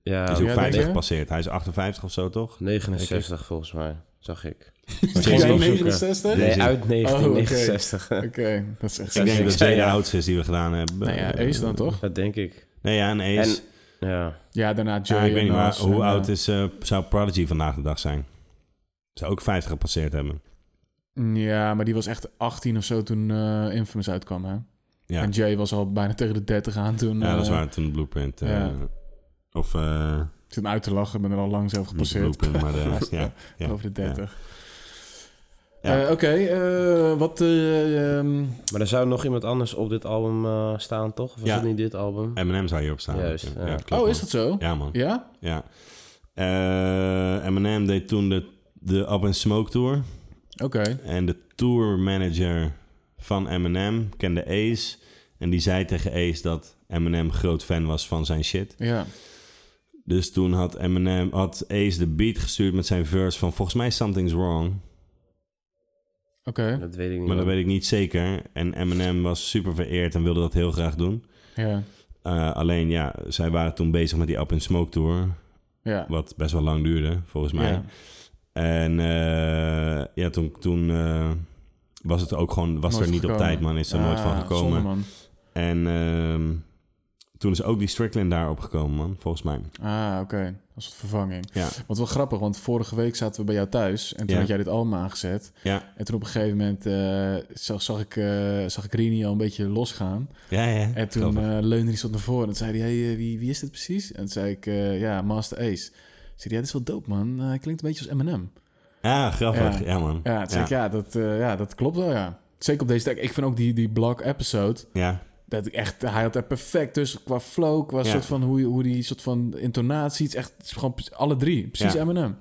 Speaker 3: Ja.
Speaker 1: Hij is ook
Speaker 3: Ja,
Speaker 1: 50
Speaker 3: denk je?
Speaker 1: gepasseerd. Hij is 58 of zo, toch?
Speaker 3: 69 volgens mij, zag ik.
Speaker 1: jij
Speaker 3: Jay-Z.
Speaker 2: 69?
Speaker 3: Nee,
Speaker 1: Jay-Z.
Speaker 3: uit 1969.
Speaker 2: Oh, oké. Oké, dat is echt
Speaker 1: Ik denk
Speaker 2: sick.
Speaker 1: dat Jay de
Speaker 3: Ja.
Speaker 1: oudste is die we gedaan hebben.
Speaker 2: Nou ja,
Speaker 1: Eh,
Speaker 2: Ace dan toch?
Speaker 3: Dat denk ik.
Speaker 1: Nee, ja, een Ace.
Speaker 3: ja.
Speaker 2: Ja, daarna Jay
Speaker 1: Ja, ik weet
Speaker 2: en
Speaker 1: niet, maar
Speaker 2: Nas
Speaker 1: hoe
Speaker 2: en,
Speaker 1: oud
Speaker 2: eh,
Speaker 1: is, eh, zou Prodigy vandaag de dag zijn? Zou ook 50 gepasseerd hebben.
Speaker 2: Ja, maar die was echt 18 of zo toen eh, Infamous uitkwam, hè?
Speaker 1: Ja.
Speaker 2: En Jay was al bijna tegen de 30 aan toen...
Speaker 1: ja, dat is
Speaker 2: eh,
Speaker 1: waar. Toen de Blueprint. eh,
Speaker 2: ja.
Speaker 1: Of... eh,
Speaker 2: Ik zit hem uit te lachen, ik ben er al lang zelf gepasseerd.
Speaker 1: Blueprint, maar de- ja, ja,
Speaker 2: Over de 30.
Speaker 1: Ja.
Speaker 2: Eh, Oké, eh, wat... eh, ehm,
Speaker 3: Maar er zou nog iemand anders op dit album eh, staan, toch? Of was
Speaker 1: Ja.
Speaker 3: het niet dit album?
Speaker 1: Eminem zou hierop staan.
Speaker 3: Juist,
Speaker 1: Ja,
Speaker 3: ja.
Speaker 1: ja, klopt,
Speaker 2: oh, is
Speaker 1: man.
Speaker 2: dat zo?
Speaker 1: Ja, man.
Speaker 2: Ja?
Speaker 1: Ja. Eh, Eminem deed toen de, de Up and Smoke Tour.
Speaker 2: Oké.
Speaker 1: En de tourmanager van Eminem kende Ace. En die zei tegen Ace dat Eminem groot fan was van zijn shit.
Speaker 2: Ja.
Speaker 1: Dus toen had, Eminem, had Ace de beat gestuurd met zijn verse van... Volgens mij Something's Wrong.
Speaker 2: Oké.
Speaker 3: Dat weet ik niet.
Speaker 1: Maar dat weet ik niet zeker. En Eminem was super vereerd en wilde dat heel graag doen.
Speaker 2: Ja.
Speaker 1: Eh, alleen ja, zij waren toen bezig met die Up in Smoke Tour.
Speaker 2: Ja.
Speaker 1: Wat best wel lang duurde, volgens mij.
Speaker 2: Ja.
Speaker 1: En eh, ja, toen, toen eh, was het ook gewoon... Was
Speaker 2: Nooit
Speaker 1: er niet op
Speaker 2: gekomen.
Speaker 1: tijd, man. Is er nooit
Speaker 2: Ah,
Speaker 1: van gekomen.
Speaker 2: zonde, man.
Speaker 1: En ehm, toen is ook die Strickland daarop gekomen, man, volgens mij.
Speaker 2: Ah, oké. Als het vervanging.
Speaker 1: Ja.
Speaker 2: Wat wel grappig, want vorige week zaten we bij jou thuis en toen
Speaker 1: Ja.
Speaker 2: had jij dit allemaal aangezet.
Speaker 1: Ja.
Speaker 2: En toen op een gegeven moment eh, zag, zag ik, eh zag ik Rini al een beetje losgaan.
Speaker 1: Ja, ja.
Speaker 2: En toen eh, leunde hij zo naar voren en toen zei hij, hey, eh, wie, wie is dit precies? En toen zei ik, eh, ja, Master Ace. Toen zei hij, ja, dit is wel dope, man. Eh, Hij klinkt een beetje als Eminem.
Speaker 1: Ja, grappig. Ja, man.
Speaker 2: eh, Ja, toen zei ik, ja, dat, eh, ja, dat klopt wel, ja. Zeker op deze track. Ik vind ook die, die Black episode...
Speaker 1: Ja.
Speaker 2: Dat ik echt, hij had er perfect tussen qua flow, qua
Speaker 1: Ja.
Speaker 2: soort van hoe, je- hoe die soort van intonatie, het is echt het is gewoon pre- alle drie, precies M&M.
Speaker 1: Ja.
Speaker 2: Eminem.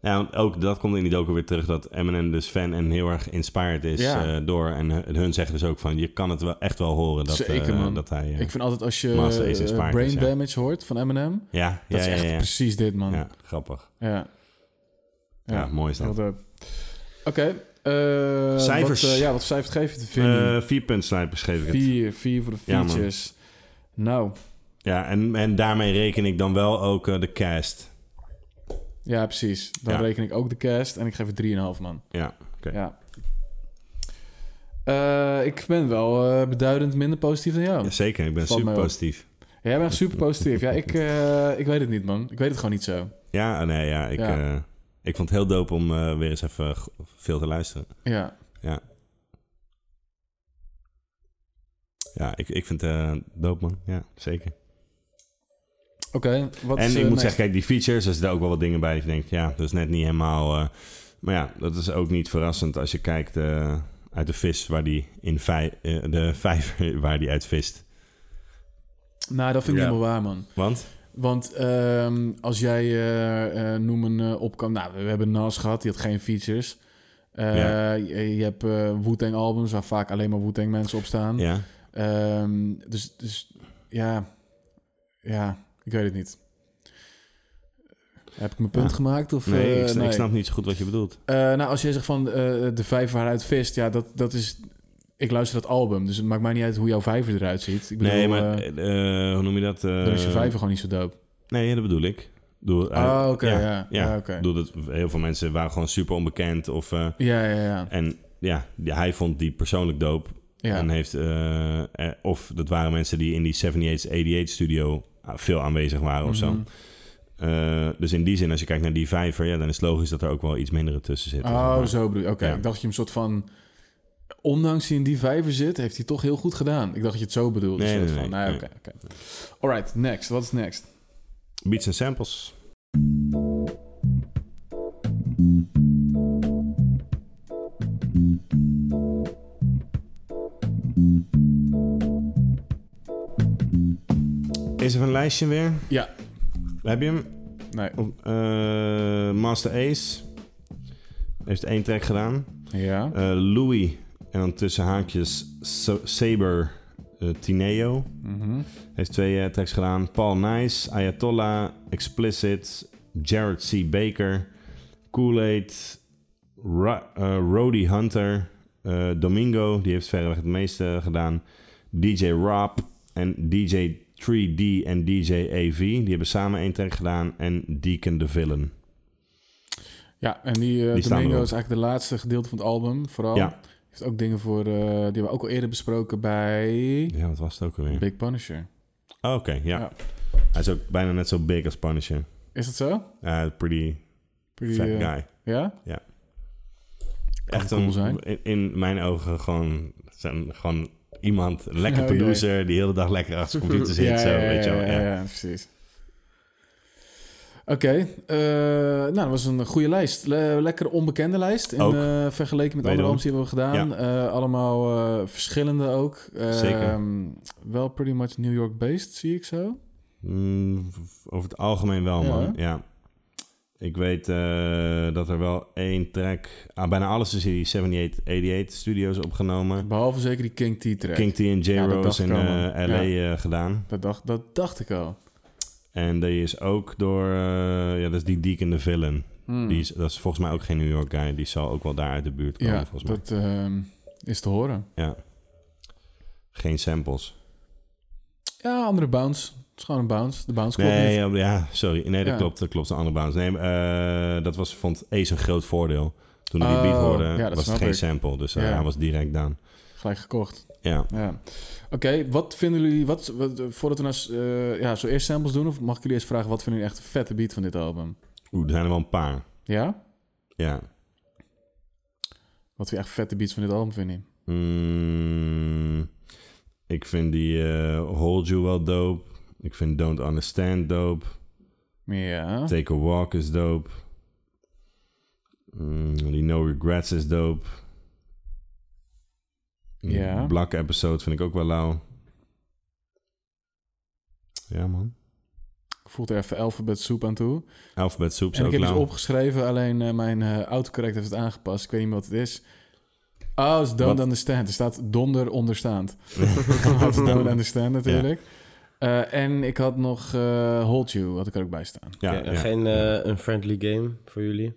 Speaker 1: Ja, want ook dat komt in die docu weer terug dat Eminem dus fan en heel erg inspired is
Speaker 2: Ja.
Speaker 1: eh, door. En hun- hun zeggen dus ook van, je kan het wel echt wel horen dat,
Speaker 2: Zeker
Speaker 1: eh,
Speaker 2: man.
Speaker 1: dat hij... eh,
Speaker 2: ik vind altijd als je
Speaker 1: Master Ace
Speaker 2: eh,
Speaker 1: inspired
Speaker 2: brain
Speaker 1: is, ja.
Speaker 2: damage hoort van Eminem,
Speaker 1: Ja, ja,
Speaker 2: dat is
Speaker 1: ja,
Speaker 2: echt
Speaker 1: ja.
Speaker 2: precies dit man.
Speaker 1: Ja, grappig.
Speaker 2: Ja.
Speaker 1: Ja, mooi is dat.
Speaker 2: heel dope. Oké. eh,
Speaker 1: Cijfers.
Speaker 2: Wat, eh, ja, wat cijfers geef je te vinden?
Speaker 1: Eh vier punt sniper schreef ik het.
Speaker 2: vier, vier voor de
Speaker 1: Ja, man.
Speaker 2: features. nou.
Speaker 1: Ja, en, en daarmee reken ik dan wel ook eh, de cast.
Speaker 2: Ja, precies. Dan
Speaker 1: Ja.
Speaker 2: reken ik ook de cast en ik geef het 3,5 man.
Speaker 1: Ja, oké.
Speaker 2: Ja. Eh, ik ben wel eh, beduidend minder positief dan jou.
Speaker 1: Ja, zeker, ik ben
Speaker 2: Valt
Speaker 1: super
Speaker 2: mij op.
Speaker 1: positief.
Speaker 2: Ja, jij bent super positief. Ja, ik, eh, ik weet het niet, man. Ik weet het gewoon niet zo.
Speaker 1: Ja, oh, nee, ja, ik,
Speaker 2: Ja.
Speaker 1: eh, ik vond het heel dope om eh, weer eens even g- veel te luisteren.
Speaker 2: Ja.
Speaker 1: Ja, ja ik, ik vind het eh, dope, man. Ja, zeker.
Speaker 2: Oké, wat
Speaker 1: en
Speaker 2: is, eh,
Speaker 1: ik moet
Speaker 2: next?
Speaker 1: zeggen, kijk, die features, er zitten ook wel wat dingen bij. dat Je denkt, ja, dat is net niet helemaal... eh, maar ja, dat is ook niet verrassend als je kijkt eh, uit de vis waar die in vij- eh, de vijver waar die uit vist.
Speaker 2: Nou, dat vind ik
Speaker 1: Ja.
Speaker 2: niet helemaal waar, man.
Speaker 1: Want?
Speaker 2: Want ehm, als jij, eh, eh, noem een eh, opkwam... Nou, we we hebben Nas gehad, die had geen features. Eh,
Speaker 1: Ja.
Speaker 2: je, je hebt eh Wu-Tang albums waar vaak alleen maar Wu-Tang mensen op staan.
Speaker 1: Ja.
Speaker 2: Ehm, dus, dus ja, ja, ik weet het niet. Heb ik mijn punt
Speaker 1: Ja.
Speaker 2: gemaakt? Of,
Speaker 1: nee,
Speaker 2: eh,
Speaker 1: ik,
Speaker 2: nee?
Speaker 1: ik snap niet zo goed wat je bedoelt.
Speaker 2: Eh, nou, als je zegt van eh, de vijver waaruit vist, ja, dat, dat is. Ik luister dat album, dus het maakt mij niet uit hoe jouw vijver eruit ziet. Ik bedoel,
Speaker 1: nee, maar
Speaker 2: eh,
Speaker 1: eh, hoe noem je dat? eh
Speaker 2: dan is je vijver gewoon niet zo dope.
Speaker 1: Nee, dat bedoel ik. eh, Doe,
Speaker 2: Ah, oké, ja. Ja, oké.
Speaker 1: Doe dat, heel veel mensen waren gewoon super onbekend. Of, eh,
Speaker 2: Ja, ja, ja.
Speaker 1: En ja, die- hij vond die persoonlijk doop.
Speaker 2: Ja.
Speaker 1: En heeft, eh, eh, of dat waren mensen die in die 78 studio a- veel aanwezig waren of zo.
Speaker 2: Mhm.
Speaker 1: Eh, dus in die zin, als je kijkt naar die vijver, ja, dan is het logisch dat er ook wel iets mindere tussen zit.
Speaker 2: Oh, zo bedoel je. Oké,
Speaker 1: Ja.
Speaker 2: ik dacht dat je hem soort van. Ondanks hij in die vijver zit, heeft hij toch heel goed gedaan. Ik dacht dat je het zo bedoelde.
Speaker 1: Nee,
Speaker 2: soort
Speaker 1: nee,
Speaker 2: van.
Speaker 1: nee,
Speaker 2: Nou,
Speaker 1: nee.
Speaker 2: oké, oké. Alright, next. Wat is next?
Speaker 1: Beats en samples. Is er een lijstje weer?
Speaker 2: Ja.
Speaker 1: Heb je hem? eh,
Speaker 2: Nee.
Speaker 1: Oh. Master Ace heeft één track gedaan.
Speaker 2: Ja.
Speaker 1: Eh, Louis en dan tussen haakjes Sa- Saber eh, Tineo
Speaker 2: Mhm.
Speaker 1: heeft twee eh, tracks gedaan. Paul Nice, Ayatollah, Explicit, Jared C. Baker, Kool-Aid, Ra- eh, Roddy Hunter, eh, Domingo, die heeft verreweg het meeste gedaan. DJ Rob en DJ 3D en DJ AV, die hebben samen één track gedaan. En Deacon the Villain.
Speaker 2: Ja, en die, eh
Speaker 1: Die staan
Speaker 2: Domingo
Speaker 1: erop.
Speaker 2: is eigenlijk de laatste gedeelte van het album, vooral.
Speaker 1: Ja.
Speaker 2: Heeft ook dingen voor, eh, die hebben we ook al eerder besproken bij
Speaker 1: Ja, wat was het ook alweer?
Speaker 2: Big Punisher.
Speaker 1: Oh, Oké, ja.
Speaker 2: Ja.
Speaker 1: Hij is ook bijna net zo big als Punisher.
Speaker 2: Is dat zo?
Speaker 1: Eh, pretty,
Speaker 2: Pretty,
Speaker 1: fat
Speaker 2: eh,
Speaker 1: guy.
Speaker 2: ja?
Speaker 1: Ja. Echt
Speaker 2: cool
Speaker 1: een,
Speaker 2: zijn.
Speaker 1: In, in mijn ogen gewoon, zijn gewoon iemand, een lekker
Speaker 2: Oh, jee.
Speaker 1: producer, die de hele dag lekker achter zijn computer zit.
Speaker 2: Ja,
Speaker 1: zo,
Speaker 2: ja,
Speaker 1: weet je wel.
Speaker 2: ja,
Speaker 1: Ja.
Speaker 2: ja, ja, precies. Oké, eh, nou, dat was een goede lijst. Le- lekker onbekende lijst. In,
Speaker 1: Ook.
Speaker 2: eh, vergeleken met andere
Speaker 1: Wederom.
Speaker 2: albums die we hebben gedaan. Eh, allemaal eh, verschillende ook. Eh,
Speaker 1: Zeker.
Speaker 2: Wel pretty much New York-based, zie ik zo.
Speaker 1: Mm, v- over het algemeen wel,
Speaker 2: Ja,
Speaker 1: man.
Speaker 2: hè?
Speaker 1: Ja. Ik weet eh, dat er wel één track... Ah, bijna alles is in die 78 88 studios opgenomen.
Speaker 2: Behalve zeker die King T-track.
Speaker 1: King T en J.
Speaker 2: Ja, dat dacht
Speaker 1: Rose in
Speaker 2: ik al,
Speaker 1: eh,
Speaker 2: man.
Speaker 1: L.A.
Speaker 2: Ja.
Speaker 1: eh, gedaan.
Speaker 2: Dat dacht, dat dacht ik
Speaker 1: Oh,
Speaker 2: al.
Speaker 1: En die is ook door... eh, ja, dat is die Deacon the Villain.
Speaker 2: Hmm.
Speaker 1: Die is, dat is volgens mij ook geen New York guy. Die zal ook wel daar uit de buurt komen,
Speaker 2: Ja,
Speaker 1: volgens mij.
Speaker 2: dat ehm, is te horen.
Speaker 1: Ja. Geen samples.
Speaker 2: Ja, andere bounce. Het is gewoon een bounce. De bounce klopt
Speaker 1: nee,
Speaker 2: niet.
Speaker 1: ja, ja, sorry. Nee, dat
Speaker 2: Ja.
Speaker 1: klopt. Dat klopt. Een andere bounce. Nee, eh, dat was, vond Ace een groot voordeel. Toen hij die beat
Speaker 2: Oh,
Speaker 1: hoorde,
Speaker 2: ja, dat
Speaker 1: was het
Speaker 2: snap
Speaker 1: geen
Speaker 2: ik.
Speaker 1: sample. Dus eh,
Speaker 2: Ja.
Speaker 1: hij was direct down.
Speaker 2: Gelijk gekocht.
Speaker 1: Ja.
Speaker 2: Oké, wat vinden jullie... Wat, wat- voordat we nou s- eh, ja, zo eerst samples doen... of mag ik jullie eerst vragen... wat vinden jullie echt een vette beat van dit album?
Speaker 1: Oeh, er zijn er wel een paar.
Speaker 2: Ja?
Speaker 1: Ja.
Speaker 2: Wat vind je echt vette beats van dit album, vind je?
Speaker 1: Mm, ik vind die eh Hold You wel dope. Ik vind Don't Understand dope.
Speaker 2: Ja.
Speaker 1: Take a Walk is dope. Mm, die No Regrets is dope. Die
Speaker 2: Ja.
Speaker 1: Black episode vind ik ook wel lauw. Ja, man.
Speaker 2: Ik voel er even Alphabet Soup aan toe.
Speaker 1: Alphabet Soup is
Speaker 2: en ik
Speaker 1: ook
Speaker 2: heb iets
Speaker 1: lauw.
Speaker 2: opgeschreven, alleen eh, mijn eh, autocorrect heeft het aangepast. Ik weet niet meer wat het is. Oh, het is don't
Speaker 1: Wat?
Speaker 2: understand. Er staat donder onderstaand. Dat is don't understand natuurlijk. Eh, en ik had nog eh, Hold You, had ik er ook bij staan.
Speaker 1: Ja,
Speaker 3: Oké,
Speaker 1: ja.
Speaker 3: Geen eh, een friendly game voor jullie?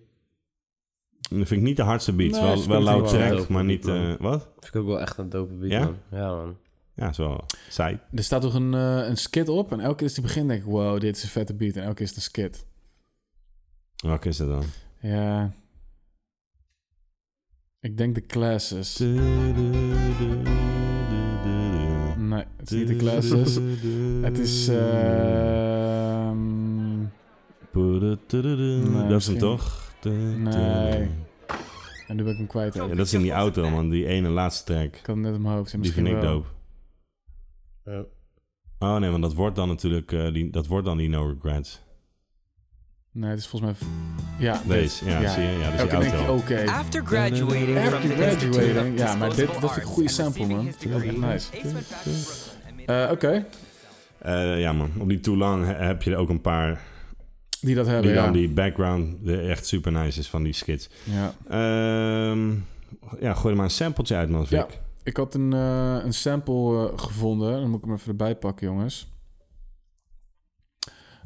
Speaker 1: Dat vind ik niet de hardste beat.
Speaker 3: Nee,
Speaker 1: wel
Speaker 3: vind
Speaker 1: wel
Speaker 3: ik
Speaker 1: lauw
Speaker 3: wel
Speaker 1: track,
Speaker 3: dope,
Speaker 1: maar niet...
Speaker 3: man.
Speaker 1: eh, wat?
Speaker 3: Vind ik ook wel echt een dope beat,
Speaker 1: Ja?
Speaker 3: man. Ja, man.
Speaker 1: Ja, is wel saai.
Speaker 2: Er staat toch een, eh, een skit op en elke keer als die begint denk ik, wow, dit is een vette beat. En elke keer is het een skit.
Speaker 1: Welke is dat dan?
Speaker 2: Ja. Ik denk de classes. Nee, het is niet de classes. Het is... eh, ehm,
Speaker 1: dat is hem
Speaker 2: misschien-
Speaker 1: toch?
Speaker 2: Nee. En nu ben ik hem kwijt ook.
Speaker 1: Ja, dat is in die auto, man. Die ene laatste track.
Speaker 2: Ik had hem net in mijn hoofd.
Speaker 1: Die
Speaker 2: misschien
Speaker 1: vind ik
Speaker 2: wel.
Speaker 1: dope. Oh nee, want dat wordt dan natuurlijk... eh, die, dat wordt dan die No Regrets.
Speaker 2: Nee, het is volgens mij... Ja, dit.
Speaker 1: Deze, ja, zie je? Ja, dat
Speaker 2: Elke
Speaker 1: is die
Speaker 2: keer denk ik,
Speaker 1: auto.
Speaker 2: oké.
Speaker 14: After graduating
Speaker 2: After
Speaker 14: from the
Speaker 2: graduating.
Speaker 14: Institute of
Speaker 2: Ja, maar dit, dat
Speaker 14: Disposable
Speaker 2: is een goede sample, man. Dat is echt nice. Eh, oké,
Speaker 1: Eh, ja, man. Op die Too Long he- heb je er ook een paar...
Speaker 2: die dat hebben,
Speaker 1: die
Speaker 2: Oh, ja.
Speaker 1: dan die background eh, echt super nice is van die skits.
Speaker 2: Ja.
Speaker 1: Ehm, ja, gooi er maar een sampletje uit, man,
Speaker 2: Ja,
Speaker 1: Vic.
Speaker 2: ik had een, eh, een sample eh, gevonden. Dan moet ik hem even erbij pakken, jongens.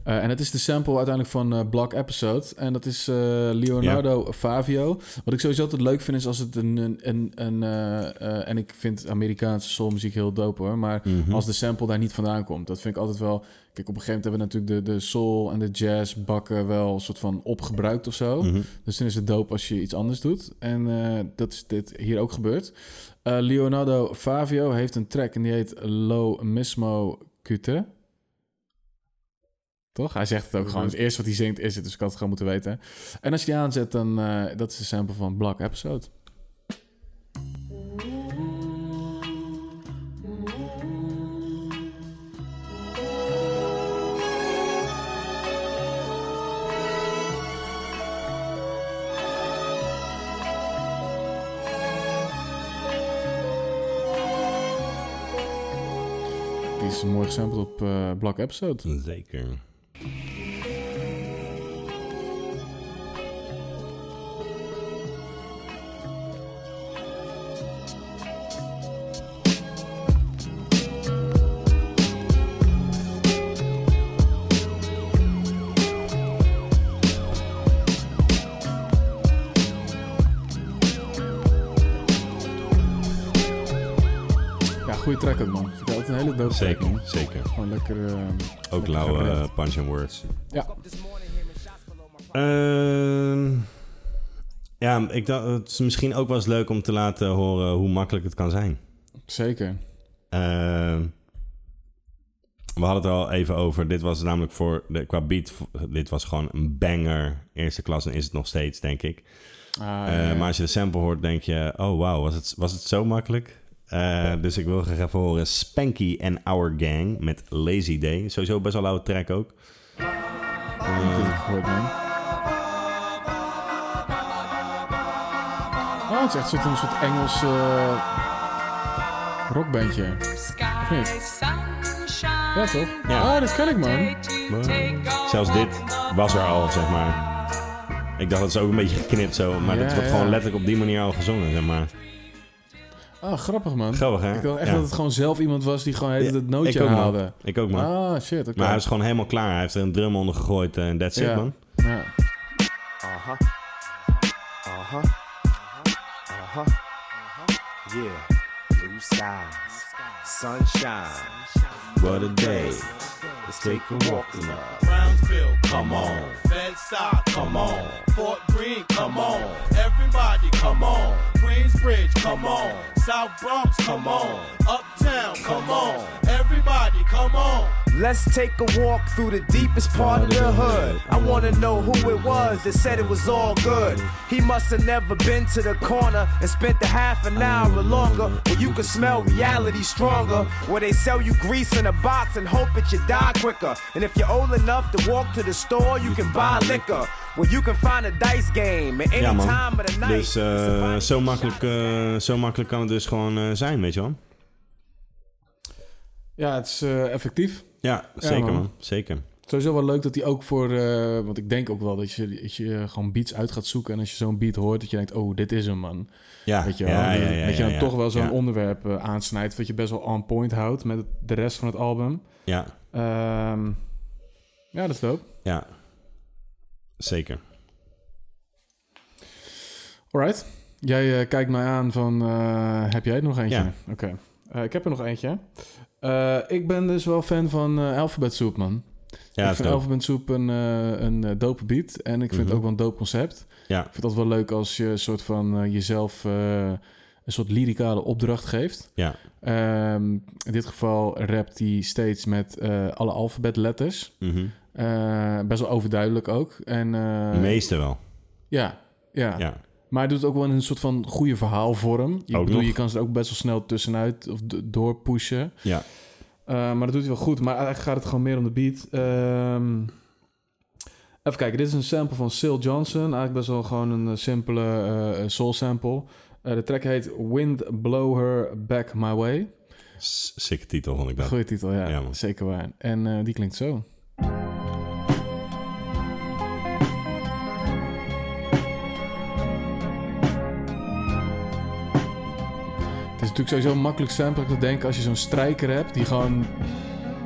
Speaker 2: Eh, en het is de sample uiteindelijk van eh Black Episode. En dat is eh, Leonardo Favio. Wat ik sowieso altijd leuk vind is als het een... een, een, een, eh, eh, en ik vind Amerikaanse soulmuziek heel dope hoor. Maar
Speaker 1: Mhm.
Speaker 2: als de sample daar niet vandaan komt. Dat vind ik altijd wel... Kijk, op een gegeven moment hebben we natuurlijk de, de soul en de jazz bakken wel een soort van opgebruikt of zo.
Speaker 1: Mhm.
Speaker 2: Dus dan is het dope als je iets anders doet. En eh, dat is dit hier ook gebeurd. Eh, Leonardo Favio heeft een track en die heet Lo Mismo Cute. Toch? Hij zegt het ook gewoon. Dus eerst wat hij zingt is het, dus ik had het gewoon moeten weten. En als je die aanzet, dan... eh, dat is de sample van Black Episode. Die is mooi gesampled op eh Black Episode.
Speaker 1: Zeker.
Speaker 2: Ja, goede track ook, man. Vind ik altijd een hele dope track,
Speaker 1: Zeker,
Speaker 2: man.
Speaker 1: zeker.
Speaker 2: Gewoon lekker... eh,
Speaker 1: Ook
Speaker 2: lekker
Speaker 1: lauwe
Speaker 2: gebrand.
Speaker 1: eh, punch and words.
Speaker 2: Ja.
Speaker 1: Ehm, ja, ik dacht, het is misschien ook wel eens leuk om te laten horen hoe makkelijk het kan zijn.
Speaker 2: Zeker.
Speaker 1: Ehm, we hadden het er al even over. Dit was namelijk voor, de, qua beat, v- dit was gewoon een banger. Eerste klas en is het nog steeds, denk ik.
Speaker 2: Ah,
Speaker 1: Eh,
Speaker 2: ja, ja.
Speaker 1: Maar als je de sample hoort, denk je, oh wauw, was het, was het zo makkelijk? Eh, dus ik wil graag even horen Spanky and Our Gang met Lazy Day. Sowieso best wel een oude track ook.
Speaker 2: Ik heb het gehoord, man. Oh, het is echt een soort, een soort Engels eh, rockbandje. Of niet? Ja, toch?
Speaker 1: Ja.
Speaker 2: Ah, dat ken ik, man.
Speaker 1: Zelfs dit was er al, zeg maar. Ik dacht dat ze ook een beetje geknipt zo, maar
Speaker 2: Ja,
Speaker 1: dat wordt
Speaker 2: ja.
Speaker 1: gewoon letterlijk op die manier al gezongen, zeg maar.
Speaker 2: Ah, grappig, man.
Speaker 1: Grappig, hè?
Speaker 2: Ik dacht echt
Speaker 1: Ja.
Speaker 2: dat het gewoon zelf iemand was die gewoon
Speaker 1: Ja,
Speaker 2: het het nootje
Speaker 1: ik ook, man.
Speaker 2: haalde.
Speaker 1: Ik ook, man.
Speaker 2: Ah, shit, oké.
Speaker 1: Maar hij is gewoon helemaal klaar. Hij heeft er een drum onder gegooid eh, en that's it,
Speaker 2: Ja.
Speaker 1: man.
Speaker 2: Ja.
Speaker 15: Uh-huh. Uh-huh. Uh-huh.
Speaker 5: Yeah, blue skies, sunshine.
Speaker 1: What a day.
Speaker 5: Let's take a walk tonight.
Speaker 14: Brownsville, come on. Bedside, come on. Fort Greene, come on. Everybody, come on. Queensbridge, come on. South Bronx, come on. Uptown, come on. Everybody, come on.
Speaker 5: Let's take a walk through the deepest part of the hood. I wanna know who it was that said it was all good. He must have never been to the corner and spent the half an hour longer where you could smell reality stronger. Where they sell you grease in a box and hope that you die quicker. And if you're old enough to walk to the store, you can buy liquor. Where you can find a dice game at any
Speaker 1: Ja, man.
Speaker 5: time of the night.
Speaker 1: Dus eh, zo, makkelijk, eh, zo makkelijk kan het dus gewoon eh, zijn, weet je wel?
Speaker 2: Ja, het is eh, effectief.
Speaker 1: Ja, zeker, man. Zeker.
Speaker 2: Sowieso wel leuk dat hij ook voor... eh, want ik denk ook wel dat je, dat je gewoon beats uit gaat zoeken. En als je zo'n beat hoort, dat je denkt... Oh, dit is hem, man.
Speaker 1: Ja,
Speaker 2: Weet je wel,
Speaker 1: ja, ja, ja,
Speaker 2: dat je dan
Speaker 1: ja,
Speaker 2: toch wel zo'n
Speaker 1: ja.
Speaker 2: onderwerp eh, aansnijdt... wat je best wel on point houdt met het- de rest van het album.
Speaker 1: Ja.
Speaker 2: Ehm, ja, dat is dope.
Speaker 1: Ja, zeker.
Speaker 2: Alright. Jij eh, kijkt mij aan van, eh, heb jij er nog eentje?
Speaker 1: Ja.
Speaker 2: Oké. Eh, ik heb er nog eentje. Eh, ik ben dus wel fan van eh Alphabet Soup, man. ik
Speaker 1: dat is
Speaker 2: vind
Speaker 1: dope.
Speaker 2: Alphabet Soup een, eh, een eh, dope beat. En ik vind het
Speaker 1: Mhm.
Speaker 2: ook wel een dope concept.
Speaker 1: Ja.
Speaker 2: Ik vind het altijd wel leuk als je een soort van eh, jezelf eh, een soort lyricale opdracht geeft.
Speaker 1: Ja.
Speaker 2: Ehm, in dit geval rapt hij steeds met eh, alle alfabetletters.
Speaker 1: Mhm.
Speaker 2: Eh, best wel overduidelijk ook. En, eh,
Speaker 1: De meeste wel.
Speaker 2: ja, ja.
Speaker 1: Ja.
Speaker 2: Maar hij doet het ook wel in een soort van goede verhaalvorm. Je,
Speaker 1: Ook
Speaker 2: bedoel,
Speaker 1: nog.
Speaker 2: je kan ze er ook best wel snel tussenuit of d- doorpushen.
Speaker 1: Ja.
Speaker 2: Eh, maar dat doet hij wel goed. Maar eigenlijk gaat het gewoon meer om de beat. Ehm, even kijken, dit is een sample van Syl Johnson. Eigenlijk best wel gewoon een eh, simpele eh, soul sample. Eh, de track heet Wind Blow Her Back My Way.
Speaker 1: S- Sikke titel vond ik dat.
Speaker 2: Goeie titel, ja.
Speaker 1: Ja, man.
Speaker 2: Zeker waar. En eh, die klinkt zo. Het is natuurlijk sowieso makkelijk sample te denken als je zo'n strijker hebt die gewoon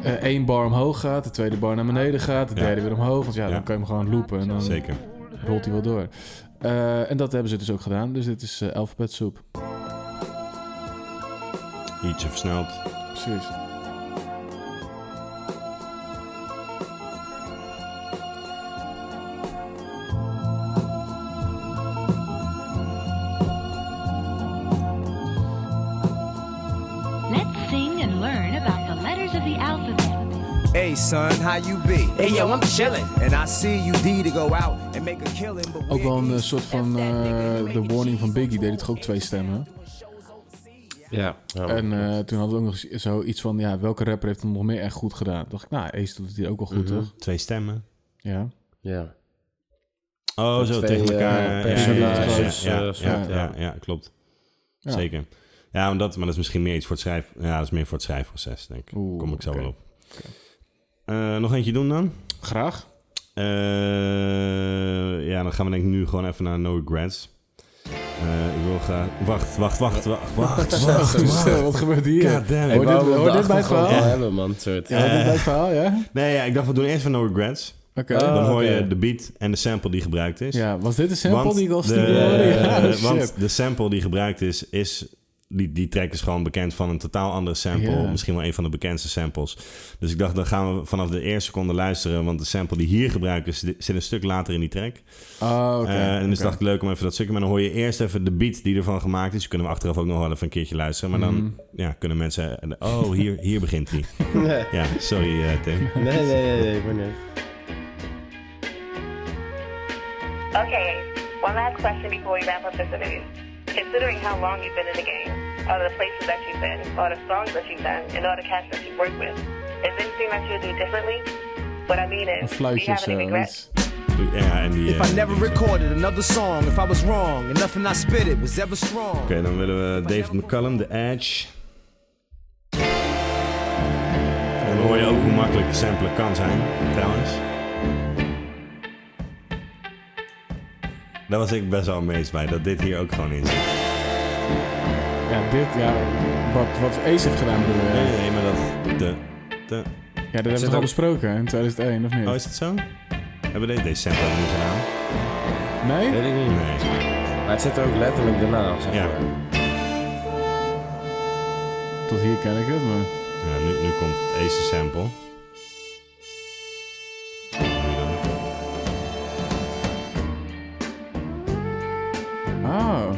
Speaker 2: eh, één bar omhoog gaat, de tweede bar naar beneden gaat, de
Speaker 1: Ja.
Speaker 2: derde weer omhoog. Want ja,
Speaker 1: Ja.
Speaker 2: dan kan je hem gewoon loopen en dan
Speaker 1: Zeker.
Speaker 2: rolt hij wel door. Eh, en dat hebben ze dus ook gedaan. Dus dit is eh Alphabet Soup.
Speaker 1: Ietsje versneld.
Speaker 2: Precies.
Speaker 16: Let's sing and learn about the letters of the alphabet.
Speaker 5: Hey son, how you be? Hey yo, I'm chillin'. And I see you D to go out and make a killing, but
Speaker 2: Ook wel een eh, soort van eh The Warning van Biggie deed hij toch ook twee stemmen.
Speaker 3: Ja.
Speaker 1: Oh,
Speaker 2: En eh, toen hadden we ook nog zoiets van, ja, welke rapper heeft hem nog meer echt goed gedaan? Toen dacht ik, nou, Ace doet het hier ook wel goed,
Speaker 3: Mhm.
Speaker 2: toch?
Speaker 1: Twee stemmen.
Speaker 2: Ja.
Speaker 3: Ja.
Speaker 1: Oh, zo
Speaker 3: Twee,
Speaker 1: tegen
Speaker 3: eh,
Speaker 1: elkaar. Ja, ja, ja, ja,
Speaker 3: personages,
Speaker 1: ja,
Speaker 3: eh,
Speaker 1: ja,
Speaker 3: soort,
Speaker 1: ja,
Speaker 3: ja.
Speaker 1: ja, klopt.
Speaker 3: Ja.
Speaker 1: Zeker. Ja, maar dat, maar dat is misschien meer iets voor het schrijf... Ja, dat is meer voor het schrijfproces, denk ik. Kom ik zo wel op. Eh, nog eentje doen dan?
Speaker 2: Graag.
Speaker 1: Eh, ja, dan gaan we denk ik nu gewoon even naar No Regrets. Eh, ik wil graag... Wacht, wacht, wacht, wacht, wacht,
Speaker 2: Zo,
Speaker 1: wacht,
Speaker 2: zo,
Speaker 1: wacht.
Speaker 2: Dus, eh, wat gebeurt hier?
Speaker 1: God damn.
Speaker 2: Hoor dit-
Speaker 1: Ik wou
Speaker 2: hoor
Speaker 1: dat
Speaker 2: dit bij het
Speaker 1: gewoon
Speaker 2: verhaal?
Speaker 1: wel
Speaker 3: hebben, man, soort.
Speaker 1: Ja, dit bij het
Speaker 2: verhaal, ja?
Speaker 1: Nee, ja, ik dacht we doen eerst van No Regrets.
Speaker 2: Oké.
Speaker 1: Eh, Dan
Speaker 2: Oh,
Speaker 1: hoor je
Speaker 2: oké.
Speaker 1: de beat en de sample die gebruikt is.
Speaker 2: Ja, was dit de sample
Speaker 1: Want
Speaker 2: die ik al
Speaker 1: de-
Speaker 2: stuurde? Ja,
Speaker 1: eh,
Speaker 2: shit.
Speaker 1: Want de sample die gebruikt is, is die, die track is gewoon bekend van een totaal andere sample.
Speaker 2: Ja.
Speaker 1: Misschien wel een van de bekendste samples. Dus ik dacht, dan gaan we vanaf de eerste seconde luisteren. Want de sample die hier gebruikt is, di- zit een stuk later in die track.
Speaker 2: Oh, oké,
Speaker 1: Eh, en dus
Speaker 2: oké.
Speaker 1: dacht ik leuk om even dat stukje. Maar dan hoor je eerst even de beat die ervan gemaakt is. Je kunt hem achteraf ook nog wel even een keertje luisteren. Maar dan
Speaker 3: Mhm.
Speaker 1: ja, kunnen mensen... Oh, hier, hier begint hij.
Speaker 3: Nee.
Speaker 1: Ja, sorry eh, Tim.
Speaker 3: Nee, nee, nee, nee, ik ben niet.
Speaker 17: Okay, one last question before we wrap up this interview. Considering how long you've been in the game, all the places that you've been, all the songs that you've done, and all the cats that you've worked with, is there anything that you would do differently? What I mean is, do you have any regrets?
Speaker 1: Ja, en die...
Speaker 5: If
Speaker 1: eh,
Speaker 5: I never recorded another song, if I was wrong, and nothing I spit it was ever strong.
Speaker 1: Oké, dan willen we David McCallum, The Edge. En dan hoor je ook hoe makkelijk de sample kan zijn, trouwens. Daar was ik best wel amazed bij, dat dit hier ook gewoon in zit.
Speaker 2: Ja, dit, ja, wat, wat Ace heeft gedaan, bedoel je?
Speaker 1: Nee, nee, nee, maar dat... De, de...
Speaker 2: Ja, dat hebben we toch al besproken in 2001, of niet?
Speaker 1: Oh, is het zo? Hebben we deze sample al niet gedaan? Oh,
Speaker 2: Nee?
Speaker 3: Weet ik niet. Maar het zit er ook letterlijk daarna, zeg
Speaker 1: Ja.
Speaker 2: Tot hier ken ik het, maar...
Speaker 1: Ja, nu, nu komt deze sample.
Speaker 2: Oh.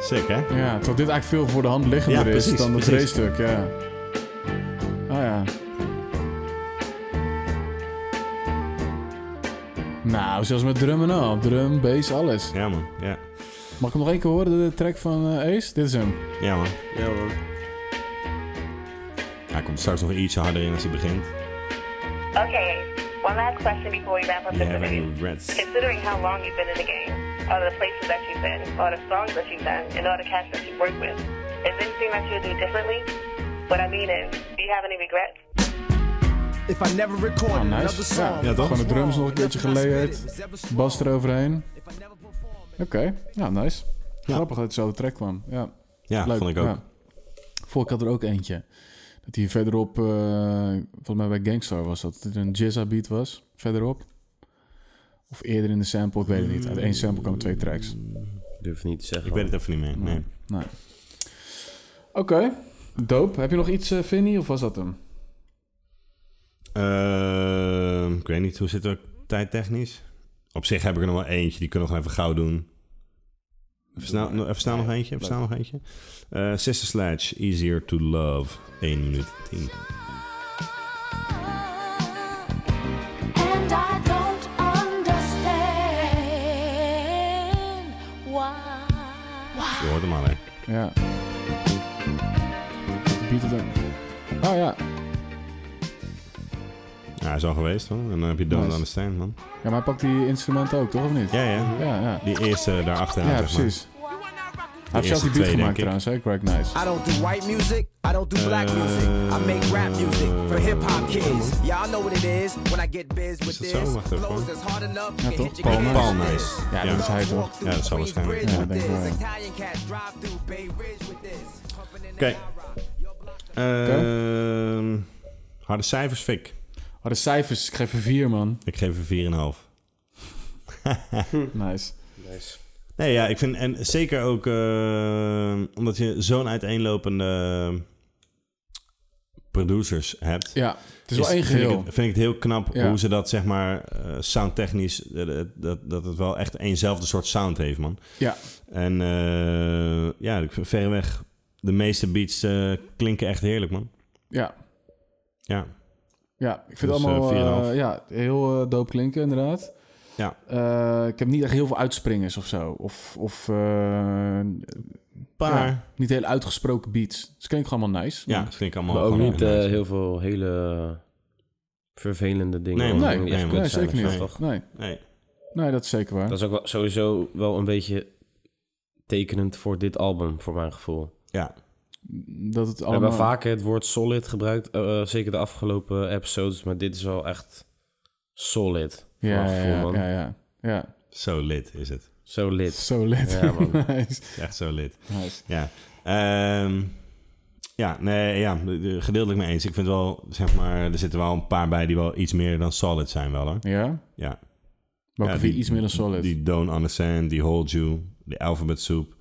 Speaker 1: Sick, hè?
Speaker 2: Ja, terwijl dit eigenlijk veel voor de hand liggender
Speaker 1: Ja,
Speaker 2: is
Speaker 1: precies,
Speaker 2: dan dat
Speaker 1: precies.
Speaker 2: race-stuk, ja. Ah ja. Nou, zelfs met drummen al. Drum, bass, alles.
Speaker 1: Ja, man. Ja.
Speaker 2: Mag ik hem nog één keer horen, de track van eh, Ace? Dit is hem.
Speaker 1: Ja, man.
Speaker 3: Ja, man.
Speaker 1: Hij komt straks nog ietsje harder in als hij begint.
Speaker 17: Okay, one last question before we wrap up
Speaker 1: You
Speaker 17: this
Speaker 1: have any
Speaker 17: interview.
Speaker 1: regrets?
Speaker 17: Considering how long you've been in the game, or the places that you've been, or the songs that you've done, and all the cats that you've worked with, is there anything that you'll do differently? What I mean is, do you have any regrets?
Speaker 5: If I never record
Speaker 2: Ah,
Speaker 5: another
Speaker 2: nice.
Speaker 5: song,
Speaker 2: Ja, Gewoon de drums nog een keertje geleerd. Bas eroverheen. Oké, ja, nice. Grappig dat het zo de track kwam. Ja,
Speaker 1: Ja, vond ik ook.
Speaker 2: Voor ik had er ook eentje. Dat hij verderop, eh volgens mij bij Gangstar was dat, dat het een Jizza beat was, verderop. Of eerder in de sample, ik weet het niet. Uit één sample kwamen twee tracks. Nou.
Speaker 3: Durf niet te zeggen.
Speaker 1: Ik weet het even niet meer. Nee.
Speaker 2: Nee. Oké, dope. Heb je nog iets, eh Vinny, of was dat hem?
Speaker 1: Ehm, ik weet niet, hoe zit het tijdtechnisch? Op zich heb ik er nog wel eentje, die kunnen we nog even gauw doen. Even snel, no- even snel nog eentje, even snel nog eentje. Eh, Sister Sledge, Easier to Love, 1 minuut 10.
Speaker 18: And I don't understand why.
Speaker 1: Je hoort hem al, hè?
Speaker 2: Ja. De beat het ook. Oh ja.
Speaker 1: Ja, hij is al geweest, man. En dan heb je Don't
Speaker 2: Nice.
Speaker 1: Understand, man.
Speaker 2: Ja, maar hij pakt die instrumenten ook, toch? Of niet?
Speaker 1: Ja, ja.
Speaker 2: Ja, ja.
Speaker 1: Die eerste daarachter.
Speaker 2: Ja, precies. Hij heeft zelf die beat gemaakt trouwens, hè? Greg Nice.
Speaker 5: I don't do white music, I don't do black music. I make rap music for hip hop kids. Yeah, I know what it is when I get biz with
Speaker 1: Is dat zo?
Speaker 5: this.
Speaker 1: Wacht even, hoor.
Speaker 2: Ja, toch?
Speaker 1: Paul
Speaker 2: Paul
Speaker 1: Nice.
Speaker 2: Nice.
Speaker 1: Ja,
Speaker 2: Ja, dat is hij toch?
Speaker 1: Ja, dat zal waarschijnlijk.
Speaker 2: Ja, denk ik wel, ja.
Speaker 1: Oké. Ehm, Harde cijfers, Fik.
Speaker 2: Harde Oh, cijfers, ik geef er vier, man.
Speaker 1: Ik geef er 4,5.
Speaker 2: Nice.
Speaker 3: Nice.
Speaker 1: Nee, ja, ik vind en zeker ook eh, omdat je zo'n uiteenlopende producers hebt.
Speaker 2: Ja, het is wel één
Speaker 1: vind ik
Speaker 2: geheel.
Speaker 1: het- vind ik het heel knap
Speaker 2: Ja.
Speaker 1: hoe ze dat zeg maar eh, soundtechnisch eh, dat, dat het wel echt eenzelfde soort sound heeft, man.
Speaker 2: Ja.
Speaker 1: En eh, ja, ik vind verreweg de meeste beats eh, klinken echt heerlijk, man.
Speaker 2: Ja.
Speaker 1: Ja.
Speaker 2: Ja, ik vind
Speaker 1: Dus,
Speaker 2: het
Speaker 1: eh,
Speaker 2: allemaal
Speaker 1: 4,5.
Speaker 2: eh, ja, heel eh dope klinken, inderdaad.
Speaker 1: Ja.
Speaker 2: Eh, ik heb niet echt heel veel uitspringers of zo. Of, of eh,
Speaker 1: Paar.
Speaker 2: ja, niet heel uitgesproken beats. Dus het klinkt gewoon allemaal nice.
Speaker 1: Ja,
Speaker 2: Maar-
Speaker 1: het klinkt allemaal
Speaker 3: Maar ook
Speaker 1: gewoon
Speaker 3: niet
Speaker 1: heel
Speaker 3: eh,
Speaker 1: nice.
Speaker 3: heel veel hele vervelende dingen.
Speaker 1: Nee,
Speaker 3: hoor.
Speaker 1: man.
Speaker 3: Die
Speaker 1: Nee,
Speaker 3: echt
Speaker 1: man.
Speaker 3: kut
Speaker 1: Nee,
Speaker 3: zijn,
Speaker 1: zeker
Speaker 3: dat is
Speaker 1: niet.
Speaker 3: toch-
Speaker 2: Nee.
Speaker 1: Nee.
Speaker 2: Nee, dat is zeker waar.
Speaker 3: Dat is ook wel, sowieso wel een beetje tekenend voor dit album, voor mijn gevoel.
Speaker 1: Ja.
Speaker 2: Dat het
Speaker 3: We
Speaker 2: allemaal...
Speaker 3: hebben vaker het woord solid gebruikt, eh, eh, zeker de afgelopen episodes, maar dit is wel echt solid. voor
Speaker 2: Ja,
Speaker 3: mijn gevoel,
Speaker 2: ja,
Speaker 3: man.
Speaker 2: ja, ja, ja.
Speaker 1: Zo lid is het.
Speaker 3: Zo lid.
Speaker 2: Zo lid.
Speaker 3: Ja, man.
Speaker 2: Nice.
Speaker 1: Echt zo lid.
Speaker 2: Nice.
Speaker 1: Ja. Ehm, ja, nee, ja, de- de- gedeeltelijk mee eens. Ik vind wel, zeg maar, er zitten wel een paar bij die wel iets meer dan solid zijn wel, hoor.
Speaker 2: Ja?
Speaker 1: Ja.
Speaker 2: Welke
Speaker 1: Ja,
Speaker 2: vind je iets meer dan solid?
Speaker 1: Die Don't Understand, die Hold You, de Alphabet Soup,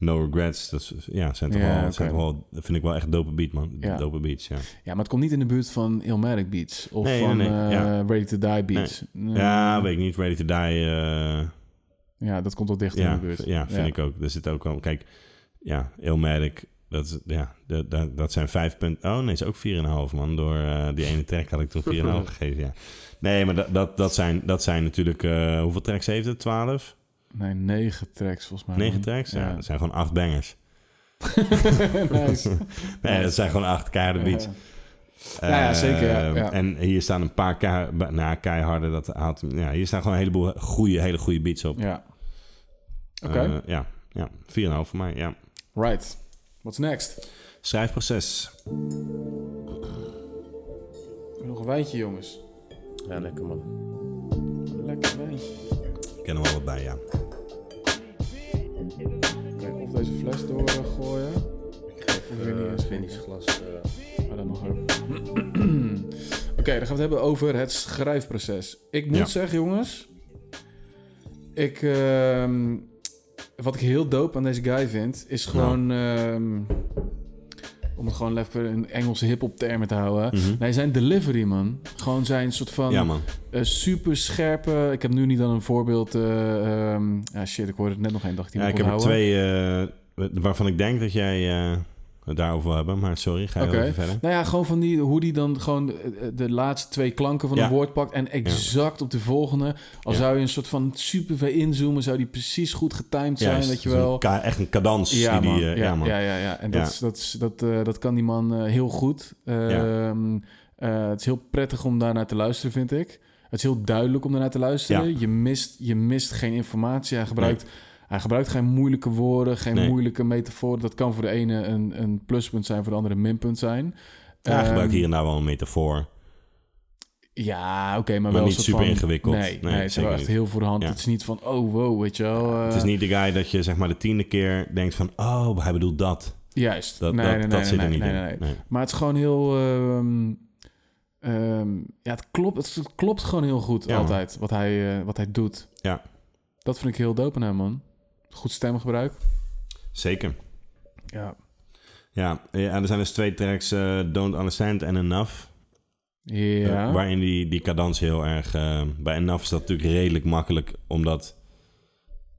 Speaker 1: No Regrets. Dat is- ja, zijn toch,
Speaker 2: Ja,
Speaker 1: wel, zijn
Speaker 2: oké.
Speaker 1: toch wel, dat vind ik wel echt dope beat, man.
Speaker 2: Ja.
Speaker 1: Dope beats, ja.
Speaker 2: Ja, maar het komt niet in de buurt van Ilmatic Beats. Of
Speaker 1: Nee,
Speaker 2: van
Speaker 1: nee, nee,
Speaker 2: eh,
Speaker 1: ja.
Speaker 2: Ready to Die Beats.
Speaker 1: Nee.
Speaker 2: Eh,
Speaker 1: Ja, weet ik niet. Ready to Die... eh,
Speaker 2: ja, dat komt wel dichter
Speaker 1: ja,
Speaker 2: in de buurt.
Speaker 1: v- Ja, vind ik ook. Er zit ook al... Kijk, ja, Ilmatic, dat, is, ja, dat, dat, dat zijn vijf punten... Oh nee, is ook 4,5 man. Door eh, die ene track had ik toen 4,5 gegeven, ja. Nee, maar dat, dat, dat, zijn, dat zijn natuurlijk... eh, hoeveel tracks heeft het? 12?
Speaker 2: Nee, negen tracks volgens mij.
Speaker 1: Negen
Speaker 2: man.
Speaker 1: tracks? Ja, dat zijn gewoon acht bangers.
Speaker 2: Nice.
Speaker 1: nee, dat zijn gewoon acht keiharde beats.
Speaker 2: Ja. Ja, ja, zeker, ja,
Speaker 1: Eh,
Speaker 2: ja.
Speaker 1: En hier staan een paar kei, ba- nou, keiharde. Dat haalt, ja, hier staan gewoon een heleboel goede, hele goede beats op.
Speaker 2: Ja. Oké.
Speaker 1: Eh, ja, ja. 4,5 voor mij, ja.
Speaker 2: Right. What's next?
Speaker 1: Schrijfproces.
Speaker 2: Nog een wijntje, jongens.
Speaker 3: Ja, lekker man.
Speaker 2: Lekker wijntje.
Speaker 1: Ik ken er wel wat bij, ja.
Speaker 2: Of deze fles doorgooien. Ik weet niet eens.
Speaker 3: Vinnie's glas.
Speaker 2: Maar dan nog ook. Oké, dan gaan we het hebben over het schrijfproces. Ik moet
Speaker 1: Ja.
Speaker 2: zeggen, jongens. Ik, ehm, wat ik heel dope aan deze guy vind, is gewoon... ehm, om het gewoon even in Engelse hip-hop termen te houden.
Speaker 1: Mhm.
Speaker 2: Nee, zijn delivery, man. Gewoon zijn soort van
Speaker 1: Ja, man.
Speaker 2: eh, super scherpe... Ik heb nu niet dan een voorbeeld... eh, ehm, ja, shit, ik hoorde het net nog één dag. die
Speaker 1: Ja,
Speaker 2: moet
Speaker 1: ik heb er
Speaker 2: onthouden.
Speaker 1: twee, eh, waarvan ik denk dat jij eh, het daarover wil hebben. Maar sorry, ga je
Speaker 2: Oké.
Speaker 1: wel even verder.
Speaker 2: Nou ja, gewoon van die, hoe die dan gewoon eh, de laatste twee klanken van
Speaker 1: Ja.
Speaker 2: een woord pakt en exact op de volgende. Al
Speaker 1: Ja.
Speaker 2: zou je een soort van super ver inzoomen, zou die precies goed getimed zijn,
Speaker 1: Juist,
Speaker 2: weet je
Speaker 1: zo'n
Speaker 2: wel.
Speaker 1: ka- echt een cadans.
Speaker 2: Ja,
Speaker 1: die
Speaker 2: man.
Speaker 1: die, eh,
Speaker 2: ja,
Speaker 1: ja, man.
Speaker 2: ja, ja, ja. En
Speaker 1: Ja.
Speaker 2: Dat, is, dat, is, dat, eh, dat kan die man eh, heel goed. Ehm, eh, het is heel prettig om daarnaar te luisteren, vind ik. Het is heel duidelijk om daarnaar te luisteren.
Speaker 1: Ja.
Speaker 2: Je, mist, je mist geen informatie. Hij gebruikt, hij gebruikt geen moeilijke woorden, geen
Speaker 1: Nee.
Speaker 2: moeilijke metaforen. Dat kan voor de ene een, een pluspunt zijn, voor de andere een minpunt zijn.
Speaker 1: Ja, hij gebruikt
Speaker 2: Ehm,
Speaker 1: hier en daar wel een metafoor.
Speaker 2: ja, oké, maar,
Speaker 1: Maar
Speaker 2: wel
Speaker 1: niet
Speaker 2: een soort
Speaker 1: super
Speaker 2: van-
Speaker 1: ingewikkeld.
Speaker 2: Nee, nee, het
Speaker 1: Nee,
Speaker 2: is wel
Speaker 1: zeker
Speaker 2: echt
Speaker 1: niet.
Speaker 2: heel voor de hand.
Speaker 1: Ja.
Speaker 2: Het is niet van, oh wow, weet je wel. eh,
Speaker 1: het is niet de guy dat je zeg maar de tiende keer denkt van... Oh, hij bedoelt dat.
Speaker 2: Juist.
Speaker 1: Dat,
Speaker 2: nee,
Speaker 1: dat,
Speaker 2: nee, nee,
Speaker 1: dat
Speaker 2: nee,
Speaker 1: zit er
Speaker 2: nee,
Speaker 1: niet
Speaker 2: nee,
Speaker 1: in.
Speaker 2: nee, nee. Maar het is gewoon heel... ehm, ehm, ja, het klopt, het klopt gewoon heel goed
Speaker 1: Ja, man.
Speaker 2: altijd wat hij, eh, wat hij doet.
Speaker 1: Ja.
Speaker 2: Dat vind ik heel dope aan hem, man. Goed stemgebruik.
Speaker 1: Zeker.
Speaker 2: Ja.
Speaker 1: Ja, ja, er zijn dus twee tracks, eh, Don't Understand en Enough.
Speaker 2: Ja.
Speaker 1: Eh, waarin die, die cadans heel erg... eh, bij Enough is dat natuurlijk redelijk makkelijk, omdat,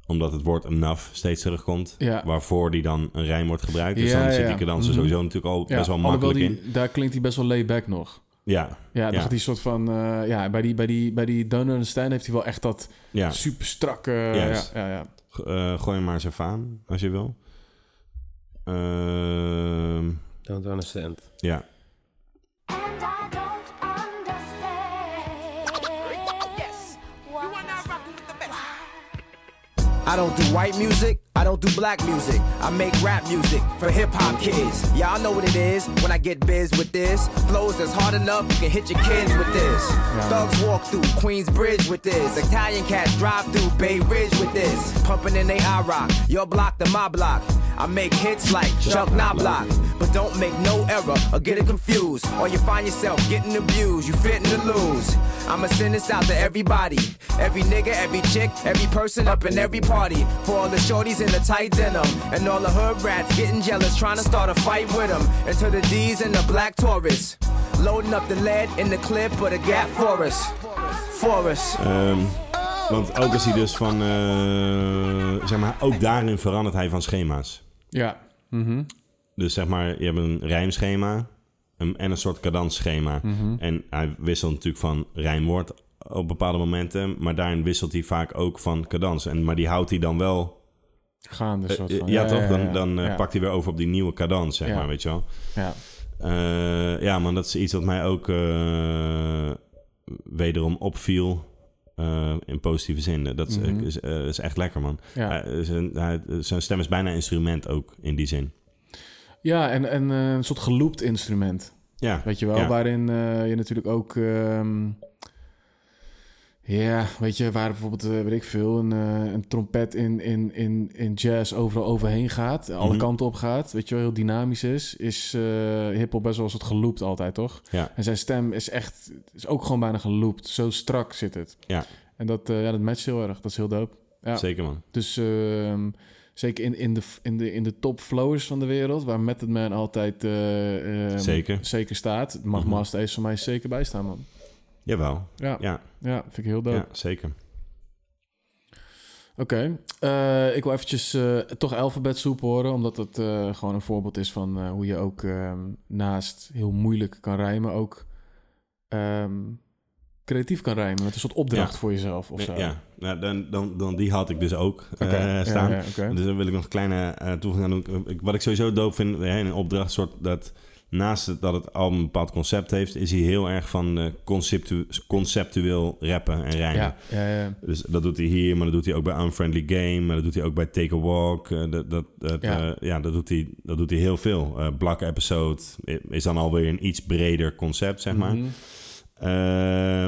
Speaker 1: omdat het woord Enough steeds terugkomt.
Speaker 2: Ja.
Speaker 1: Waarvoor die dan een rijm wordt gebruikt. Dus
Speaker 2: Ja,
Speaker 1: dan zit
Speaker 2: ja.
Speaker 1: die cadans
Speaker 2: Mhm.
Speaker 1: er sowieso natuurlijk al
Speaker 2: Ja,
Speaker 1: best wel
Speaker 2: alhoewel
Speaker 1: makkelijk
Speaker 2: die-
Speaker 1: in.
Speaker 2: Daar klinkt hij best wel laid-back nog.
Speaker 1: Ja,
Speaker 2: Ja, dan
Speaker 1: ja.
Speaker 2: gaat die soort van... eh, ja, bij die, bij, die, bij die Don't Understand heeft hij wel echt dat
Speaker 1: Ja.
Speaker 2: super strakke... ja,
Speaker 1: Juist.
Speaker 2: ja, ja.
Speaker 1: G- eh, gooi hem maar eens even aan, als je wil. Ehm,
Speaker 3: Don't understand.
Speaker 1: ja.
Speaker 5: I don't do white music, I don't do black music. I make rap music for hip hop kids. Y'all know what it is when I get biz with this. Flows that's hard enough, you can hit your kids with this. Thugs walk through Queens Bridge with this. Italian cats drive through Bay Ridge with this. Pumping in they I rock, your block to my block. I make hits like Chuck Knoblock, but don't make no error or get it confused. Or you find yourself getting abused, you fitting to lose. I'ma send this out to everybody, every nigga, every chick, every person up in every party. For all the shorties in the tight denim, and all the hood rats getting jealous, trying to start a fight with them. And to the D's and the black Taurus, loading up the lead in the clip or the gap for us. For us.
Speaker 1: Ehm, want ook als hij dus van... eh, zeg maar, ook daarin verandert hij van schema's.
Speaker 2: Ja. Mhm.
Speaker 1: Dus zeg maar, je hebt een rijmschema een- en een soort cadensschema.
Speaker 2: Mhm.
Speaker 1: En hij wisselt natuurlijk van rijmwoord op bepaalde momenten. Maar daarin wisselt hij vaak ook van cadans. En, maar die houdt hij dan wel...
Speaker 2: Gaande
Speaker 1: Eh,
Speaker 2: soort
Speaker 1: eh,
Speaker 2: dus van.
Speaker 1: ja, toch? Dan, dan eh,
Speaker 2: ja.
Speaker 1: pakt hij weer over op die nieuwe cadans, zeg
Speaker 2: Ja.
Speaker 1: maar, weet je wel.
Speaker 2: Ja.
Speaker 1: Eh, ja, man, dat is iets wat mij ook eh, wederom opviel. eh, in positieve zin. Dat is,
Speaker 2: Mhm.
Speaker 1: is, eh, is echt lekker, man.
Speaker 2: Ja.
Speaker 1: Hij- zijn, hij- zijn stem is bijna een instrument ook, in die zin.
Speaker 2: Ja, en, en eh, een soort geloopt instrument.
Speaker 1: Ja,
Speaker 2: Weet je wel,
Speaker 1: ja.
Speaker 2: waarin eh, je natuurlijk ook... ehm, ja, weet je, waar bijvoorbeeld, eh, weet ik veel, een, eh, een trompet in, in, in, in jazz overal overheen gaat. Alle
Speaker 1: Mhm.
Speaker 2: kanten op gaat, weet je wel, heel dynamisch is. Is eh hiphop best wel een soort geloopt altijd, toch?
Speaker 1: Ja.
Speaker 2: En zijn stem is echt, is ook gewoon bijna geloopt. Zo strak zit het.
Speaker 1: Ja.
Speaker 2: En dat, eh, ja, dat matcht heel erg, dat is heel dope. Ja.
Speaker 1: Zeker, man.
Speaker 2: Dus ehm, zeker in, in, de, in, de, in de top flowers van de wereld, waar Method Man altijd eh, ehm,
Speaker 1: Zeker.
Speaker 2: staat, mag
Speaker 1: Mhm.
Speaker 2: Master Ace voor mij zeker bijstaan, man.
Speaker 1: Jawel.
Speaker 2: Ja,
Speaker 1: Ja.
Speaker 2: ja vind ik heel dope.
Speaker 1: Ja, zeker.
Speaker 2: Oké, eh, ik wil eventjes eh, toch Alphabet Soup horen, omdat het eh, gewoon een voorbeeld is van eh, hoe je ook ehm, naast heel moeilijk kan rijmen, ook ehm, creatief kan rijmen met een soort opdracht
Speaker 1: Ja.
Speaker 2: voor jezelf of
Speaker 1: Nee,
Speaker 2: zo.
Speaker 1: Ja, nou, dan, dan, dan die had ik dus ook eh,
Speaker 2: Oké, ja,
Speaker 1: staan.
Speaker 2: ja, oké.
Speaker 1: Dus daar wil ik nog een kleine eh toevoeging aan doen. Ik- wat ik sowieso dope vind, hè, in een opdracht soort dat naast het- dat het album een bepaald concept heeft, is hij heel erg van eh, conceptu- conceptueel rappen en rijmen.
Speaker 2: Ja, ja, ja.
Speaker 1: Dus dat doet hij hier, maar dat doet hij ook bij Unfriendly Game, maar dat doet hij ook bij Take a Walk. eh, dat, dat, dat,
Speaker 2: Ja.
Speaker 1: eh, ja, dat, doet hij, dat doet hij heel veel. Eh Black Episode is dan alweer een iets breder concept, zeg maar.
Speaker 2: Mhm.
Speaker 1: Eh,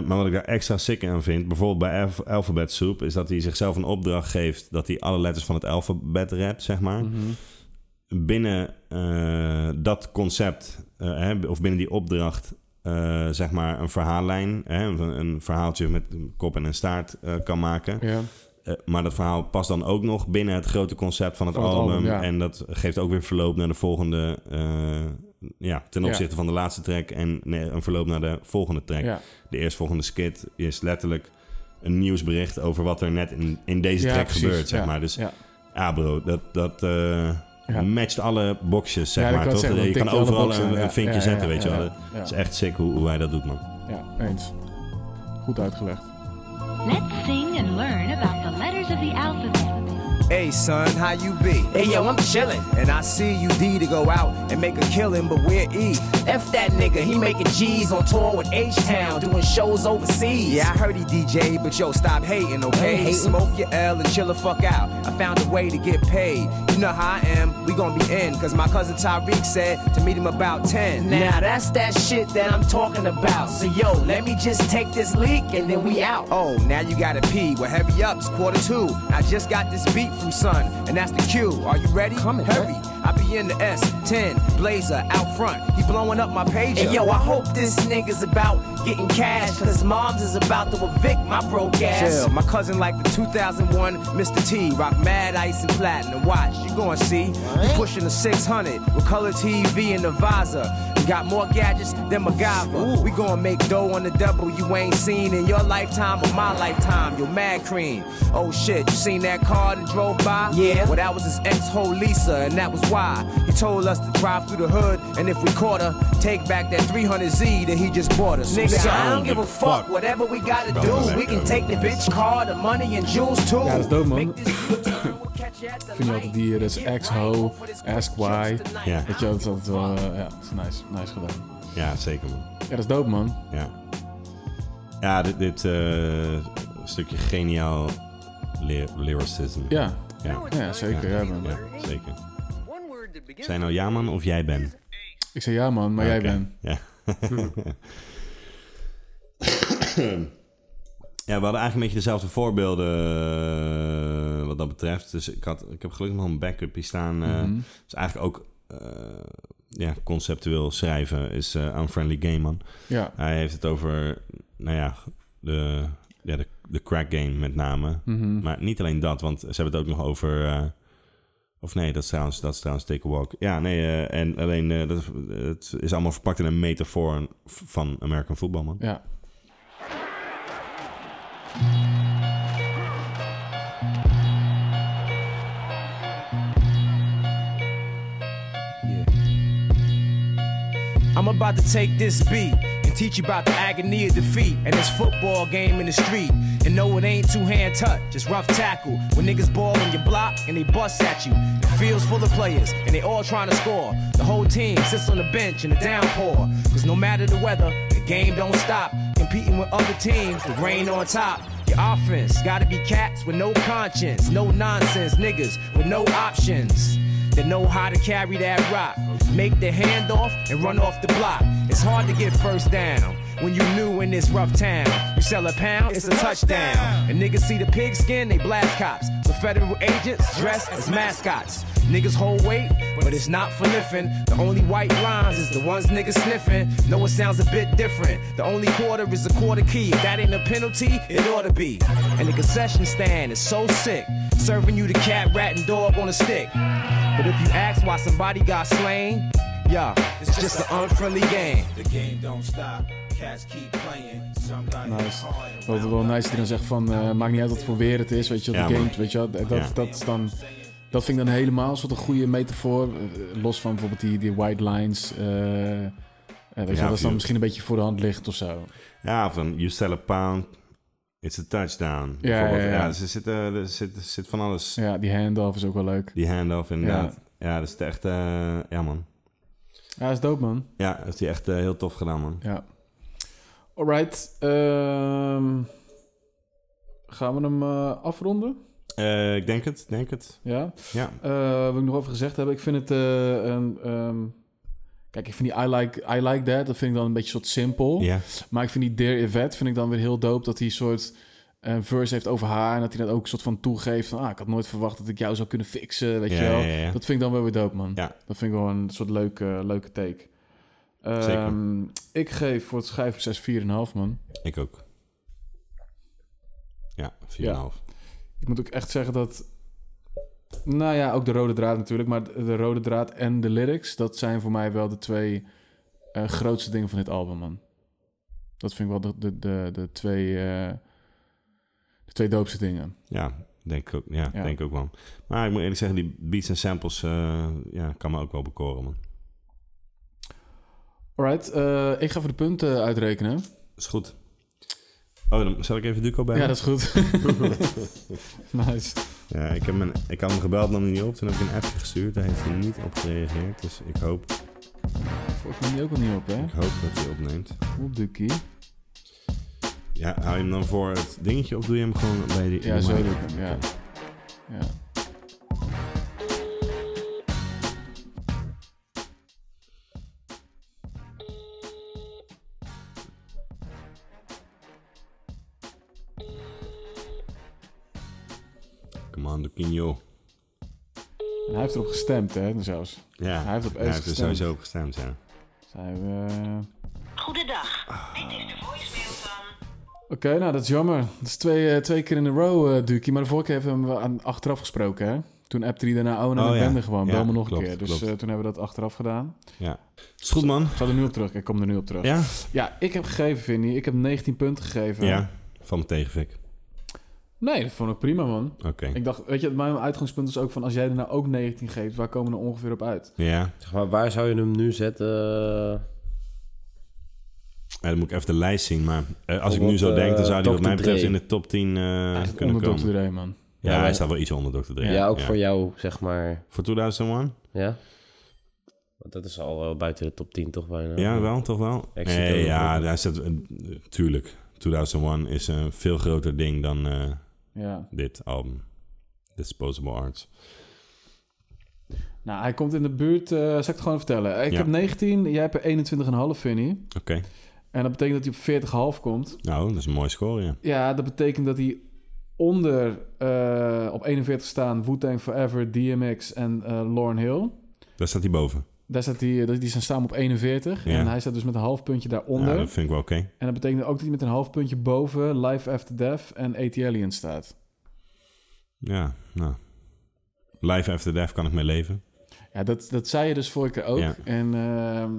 Speaker 1: maar wat ik daar extra sick aan vind, bijvoorbeeld bij Alph- Alphabet Soup, is dat hij zichzelf een opdracht geeft dat hij alle letters van het alfabet rapt, zeg maar.
Speaker 2: Mhm.
Speaker 1: Binnen eh, dat concept, eh, hè, of binnen die opdracht, eh, zeg maar een verhaallijn, hè, een, een verhaaltje met een kop en een staart eh, kan maken.
Speaker 2: Ja.
Speaker 1: Eh, maar dat verhaal past dan ook nog binnen het grote concept van het,
Speaker 2: Van het
Speaker 1: album.
Speaker 2: album, ja.
Speaker 1: En dat geeft ook weer verloop naar de volgende. eh, ja, ten
Speaker 2: Ja.
Speaker 1: opzichte van de laatste track. En nee, een verloop naar de volgende track.
Speaker 2: Ja.
Speaker 1: De eerstvolgende skit is letterlijk een nieuwsbericht over wat er net in, in deze
Speaker 2: Ja,
Speaker 1: track
Speaker 2: precies,
Speaker 1: gebeurt. Zeg Dus,
Speaker 2: ja,
Speaker 1: maar. Dus
Speaker 2: ja.
Speaker 1: ja, bro, dat. dat eh, matcht alle boxjes, zeg
Speaker 2: Ja, ik
Speaker 1: maar.
Speaker 2: wou
Speaker 1: Toch?
Speaker 2: zeggen, dan
Speaker 1: je kan
Speaker 2: tikt hij alle
Speaker 1: overal
Speaker 2: boxen,
Speaker 1: een,
Speaker 2: ja.
Speaker 1: een vinkje
Speaker 2: Ja, ja,
Speaker 1: zetten,
Speaker 2: ja,
Speaker 1: weet
Speaker 2: ja,
Speaker 1: je wel.
Speaker 2: ja.
Speaker 1: Het is echt sick hoe, hoe hij dat doet, man.
Speaker 2: Ja, eens. Goed uitgelegd.
Speaker 16: Let's sing and learn about the letters of the alphabet.
Speaker 5: Hey son, how you be? Hey yo, I'm chillin'. And I see you D to go out and make a killin', but where E? F that nigga, he making G's on tour with H Town, doing shows overseas. Yeah, I heard he DJ, but yo, stop hating, okay?
Speaker 19: Ain't hatin'.
Speaker 5: Smoke your L and chill the fuck out. I found a way to get paid. You know how I am, we gonna be in, cause my cousin Tyreek said to meet him about 10.
Speaker 19: Now that's that shit that I'm talking about. So yo, let me just take this leak and then we out.
Speaker 5: Oh, now you gotta pee. We're heavy ups, quarter two. I just got this beat from Sun, and that's the cue. Are you ready? Coming, hurry. I be in the S10, Blazer out front. He blowing up my pager.
Speaker 19: And yo, I hope this nigga's about getting cash, cause moms is about to evict my broke ass.
Speaker 5: Chill. My cousin like the 2001 Mr. T. Rock mad ice and platinum. Watch, you gonna see. We pushing the 600 with color TV and the visor. We got more gadgets than MacGyver. We gonna make dough on the double you ain't seen in your lifetime or my lifetime. Yo, mad cream. Oh shit, you seen that car that drove by?
Speaker 19: Yeah.
Speaker 5: Well, that was his ex-ho Lisa, and that was why he told us to drive through the hood. And if we caught her, take back that 300Z that he just bought us.
Speaker 19: Nigga, I don't give a fuck. Whatever we gotta
Speaker 5: Bro,
Speaker 19: do,
Speaker 5: let
Speaker 19: we can
Speaker 5: go.
Speaker 19: take the bitch car, the money, and jewels too.
Speaker 2: Ja, dat is dope, man. Ik vind altijd die, eh, dat is ex-ho, ask why.
Speaker 1: Ja.
Speaker 2: Weet je, wel, dat is altijd wel, eh, ja, dat is nice, nice gedaan.
Speaker 1: Ja, zeker, man.
Speaker 2: Ja, dat is dope, man.
Speaker 1: Ja. Ja, dit, dit eh, stukje geniaal ly- lyricism.
Speaker 2: Ja.
Speaker 1: ja.
Speaker 2: Ja, zeker, ja, man.
Speaker 1: zeker. Zijn nou ja, man, of jij bent?
Speaker 2: Ik zei ja, man, maar jij
Speaker 1: Oké,
Speaker 2: bent.
Speaker 1: Ja. ja, we hadden eigenlijk een beetje dezelfde voorbeelden eh, wat dat betreft. Dus ik, had, ik heb gelukkig nog een backup hier staan. eh.
Speaker 2: Mhm.
Speaker 1: Dus eigenlijk ook eh, ja, conceptueel schrijven is eh Unfriendly Game Man.
Speaker 2: Ja.
Speaker 1: Hij heeft het over, nou ja, de, ja, de, de crack game met name.
Speaker 2: Mhm.
Speaker 1: Maar niet alleen dat, want ze hebben het ook nog over... eh, of nee, dat is trouwens, dat is trouwens Take a Walk. Ja, nee, eh, en alleen eh, dat, het is allemaal verpakt in een metafoor van American Football, man.
Speaker 2: Ja.
Speaker 5: I'm about to take this beat and teach you about the agony of defeat and this football game in the street. And no, it ain't two hand touch, just rough tackle. When niggas ball on your block and they bust at you. The field's full of players and they all trying to score. The whole team sits on the bench in a downpour. Cause no matter the weather, the game don't stop. Competing with other teams, the rain on top. Your offense gotta be cats with no conscience, no nonsense, niggas with no options that know how to carry that rock. Make the handoff and run off the block. It's hard to get first down when you new in this rough town. You sell a pound, it's a touchdown. And niggas see the pigskin, they blast cops. So federal agents dress as mascots. Niggas hold weight, but it's not for lifting. The only white lines is the ones niggas sniffing. No, it sounds a bit different. The only quarter is a quarter key. If that ain't a penalty, it ought to be. And the concession stand is so sick, serving you the cat, rat, and dog on a stick. But if you ask why somebody got slain, yeah, it's just an unfriendly game.
Speaker 10: The game don't stop. Cats keep playing. Some guys
Speaker 2: Nice. Wat wel nice die dan zegt van, eh, maakt niet uit wat voor weer het is, weet je, wel,
Speaker 1: Ja,
Speaker 2: de
Speaker 1: man.
Speaker 2: games, weet je, wel, dat,
Speaker 1: Ja.
Speaker 2: dat is dan... Dat vind ik dan helemaal zo'n goede metafoor. eh, Los van bijvoorbeeld die, die white lines. eh, eh, weet je, wel, dat is dan
Speaker 1: view.
Speaker 2: misschien een beetje voor de hand ligt of zo.
Speaker 1: Ja, of dan, you sell a pound, it's a touchdown.
Speaker 2: Ja,
Speaker 1: Bijvoorbeeld.
Speaker 2: ja, ja.
Speaker 1: er, zit, eh, er, zit, er zit van alles.
Speaker 2: Ja, die handoff is ook wel leuk.
Speaker 1: Die handoff, inderdaad. Ja, dat is echt, eh, ja man.
Speaker 2: Ja, dat is dope, man.
Speaker 1: Ja, dat heeft hij echt eh, heel tof gedaan, man.
Speaker 2: Ja. Alright. ehm, gaan we hem eh, afronden?
Speaker 1: Eh, ik denk het, denk het.
Speaker 2: Ja.
Speaker 1: Ja.
Speaker 2: Eh, wat ik nog over gezegd heb, ik vind het. eh, een, ehm, kijk, ik vind die I like, I like That, dat vind ik dan een beetje soort simpel.
Speaker 1: Ja.
Speaker 2: Maar ik vind die Dear Yvette, vind ik dan weer heel dope dat hij een soort een verse heeft over haar. En dat hij dat ook soort van toegeeft van, ah, ik had nooit verwacht dat ik jou zou kunnen fixen, weet
Speaker 1: Ja,
Speaker 2: je wel.
Speaker 1: ja, ja.
Speaker 2: Dat vind ik dan wel weer dope, man.
Speaker 1: Ja.
Speaker 2: Dat vind ik wel een soort leuke, leuke take. Ehm,
Speaker 1: Zeker.
Speaker 2: Ik geef voor het schrijven 6,4,5, man.
Speaker 1: Ik ook. Ja, 4,5.
Speaker 2: Ik moet ook echt zeggen dat. Nou ja, ook de rode draad natuurlijk. Maar de de rode draad en de lyrics, dat zijn voor mij wel de twee eh, grootste dingen van dit album, man. Dat vind ik wel de, de, de, de twee. eh, de twee doopste dingen.
Speaker 1: Ja, Denk ik ook, ja,
Speaker 2: Ja.
Speaker 1: Denk ik ook wel. Maar ik moet eerlijk zeggen, die beats en samples eh, ja, kan me ook wel bekoren, man.
Speaker 2: Alright, eh, ik ga voor de punten uitrekenen.
Speaker 1: Is goed. Oh, dan zal ik even Duco bij.
Speaker 2: Ja, dat is goed. nice.
Speaker 1: Ja, ik, heb mijn, ik had hem gebeld, nam hij niet op. Toen heb ik een appje gestuurd. Daar heeft hij niet op gereageerd. Dus ik hoop,
Speaker 2: Volgens mij die ook al niet op, hè?
Speaker 1: ik hoop dat hij opneemt.
Speaker 2: Op de key.
Speaker 1: Ja, hou je hem dan voor het dingetje of doe je hem gewoon bij die...
Speaker 2: Ja,
Speaker 1: de
Speaker 2: zo
Speaker 1: mic?
Speaker 2: doe ik hem, ja. ja.
Speaker 1: Come on, Duquinho.
Speaker 2: En hij heeft erop gestemd, hè, zelfs.
Speaker 1: Ja,
Speaker 2: hij heeft op
Speaker 1: er
Speaker 2: Ace gestemd.
Speaker 1: sowieso op gestemd, ja.
Speaker 2: Zijn we... eh,
Speaker 16: Goedendag.
Speaker 2: Oké, nou dat is jammer. Dat is twee, eh, twee keer in een row, eh Dukie. Maar de vorige keer hebben we hem aan, achteraf gesproken, hè? Toen appte hij daarna Owen en
Speaker 1: Oh,
Speaker 2: ik
Speaker 1: ja.
Speaker 2: Bende gewoon.
Speaker 1: Ja,
Speaker 2: Bel me nog
Speaker 1: klopt,
Speaker 2: een keer. Dus
Speaker 1: klopt.
Speaker 2: eh, toen hebben we dat achteraf gedaan.
Speaker 1: Ja. Is goed, man.
Speaker 2: Ik zal er nu op terug. Ik kom er nu op terug.
Speaker 1: Ja?
Speaker 2: Ja, ik heb gegeven, Vinny. Ik heb 19 punten gegeven.
Speaker 1: Ja, van me tegenvik.
Speaker 2: Nee, dat vond ik prima, man.
Speaker 1: Oké.
Speaker 2: Ik dacht, weet je, mijn uitgangspunt is ook van... als jij er nou ook 19 geeft, waar komen we nou ongeveer op uit?
Speaker 1: Ja.
Speaker 3: Zeg maar, waar zou je hem nu zetten? eh,
Speaker 1: Ja, dan moet ik even de lijst zien. Maar eh, als ik nu
Speaker 3: Bijvoorbeeld,
Speaker 1: zo denk, dan
Speaker 3: eh,
Speaker 1: zou hij wat
Speaker 3: Dr.
Speaker 1: mij betreft
Speaker 3: Dre.
Speaker 1: in de top 10 eh, kunnen
Speaker 2: onder
Speaker 1: komen.
Speaker 2: Dr. Dre, man.
Speaker 1: Ja,
Speaker 3: Ja,
Speaker 1: hij
Speaker 3: maar-
Speaker 1: staat wel iets onder Dr. Dre.
Speaker 3: Ja, ook voor jou, zeg maar.
Speaker 1: Voor 2001?
Speaker 3: Ja? Want dat is al wel buiten de top 10 toch bijna.
Speaker 1: Ja, wel, toch wel?
Speaker 3: Exit
Speaker 1: Nee,
Speaker 3: ook
Speaker 1: ja,
Speaker 3: nog.
Speaker 1: daar staat... eh, tuurlijk, 2001 is een veel groter ding dan eh,
Speaker 2: Ja.
Speaker 1: dit album. Disposable Arts.
Speaker 2: Nou, hij komt in de buurt... eh zal ik het gewoon vertellen? Ik
Speaker 1: Ja.
Speaker 2: heb 19, jij hebt er 21,5, Vinny.
Speaker 1: Oké.
Speaker 2: En dat betekent dat hij op 40,5 komt.
Speaker 1: Nou, dat is een mooi score, ja.
Speaker 2: Ja, dat betekent dat hij onder eh, op 41 staan Wu-Tang Forever, DMX en eh Lauryn Hill.
Speaker 1: Daar staat hij boven.
Speaker 2: Daar staat hij, eh, dat- die staan samen op 41.
Speaker 1: Ja.
Speaker 2: En hij staat dus met een half puntje
Speaker 1: Ja,
Speaker 2: daaronder.
Speaker 1: dat vind ik wel oké.
Speaker 2: En dat betekent ook dat hij met een half puntje boven Life After Death en AT Alien staat.
Speaker 1: Ja, nou. Live After Death kan ik mee leven.
Speaker 2: Ja, dat, dat zei je dus vorige keer ook.
Speaker 1: Ja.
Speaker 2: En ehm,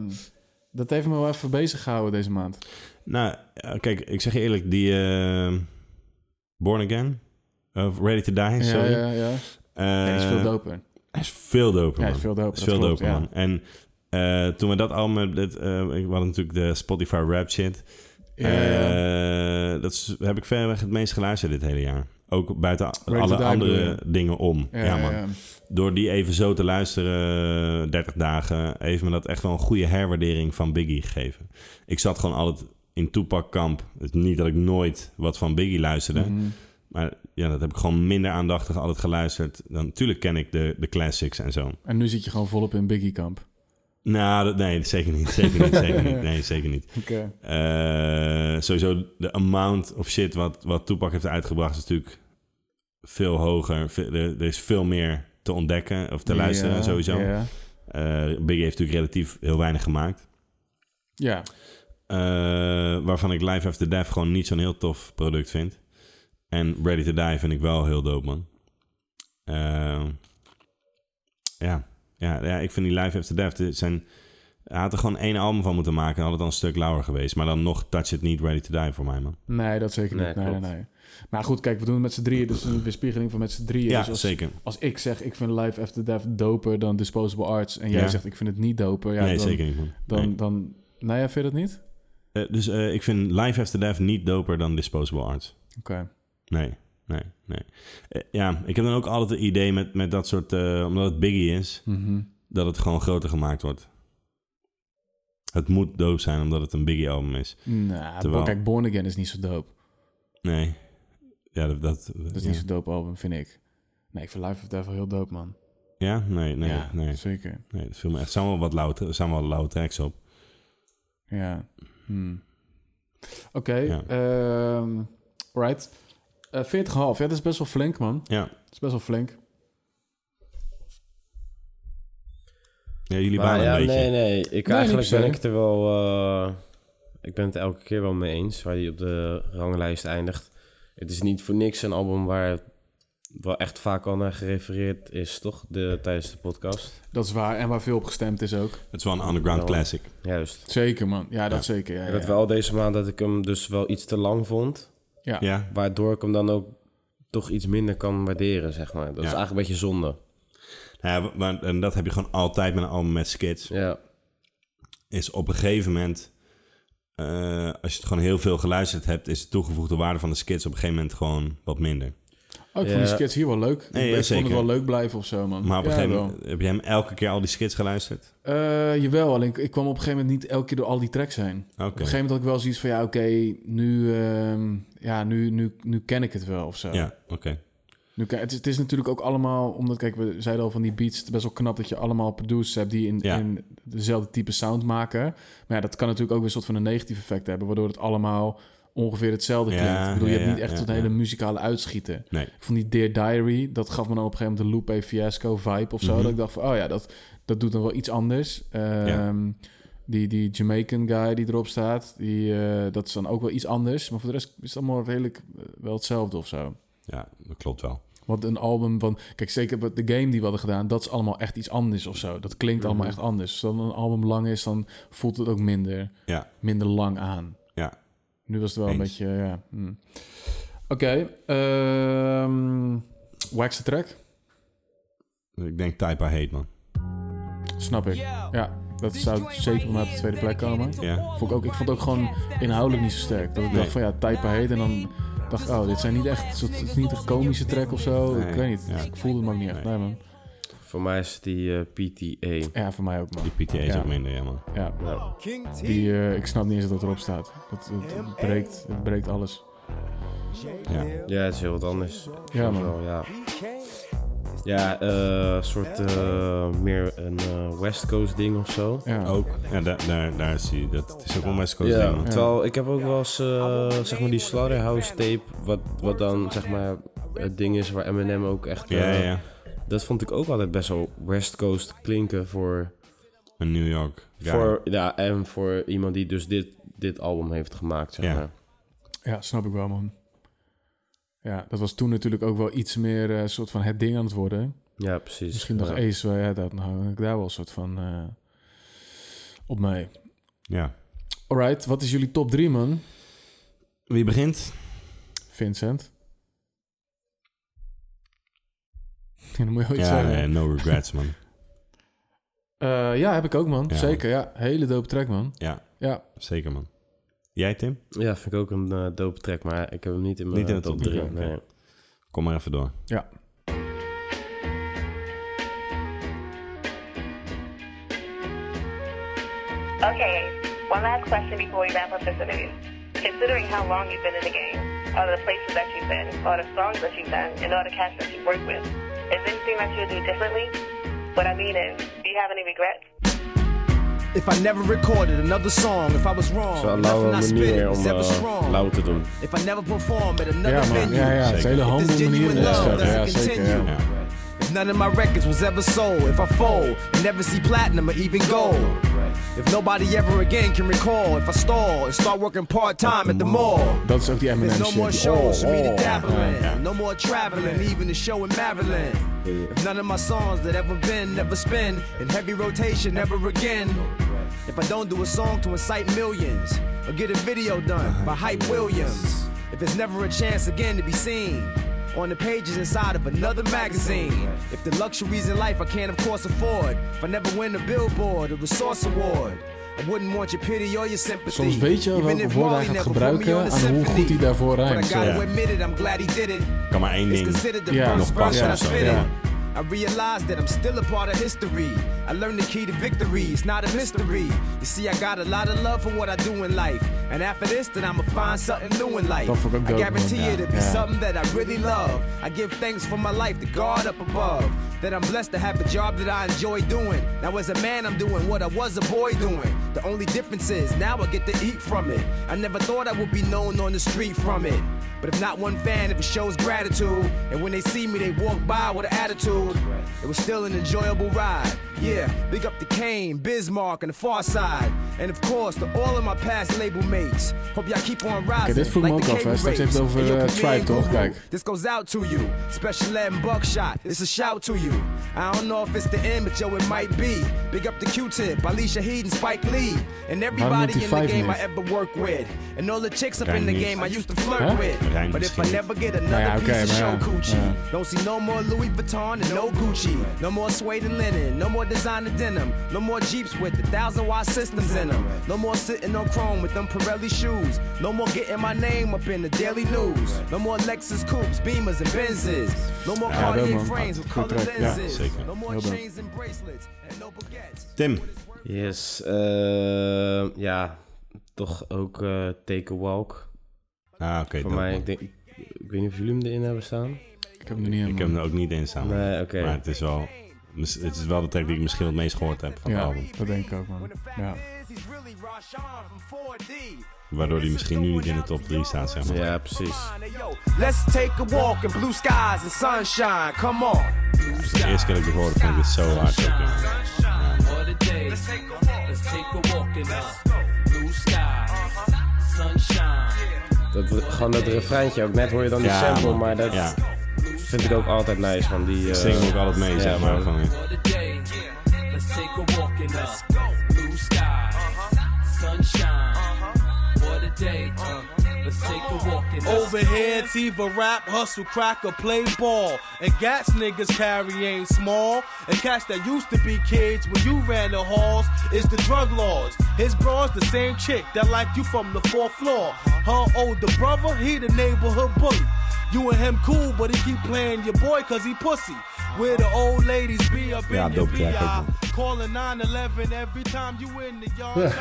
Speaker 2: dat heeft me wel even bezig gehouden deze maand.
Speaker 1: Nou, eh, kijk, ik zeg je eerlijk, die eh, Born Again, of Ready to Die,
Speaker 2: Ja,
Speaker 1: sorry.
Speaker 2: ja, ja.
Speaker 1: Eh,
Speaker 2: Nee, die is veel doper.
Speaker 1: Hij is veel doper,
Speaker 2: Ja, hij
Speaker 1: man.
Speaker 2: is veel doper,
Speaker 1: Is
Speaker 2: dat
Speaker 1: veel
Speaker 2: klopt,
Speaker 1: doper,
Speaker 2: ja.
Speaker 1: man. En eh, toen we dat allemaal, dat, eh, we hadden natuurlijk de Spotify rap shit.
Speaker 2: Ja, ja,
Speaker 1: Eh, dat is- heb ik verreweg het meest geluisterd dit hele jaar. Ook buiten a-
Speaker 2: Ready to
Speaker 1: alle
Speaker 2: Die
Speaker 1: andere
Speaker 2: bedoel je?
Speaker 1: dingen om. Eh, Ja,
Speaker 2: Ja, ja,
Speaker 1: man.
Speaker 2: ja.
Speaker 1: Door die even zo te luisteren, eh, 30 dagen, heeft me dat echt wel een goede herwaardering van Biggie gegeven. Ik zat gewoon altijd in Tupac-kamp. Het is niet dat ik nooit wat van Biggie luisterde.
Speaker 2: Mhm.
Speaker 1: Maar ja, dat heb ik gewoon minder aandachtig altijd geluisterd. Dan, natuurlijk ken ik de, de classics en zo.
Speaker 2: En nu zit je gewoon volop in Biggie Camp.
Speaker 1: Nou, dat, nee, zeker niet. Zeker niet, zeker niet. Nee, zeker niet.
Speaker 2: Oké.
Speaker 1: Eh, sowieso de amount of shit wat, wat Tupac heeft uitgebracht is natuurlijk veel hoger. Ve- Er, er is veel meer te ontdekken of te
Speaker 2: Ja,
Speaker 1: luisteren sowieso.
Speaker 2: ja.
Speaker 1: Eh, Biggie heeft natuurlijk relatief heel weinig gemaakt.
Speaker 2: Ja.
Speaker 1: Eh, waarvan ik Live After Death gewoon niet zo'n heel tof product vind. En Ready to Die vind ik wel heel dope, man. Eh, ja. Ja, ja, ik vind die Live After Death... dit Zijn, hij had er gewoon één album van moeten maken. Dan had het dan een stuk lauwer geweest. Maar dan nog Touch It Niet, Ready to Die voor mij, man.
Speaker 2: Nee, dat zeker
Speaker 3: Nee,
Speaker 2: niet. Nee, nee,
Speaker 3: klopt.
Speaker 2: nee. Maar goed, kijk, we doen het met z'n drieën. Dus een weerspiegeling van met z'n drieën.
Speaker 1: Ja,
Speaker 2: Dus als,
Speaker 1: zeker.
Speaker 2: Als ik zeg, ik vind Life After Death doper dan Disposable Arts... en jij
Speaker 1: Ja.
Speaker 2: zegt, ik vind het niet doper... Ja,
Speaker 1: nee,
Speaker 2: dan,
Speaker 1: zeker niet, man.
Speaker 2: Dan,
Speaker 1: Nee.
Speaker 2: dan, nou ja, vind je dat niet?
Speaker 1: Eh, dus eh, ik vind Live After Death niet doper dan Disposable Arts.
Speaker 2: Oké.
Speaker 1: Nee, nee, nee. Eh, ja, ik heb dan ook altijd het idee met, met dat soort... eh, omdat het Biggie is,
Speaker 2: Mhm.
Speaker 1: dat het gewoon groter gemaakt wordt. Het moet dope zijn omdat het een Biggie-album is.
Speaker 2: Nou,
Speaker 1: Terwijl-
Speaker 2: kijk, Born Again is niet zo dope.
Speaker 1: Nee. Ja, dat... Dat,
Speaker 2: Dat is
Speaker 1: ja.
Speaker 2: niet zo'n dope album, vind ik. Nee, ik vind Life After Death wel heel dope, man.
Speaker 1: Ja? Nee, nee,
Speaker 2: Ja,
Speaker 1: nee.
Speaker 2: zeker.
Speaker 1: Nee, dat viel me echt... Er staan wel wat lauwe, er staan wel lauwe tracks op.
Speaker 2: Ja. Hmm. Oké,
Speaker 1: Ja.
Speaker 2: ehm, right. Eh 40,5. Ja, dat is best wel flink, man.
Speaker 1: Ja.
Speaker 2: Dat is best wel flink.
Speaker 1: Ja, jullie
Speaker 3: Maar
Speaker 1: balen
Speaker 3: ja,
Speaker 1: een beetje.
Speaker 3: Nee, nee. Ik,
Speaker 2: Nee,
Speaker 3: eigenlijk
Speaker 2: niet per
Speaker 3: ben
Speaker 2: se.
Speaker 3: ik het er wel... eh, ik ben het elke keer wel mee eens waar hij op de ranglijst eindigt. Het is niet voor niks een album waar wel echt vaak al naar gerefereerd is, toch? De, tijdens de podcast.
Speaker 2: Dat is waar. En waar veel op gestemd is ook.
Speaker 1: Het is wel een underground
Speaker 3: Wel.
Speaker 1: classic.
Speaker 3: Juist.
Speaker 2: Zeker, man. Ja, dat
Speaker 1: Ja.
Speaker 2: zeker. Ja,
Speaker 3: Ik had
Speaker 2: ja.
Speaker 3: wel deze maand dat ik hem dus wel iets te lang vond.
Speaker 2: Ja.
Speaker 1: Ja.
Speaker 3: Waardoor ik hem dan ook toch iets minder kan waarderen, zeg maar. Dat is
Speaker 1: Ja.
Speaker 3: eigenlijk een beetje zonde.
Speaker 1: Nou ja, maar, en dat heb je gewoon altijd met een album met skits. Is op een gegeven moment, eh, als je het gewoon heel veel geluisterd hebt, is de toegevoegde waarde van de skits op een gegeven moment gewoon wat minder.
Speaker 2: Oh, ik vond die skits hier wel leuk.
Speaker 1: Nee,
Speaker 2: ik
Speaker 1: ja,
Speaker 2: vond
Speaker 1: zeker.
Speaker 2: het wel leuk blijven of zo, man.
Speaker 1: Maar op een
Speaker 2: Ja,
Speaker 1: gegeven
Speaker 2: wel.
Speaker 1: moment, heb je hem elke keer al die skits geluisterd?
Speaker 2: Eh, jawel, alleen ik, ik kwam op een gegeven moment niet elke keer door al die tracks heen. Op een gegeven moment had ik wel zoiets van, ja, oké, nu, ehm, ja, nu, nu, nu ken ik het wel of zo.
Speaker 1: Ja, oké.
Speaker 2: Nu, kijk, het, is, het is natuurlijk ook allemaal, omdat, kijk, we zeiden al van die beats, het is best wel knap dat je allemaal producers hebt die in,
Speaker 1: Ja.
Speaker 2: in dezelfde type sound maken. Maar ja, dat kan natuurlijk ook weer een soort van een negatief effect hebben, waardoor het allemaal ongeveer hetzelfde
Speaker 1: Ja,
Speaker 2: klinkt. Ik bedoel,
Speaker 1: ja,
Speaker 2: je hebt
Speaker 1: ja,
Speaker 2: niet echt
Speaker 1: ja,
Speaker 2: tot een
Speaker 1: ja.
Speaker 2: hele muzikale uitschieten.
Speaker 1: Nee.
Speaker 2: Ik vond die Dear Diary, dat gaf me dan op een gegeven moment de Lupe Fiasco vibe of zo.
Speaker 1: Mhm.
Speaker 2: Dat ik dacht van, oh ja, dat, dat doet dan wel iets anders.
Speaker 1: Ja.
Speaker 2: Ehm, die, die Jamaican guy die erop staat, die, eh, dat is dan ook wel iets anders. Maar voor de rest is het allemaal redelijk eh, wel hetzelfde of zo.
Speaker 1: Ja, dat klopt wel.
Speaker 2: Want een album van... Kijk, zeker wat de game die we hadden gedaan... dat is allemaal echt iets anders of zo. Dat klinkt allemaal
Speaker 1: Mhm.
Speaker 2: echt anders. Dus dan een album lang is, dan voelt het ook minder,
Speaker 1: Ja.
Speaker 2: minder lang aan.
Speaker 1: Ja.
Speaker 2: Nu was het wel een
Speaker 1: Eens.
Speaker 2: beetje... Ja, hm. Oké, ehm wax the track.
Speaker 1: Ik denk Typa Hate, man.
Speaker 2: Snap ik. Ja, dat zou zeker bij mij op de tweede plek komen.
Speaker 1: Ja.
Speaker 2: Vond ik, ook, ik vond het ook gewoon inhoudelijk niet zo sterk. Dat ik
Speaker 1: Nee.
Speaker 2: dacht van ja, Type heet en dan dacht ik, oh, dit zijn niet echt, het is niet een komische track of zo.
Speaker 3: Nee.
Speaker 2: Ik weet niet,
Speaker 3: Ja.
Speaker 2: ik voelde hem ook niet echt. Nee, man.
Speaker 3: Voor mij is die eh, PTA.
Speaker 2: Ja, voor mij ook, man.
Speaker 1: Die PTA is
Speaker 2: Ja.
Speaker 1: ook minder, ja, man.
Speaker 2: Ja. Die, eh, ik snap niet eens dat het erop staat. Het, het, het breekt, het breekt alles.
Speaker 1: Ja.
Speaker 3: ja, het is heel wat anders.
Speaker 2: Ja,
Speaker 3: Soms
Speaker 2: man.
Speaker 3: wel, ja. Ja, eh, een soort eh, meer een eh, West Coast ding of zo.
Speaker 2: Ja.
Speaker 1: Ook. Ja, Oh. daar, daar, daar zie je dat. Het is ook een West Coast
Speaker 3: Ja,
Speaker 1: ding, man.
Speaker 3: Dus terwijl ik heb ook wel eens, eh, zeg maar, die Slaughterhouse tape, wat, wat dan, zeg maar, het ding is waar Eminem ook echt...
Speaker 1: Ja,
Speaker 3: eh,
Speaker 1: ja.
Speaker 3: Dat vond ik ook altijd best wel West Coast klinken voor...
Speaker 1: Een New York guy.
Speaker 3: Voor, ja, en voor iemand die dus dit, dit album heeft gemaakt, zeg
Speaker 1: Ja.
Speaker 3: maar.
Speaker 2: Ja, snap ik wel, man. Ja, dat was toen natuurlijk ook wel iets meer eh, soort van het ding aan het worden.
Speaker 3: Ja, precies.
Speaker 2: Misschien nog
Speaker 3: Ja.
Speaker 2: eens, wel, ja, dat, nou, ik daar wel een soort van eh, op mee.
Speaker 1: Ja.
Speaker 2: Alright, wat is jullie top 3, man?
Speaker 1: Wie begint?
Speaker 2: Vincent. Dan moet je wel iets
Speaker 1: Ja,
Speaker 2: zeggen.
Speaker 1: nee, no regrets, man.
Speaker 2: Eh, ja, heb ik ook, man.
Speaker 1: Ja,
Speaker 2: Zeker, ja. Hele dope track, man.
Speaker 1: Ja.
Speaker 2: Ja.
Speaker 1: Zeker, man. Jij, Tim?
Speaker 3: Ja, vind ik ook een eh, dope track, maar ik heb hem niet in mijn
Speaker 1: Niet in de
Speaker 3: top
Speaker 1: top
Speaker 3: 3.
Speaker 1: drie, oké.
Speaker 3: Nee.
Speaker 1: Kom maar even door.
Speaker 2: Ja.
Speaker 17: Okay, one last question before we wrap up this interview. Considering how long you've been in the game, or the places that you've been, or the songs that you've done, and all the cats that you've worked with, is there anything that you would do differently? What I mean is, do you have any regrets?
Speaker 5: If I never recorded another song, if I was wrong,
Speaker 3: Zo'n
Speaker 5: nothing
Speaker 3: lauwe
Speaker 5: I spit
Speaker 3: manier
Speaker 5: it was
Speaker 3: om
Speaker 5: ever
Speaker 3: eh
Speaker 5: strong.
Speaker 3: lauw te doen.
Speaker 5: If I never perform at another
Speaker 2: Ja, man.
Speaker 5: venue,
Speaker 2: Ja, ja. Het is een hele
Speaker 5: if
Speaker 2: handel
Speaker 5: this
Speaker 2: manier.
Speaker 5: genuine
Speaker 2: Ja,
Speaker 5: love
Speaker 2: zeker. Ja,
Speaker 5: doesn't
Speaker 2: zeker.
Speaker 5: continue,
Speaker 2: Ja.
Speaker 5: If none of my records was ever sold, if I fold, and never see platinum or even gold. If nobody ever again can recall, if I stall and start working part time at the mall.
Speaker 2: Dat is ook die Eminem
Speaker 5: There's no
Speaker 2: shit.
Speaker 5: more
Speaker 2: die-
Speaker 5: shows
Speaker 2: oh,
Speaker 5: for me to
Speaker 2: oh.
Speaker 5: dabble in.
Speaker 2: Ja.
Speaker 5: No more traveling, even the show in Maryland. None of my songs that ever been, never spin in heavy rotation ever again. If I don't do a song to incite millions or get a video
Speaker 2: Uh-huh.
Speaker 5: done by Hype Williams, if there's never a chance again to be seen on the pages inside of another magazine, if the luxuries in life I can't of course afford, if I never win a Billboard or a Source Award. I wouldn't want your pity or your sympathy.
Speaker 2: Soms weet je wel
Speaker 5: Even
Speaker 2: welke
Speaker 5: if
Speaker 2: woorden
Speaker 5: Marley
Speaker 2: hij gaat
Speaker 5: never put me on
Speaker 2: gebruiken
Speaker 5: the
Speaker 2: en hoe
Speaker 5: symphony.
Speaker 2: goed hij daarvoor
Speaker 5: But I
Speaker 2: rijmt.
Speaker 5: gotta
Speaker 2: Ja.
Speaker 5: admit it, I'm glad he did it.
Speaker 1: Kan maar één
Speaker 5: It's
Speaker 1: ding
Speaker 5: considered the
Speaker 1: Ja,
Speaker 5: first
Speaker 1: nog passen
Speaker 5: verse I
Speaker 1: of zo.
Speaker 5: spit
Speaker 1: Ja.
Speaker 5: it. I realize that I'm still a part of history. I learned the key to victory. It's not a mystery. You see, I got a lot of love for what I do in life. And after this, then I'ma find something new in life.
Speaker 2: Don't forget
Speaker 5: I
Speaker 2: God,
Speaker 5: guarantee
Speaker 2: man.
Speaker 5: it'll be
Speaker 2: Yeah.
Speaker 5: something that I really love. I give thanks for my life to God up above. That I'm blessed to have a job that I enjoy doing. Now, as a man, I'm doing what I was a boy doing. The only difference is now I get to eat from it. I never thought I would be known on the street from it. But if not one fan, if it shows gratitude, and when they see me, they walk by with an attitude, it was still an enjoyable ride. Yeah, big up to Kane, Bismarck, and the Far Side. And of course, to all of my past label mates. Hope y'all keep on rising.
Speaker 2: dit vroeg me
Speaker 5: like
Speaker 2: ook
Speaker 5: the
Speaker 2: af, hè.
Speaker 5: cable
Speaker 2: Straks heeft het
Speaker 5: rays.
Speaker 2: over,
Speaker 5: And your
Speaker 2: eh,
Speaker 5: comedian
Speaker 2: Tribe, toch?
Speaker 5: guru.
Speaker 2: Kijk.
Speaker 5: This goes out to you. Special Ed and Buckshot. It's a shout to you. you. I don't know if it's the end, but yo, it might be. Big up the Q-Tip, Alicia Heed and Spike Lee, and everybody in the
Speaker 2: 95
Speaker 5: game I
Speaker 2: neef?
Speaker 5: ever worked with, and all the chicks up
Speaker 2: Rijn
Speaker 5: in the
Speaker 2: neef.
Speaker 5: game I used to flirt
Speaker 2: Huh?
Speaker 5: with.
Speaker 2: Rijn
Speaker 5: But if I
Speaker 2: misschien.
Speaker 5: never get
Speaker 2: Nou
Speaker 5: another
Speaker 2: ja,
Speaker 5: piece
Speaker 2: oké,
Speaker 5: of
Speaker 2: maar
Speaker 5: show
Speaker 2: ja,
Speaker 5: coochie,
Speaker 2: ja.
Speaker 5: don't see no more Louis Vuitton and no Gucci, no more suede and linen, no more designer denim, no more Jeeps with the thousand watt systems in them, no more sitting on chrome with them Pirelli shoes, no more getting my name up in the daily news, no more Lexus coupes, Beamers and Benzes, no more
Speaker 2: Ja, wel,
Speaker 5: Cartier
Speaker 2: man.
Speaker 5: frames with
Speaker 2: Goed
Speaker 5: color
Speaker 2: track, ja.
Speaker 5: lenses,
Speaker 2: Zeker.
Speaker 5: no more
Speaker 2: Heel leuk.
Speaker 5: chains and bracelets, and no baguettes.
Speaker 1: Tim.
Speaker 3: Yes, eh, ja, toch ook eh, Take a Walk.
Speaker 1: Ah, oké.
Speaker 3: Voor
Speaker 1: dat
Speaker 3: mij,
Speaker 1: wel.
Speaker 3: ik, denk, ik weet niet of jullie hem erin hebben staan.
Speaker 2: Ik heb hem er niet
Speaker 1: Ik heb hem er ook niet in staan.
Speaker 3: Nee, oké.
Speaker 1: Maar het is wel... Het is wel de track die ik misschien het meest gehoord heb van het
Speaker 2: Ja,
Speaker 1: album.
Speaker 2: dat denk ik ook, man. Ja.
Speaker 1: Waardoor die misschien nu niet in de top 3 staat, zeg maar.
Speaker 3: Ja, precies.
Speaker 5: Let's take a walk in blue skies and sunshine. Come on.
Speaker 1: De eerste keer dat ik dit hoorde, vond ik dit zo hard. ook, ja.
Speaker 20: All the days. Let's take a walk. Let's take a walk in the blue sky. Uh-huh. Sunshine.
Speaker 3: Dat, gewoon dat refreintje ook. Net hoor je dan die
Speaker 1: Ja,
Speaker 3: sample,
Speaker 1: man.
Speaker 3: maar dat
Speaker 1: Ja.
Speaker 3: vind ik ook altijd nice. Van die,
Speaker 1: Ik
Speaker 3: eh,
Speaker 1: zing ook altijd mee,
Speaker 3: ja,
Speaker 1: zeg maar.
Speaker 3: man.
Speaker 1: Van,
Speaker 20: All the days. Let's take a walk in the blue sky. Sunshine.
Speaker 14: Uh-huh.
Speaker 20: What a day. uh, Let's take a walk in the
Speaker 14: Overheads either rap, hustle, crack, or play ball. And gats niggas carry ain't small. And cats that used to be kids when you ran the halls is the drug lords. His bro's the same chick that like you from the fourth floor. Her older brother, he the neighborhood bully. You and him cool, but he keep playing your boy cause he pussy. Where the old ladies be up
Speaker 1: Ja,
Speaker 14: in your
Speaker 1: dope track ook, man.
Speaker 14: BI. Calling 911 every time you in the yard.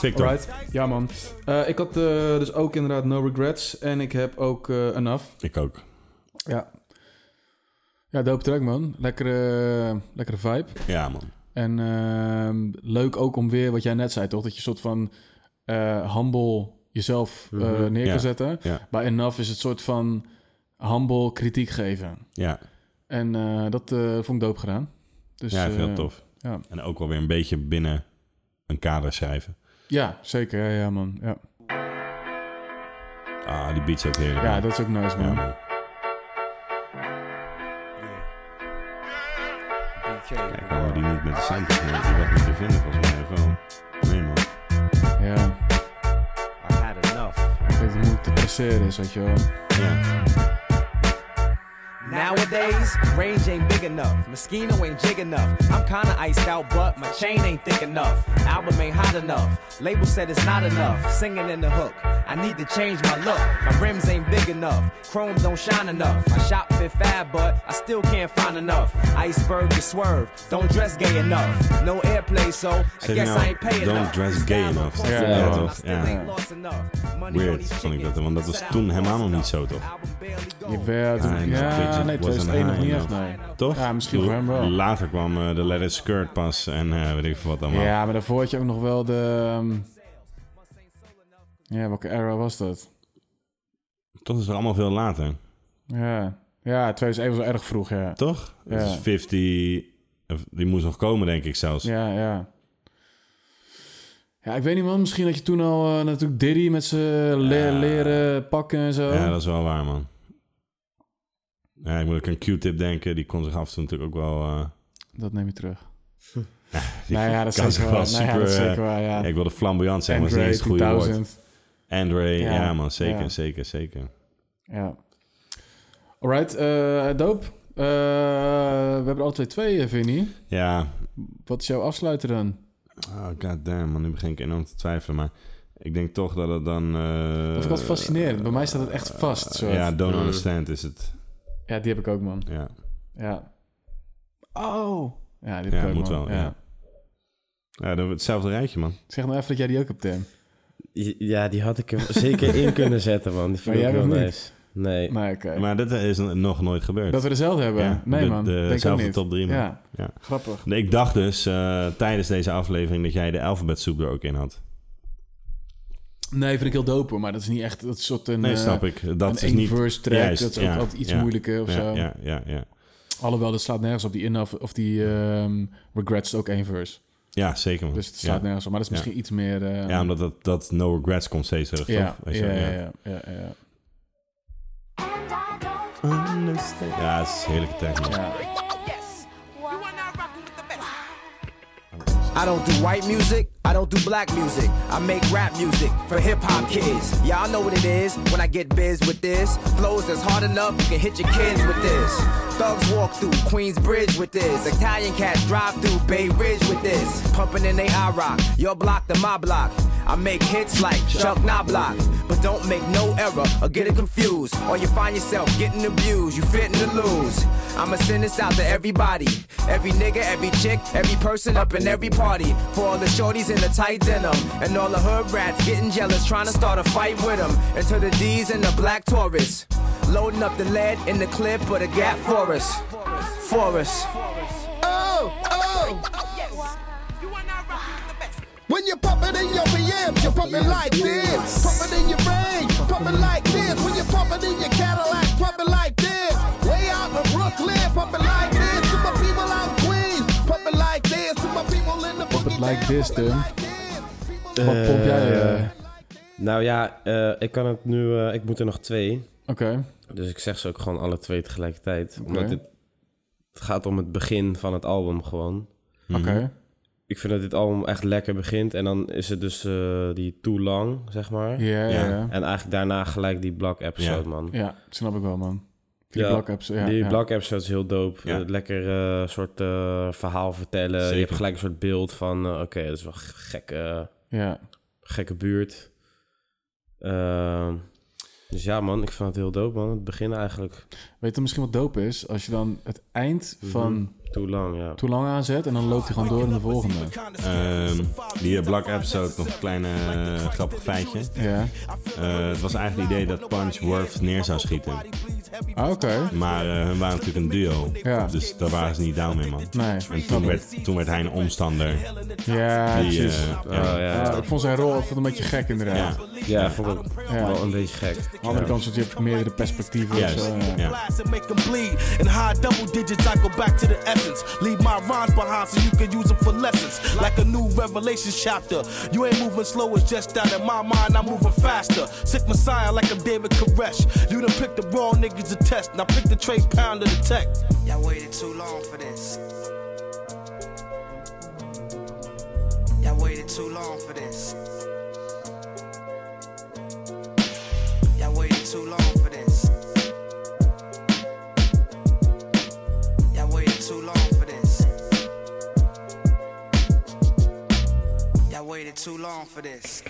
Speaker 1: Victor.
Speaker 2: Alright. Ja, man. Eh, ik had eh, dus ook inderdaad No Regrets. En ik heb ook eh, Enough.
Speaker 1: Ik ook.
Speaker 2: Ja. Ja, dope track, man. Lekkere, lekkere vibe.
Speaker 1: Ja, man.
Speaker 2: En ehm, leuk ook om weer, wat jij net zei, toch? Dat je een soort van eh, humble jezelf eh,
Speaker 1: Mhm.
Speaker 2: neer kan
Speaker 1: Ja,
Speaker 2: zetten.
Speaker 1: ja.
Speaker 2: Bij Enough is het soort van humble kritiek geven.
Speaker 1: Ja.
Speaker 2: En eh, dat eh, vond ik dope gedaan. Dus,
Speaker 1: ja, ik vind
Speaker 2: eh,
Speaker 1: dat tof.
Speaker 2: Ja.
Speaker 1: En ook wel weer een beetje binnen een kader schrijven.
Speaker 2: ja, zeker. Ja, ja, man. Ja.
Speaker 1: Ah, die beats ook heerlijk.
Speaker 2: ja, dat is ook nice, man.
Speaker 1: Kijk, waarom we die niet met de samples meer? Die was niet te vinden volgens mij. Of wel? Nee, man.
Speaker 2: Ja,
Speaker 5: I had enough.
Speaker 2: ik weet hoe moeilijk te traceren is, weet je wel.
Speaker 5: Nowadays, range ain't big enough. Mosquito ain't jig enough. I'm kinda iced out, but my chain ain't thick enough. Album ain't hot enough. Label said it's not enough. Singing in the hook. I need to change my look. My rims ain't big enough. Chrome don't shine enough. My shop fit fab, but I still can't find enough. Iceberg to swerve. Don't dress gay enough. No airplay, so I
Speaker 1: Zeg je
Speaker 5: guess I
Speaker 1: nou,
Speaker 5: ain't paying
Speaker 1: don't
Speaker 5: enough.
Speaker 1: dress gay enough.
Speaker 2: Ja,
Speaker 1: ja,
Speaker 2: man.
Speaker 1: toch? Ja. Weird vond ik dat, want dat was toen helemaal nog niet zo, toch?
Speaker 2: Jawel, toen-
Speaker 1: High enough, bitch,
Speaker 2: ja,
Speaker 1: it
Speaker 2: nee,
Speaker 1: wasn't
Speaker 2: 2001 nog
Speaker 1: high
Speaker 2: niet echt,
Speaker 1: enough.
Speaker 2: nee.
Speaker 1: Toch?
Speaker 2: Ja, misschien voor hem wel.
Speaker 1: Later kwam eh, de Let It Skirt pas en eh, weet ik veel wat allemaal.
Speaker 2: Ja, maar daarvoor had je ook nog wel de... ehm, Ja, welke era was dat?
Speaker 1: Toch is het allemaal veel later.
Speaker 2: Ja, ja 2001 was wel erg vroeg, ja.
Speaker 1: Toch?
Speaker 2: Ja.
Speaker 1: Dus 50, of die moest nog komen, denk ik zelfs.
Speaker 2: Ja, ja. Ja, ik weet niet man, misschien dat je toen al eh, natuurlijk Diddy met zijn le- leren pakken en zo.
Speaker 1: Ja, dat is wel waar, man. Ja, ik moet ook aan Q-tip denken. Die kon zich af en toe natuurlijk ook wel... eh,
Speaker 2: Dat neem je terug.
Speaker 1: die
Speaker 2: nou ja, dat is
Speaker 1: kan
Speaker 2: zeker
Speaker 1: zich
Speaker 2: waar. Nou ja, dat is
Speaker 1: eh,
Speaker 2: zeker waar, ja.
Speaker 1: Ik wilde flamboyant zeggen, maar dat is niet eens het goede
Speaker 2: Andre
Speaker 1: woord.
Speaker 2: 2000.
Speaker 1: Andre, ja,
Speaker 2: Ja,
Speaker 1: man, zeker,
Speaker 2: ja.
Speaker 1: zeker, zeker.
Speaker 2: Ja. Alright, eh dope. Eh, we hebben er alle twee twee, eh, Vinnie.
Speaker 1: Ja,
Speaker 2: Wat is jouw afsluiter dan?
Speaker 1: oh, god damn, man, nu begin ik enorm te twijfelen, maar ik denk toch dat het dan... eh,
Speaker 2: Dat vind ik altijd fascinerend. Bij mij staat het echt vast. soort.
Speaker 1: ja, Don't Understand is het.
Speaker 2: Ja, die heb ik ook, man.
Speaker 1: Ja,
Speaker 2: Ja. Oh. Ja, die heb
Speaker 1: ja
Speaker 2: ik ook,
Speaker 1: moet
Speaker 2: man.
Speaker 1: wel, ja. ja. dan hebben we hetzelfde rijtje, man.
Speaker 2: Zeg nou even dat jij die ook hebt, Tim.
Speaker 3: Ja, die had ik er zeker in kunnen zetten, man. Die
Speaker 2: Maar
Speaker 3: vind ik
Speaker 2: jij
Speaker 3: ook heel
Speaker 2: hebt hem
Speaker 3: nice. Nee.
Speaker 2: Nee, oké.
Speaker 1: Maar dat is n- nog nooit gebeurd.
Speaker 2: Dat we dezelfde hebben?
Speaker 1: Ja,
Speaker 2: nee,
Speaker 1: de-
Speaker 2: man.
Speaker 1: de-
Speaker 2: Denk ik ook
Speaker 1: Dezelfde
Speaker 2: niet.
Speaker 1: top 3, man.
Speaker 2: Ja.
Speaker 1: Ja.
Speaker 2: Grappig.
Speaker 1: Nee, ik dacht dus eh, tijdens deze aflevering dat jij de alfabetsoep er ook in had.
Speaker 2: Nee, vind ik heel dope, hoor, maar dat is niet echt dat soort een...
Speaker 1: Nee,
Speaker 2: eh,
Speaker 1: snap ik. Dat
Speaker 2: een
Speaker 1: is niet...
Speaker 2: verse track,
Speaker 1: Juist,
Speaker 2: dat is ook
Speaker 1: ja,
Speaker 2: altijd iets
Speaker 1: ja,
Speaker 2: moeilijker of
Speaker 1: ja,
Speaker 2: zo.
Speaker 1: Ja, ja, ja.
Speaker 2: Alhoewel, dat slaat nergens op. Die in of, of die ehm, regrets is ook één verse.
Speaker 1: Ja, zeker. Man.
Speaker 2: Dus het slaat
Speaker 1: Ja.
Speaker 2: nergens op. Maar dat is
Speaker 1: Ja.
Speaker 2: misschien iets meer... eh,
Speaker 1: Ja, omdat dat, dat no regrets komt steeds terug,
Speaker 2: ja,
Speaker 1: toch?
Speaker 2: ja,
Speaker 1: Weet je wel,
Speaker 2: ja, ja, ja, ja.
Speaker 1: Ja, het is een heerlijke tijd, man.
Speaker 2: Ja.
Speaker 5: I don't do white music, I don't do black music. I make rap music for hip hop kids. Y'all know what it is when I get biz with this. Flows that's hard enough, you can hit your kids with this. Thugs walk through Queens Bridge with this. Italian cats drive through Bay Ridge with this. Pumping in they I rock, your block to my block. I make hits like Chuck Knoblock, but don't make no error or get it confused. Or you find yourself getting abused, you fitting to lose. I'ma send this out to everybody, every nigga, every chick, every person up in every party. For all the shorties in the tight denim, and all the hood rats getting jealous, trying to start a fight with them. And to the D's and the black Taurus, loading up the lead in the clip or the gap for us. For us.
Speaker 4: Oh, oh. When you pump it in your BM, you pump it like this. Pump it in your brain, pump it like this. When you pump it in your Cadillac, pump it like this. Way out in Brooklyn, pump it like this. To my people out in Queens, pump it like this. To my people in the
Speaker 2: Pop it like this, Uh, Dum.
Speaker 3: Eh,
Speaker 2: Wat pomp jij? eh?
Speaker 3: Nou ja, eh, ik kan het nu. eh, ik moet er nog twee.
Speaker 2: Oké.
Speaker 3: Dus ik zeg ze ook gewoon alle twee tegelijkertijd.
Speaker 2: Oké.
Speaker 3: Omdat het, het gaat om het begin van het album gewoon.
Speaker 2: Oké.
Speaker 3: Ik vind dat dit album echt lekker begint. En dan is het dus eh, die Too Long, zeg maar.
Speaker 2: Ja, ja, Ja. ja.
Speaker 3: En eigenlijk daarna gelijk die Black episode, man.
Speaker 2: Ja, snap ik wel, man. Die
Speaker 3: Ja,
Speaker 2: Black Apps. Ja,
Speaker 3: die
Speaker 2: ja.
Speaker 3: Black episode is heel dope.
Speaker 2: Ja.
Speaker 3: Eh, lekker eh, soort eh, verhaal vertellen. Je
Speaker 2: Zeker.
Speaker 3: hebt gelijk een soort beeld van... eh, Oké, dat is wel een gekke,
Speaker 2: Ja.
Speaker 3: gekke buurt. Ehm, dus ja, man. Ik vind het heel dope, man. Het begin eigenlijk.
Speaker 2: Weet je misschien wat dope is? Als je dan het eind
Speaker 3: Mhm.
Speaker 2: van
Speaker 3: Too Lang, ja.
Speaker 2: Too Lang aanzet en dan loopt hij gewoon door in de volgende.
Speaker 1: Ehm, die eh, Black Episode, nog een klein eh, grappig feitje.
Speaker 2: Ja.
Speaker 1: Eh, het was eigenlijk het idee dat Punch Worth neer zou schieten.
Speaker 2: Ah, Oké.
Speaker 1: Maar eh, hun waren natuurlijk een duo.
Speaker 2: Ja.
Speaker 1: Dus daar waren ze niet down mee, man.
Speaker 2: Nee.
Speaker 1: En toen werd, toen werd hij een omstander.
Speaker 2: Ja,
Speaker 1: Die,
Speaker 2: precies.
Speaker 1: eh,
Speaker 3: Oh,
Speaker 2: ja.
Speaker 1: ja.
Speaker 2: Ja, ik vond zijn rol altijd een beetje gek inderdaad.
Speaker 1: Ja.
Speaker 3: Ja, vond ik ook wel een beetje gek.
Speaker 2: Aan de andere
Speaker 3: Ja.
Speaker 2: kant zat je hebt meerdere perspectieven.
Speaker 3: Juist,
Speaker 2: Zo,
Speaker 3: ja.
Speaker 21: blast and make them bleed. In high double digits, I go back to the essence. Leave my rhymes behind so you can use them for lessons. Like a new revelation chapter. You ain't moving slow, it's just that in my mind I'm moving faster. Sick Messiah like I'm David Koresh. You done picked the wrong niggas to test. Now pick the Trey Pound of the tech.
Speaker 22: Y'all waited too long for this. Y'all waited too long for this. Y'all waited too long for this. Y'all waited too long for this. Y'all waited too long for this.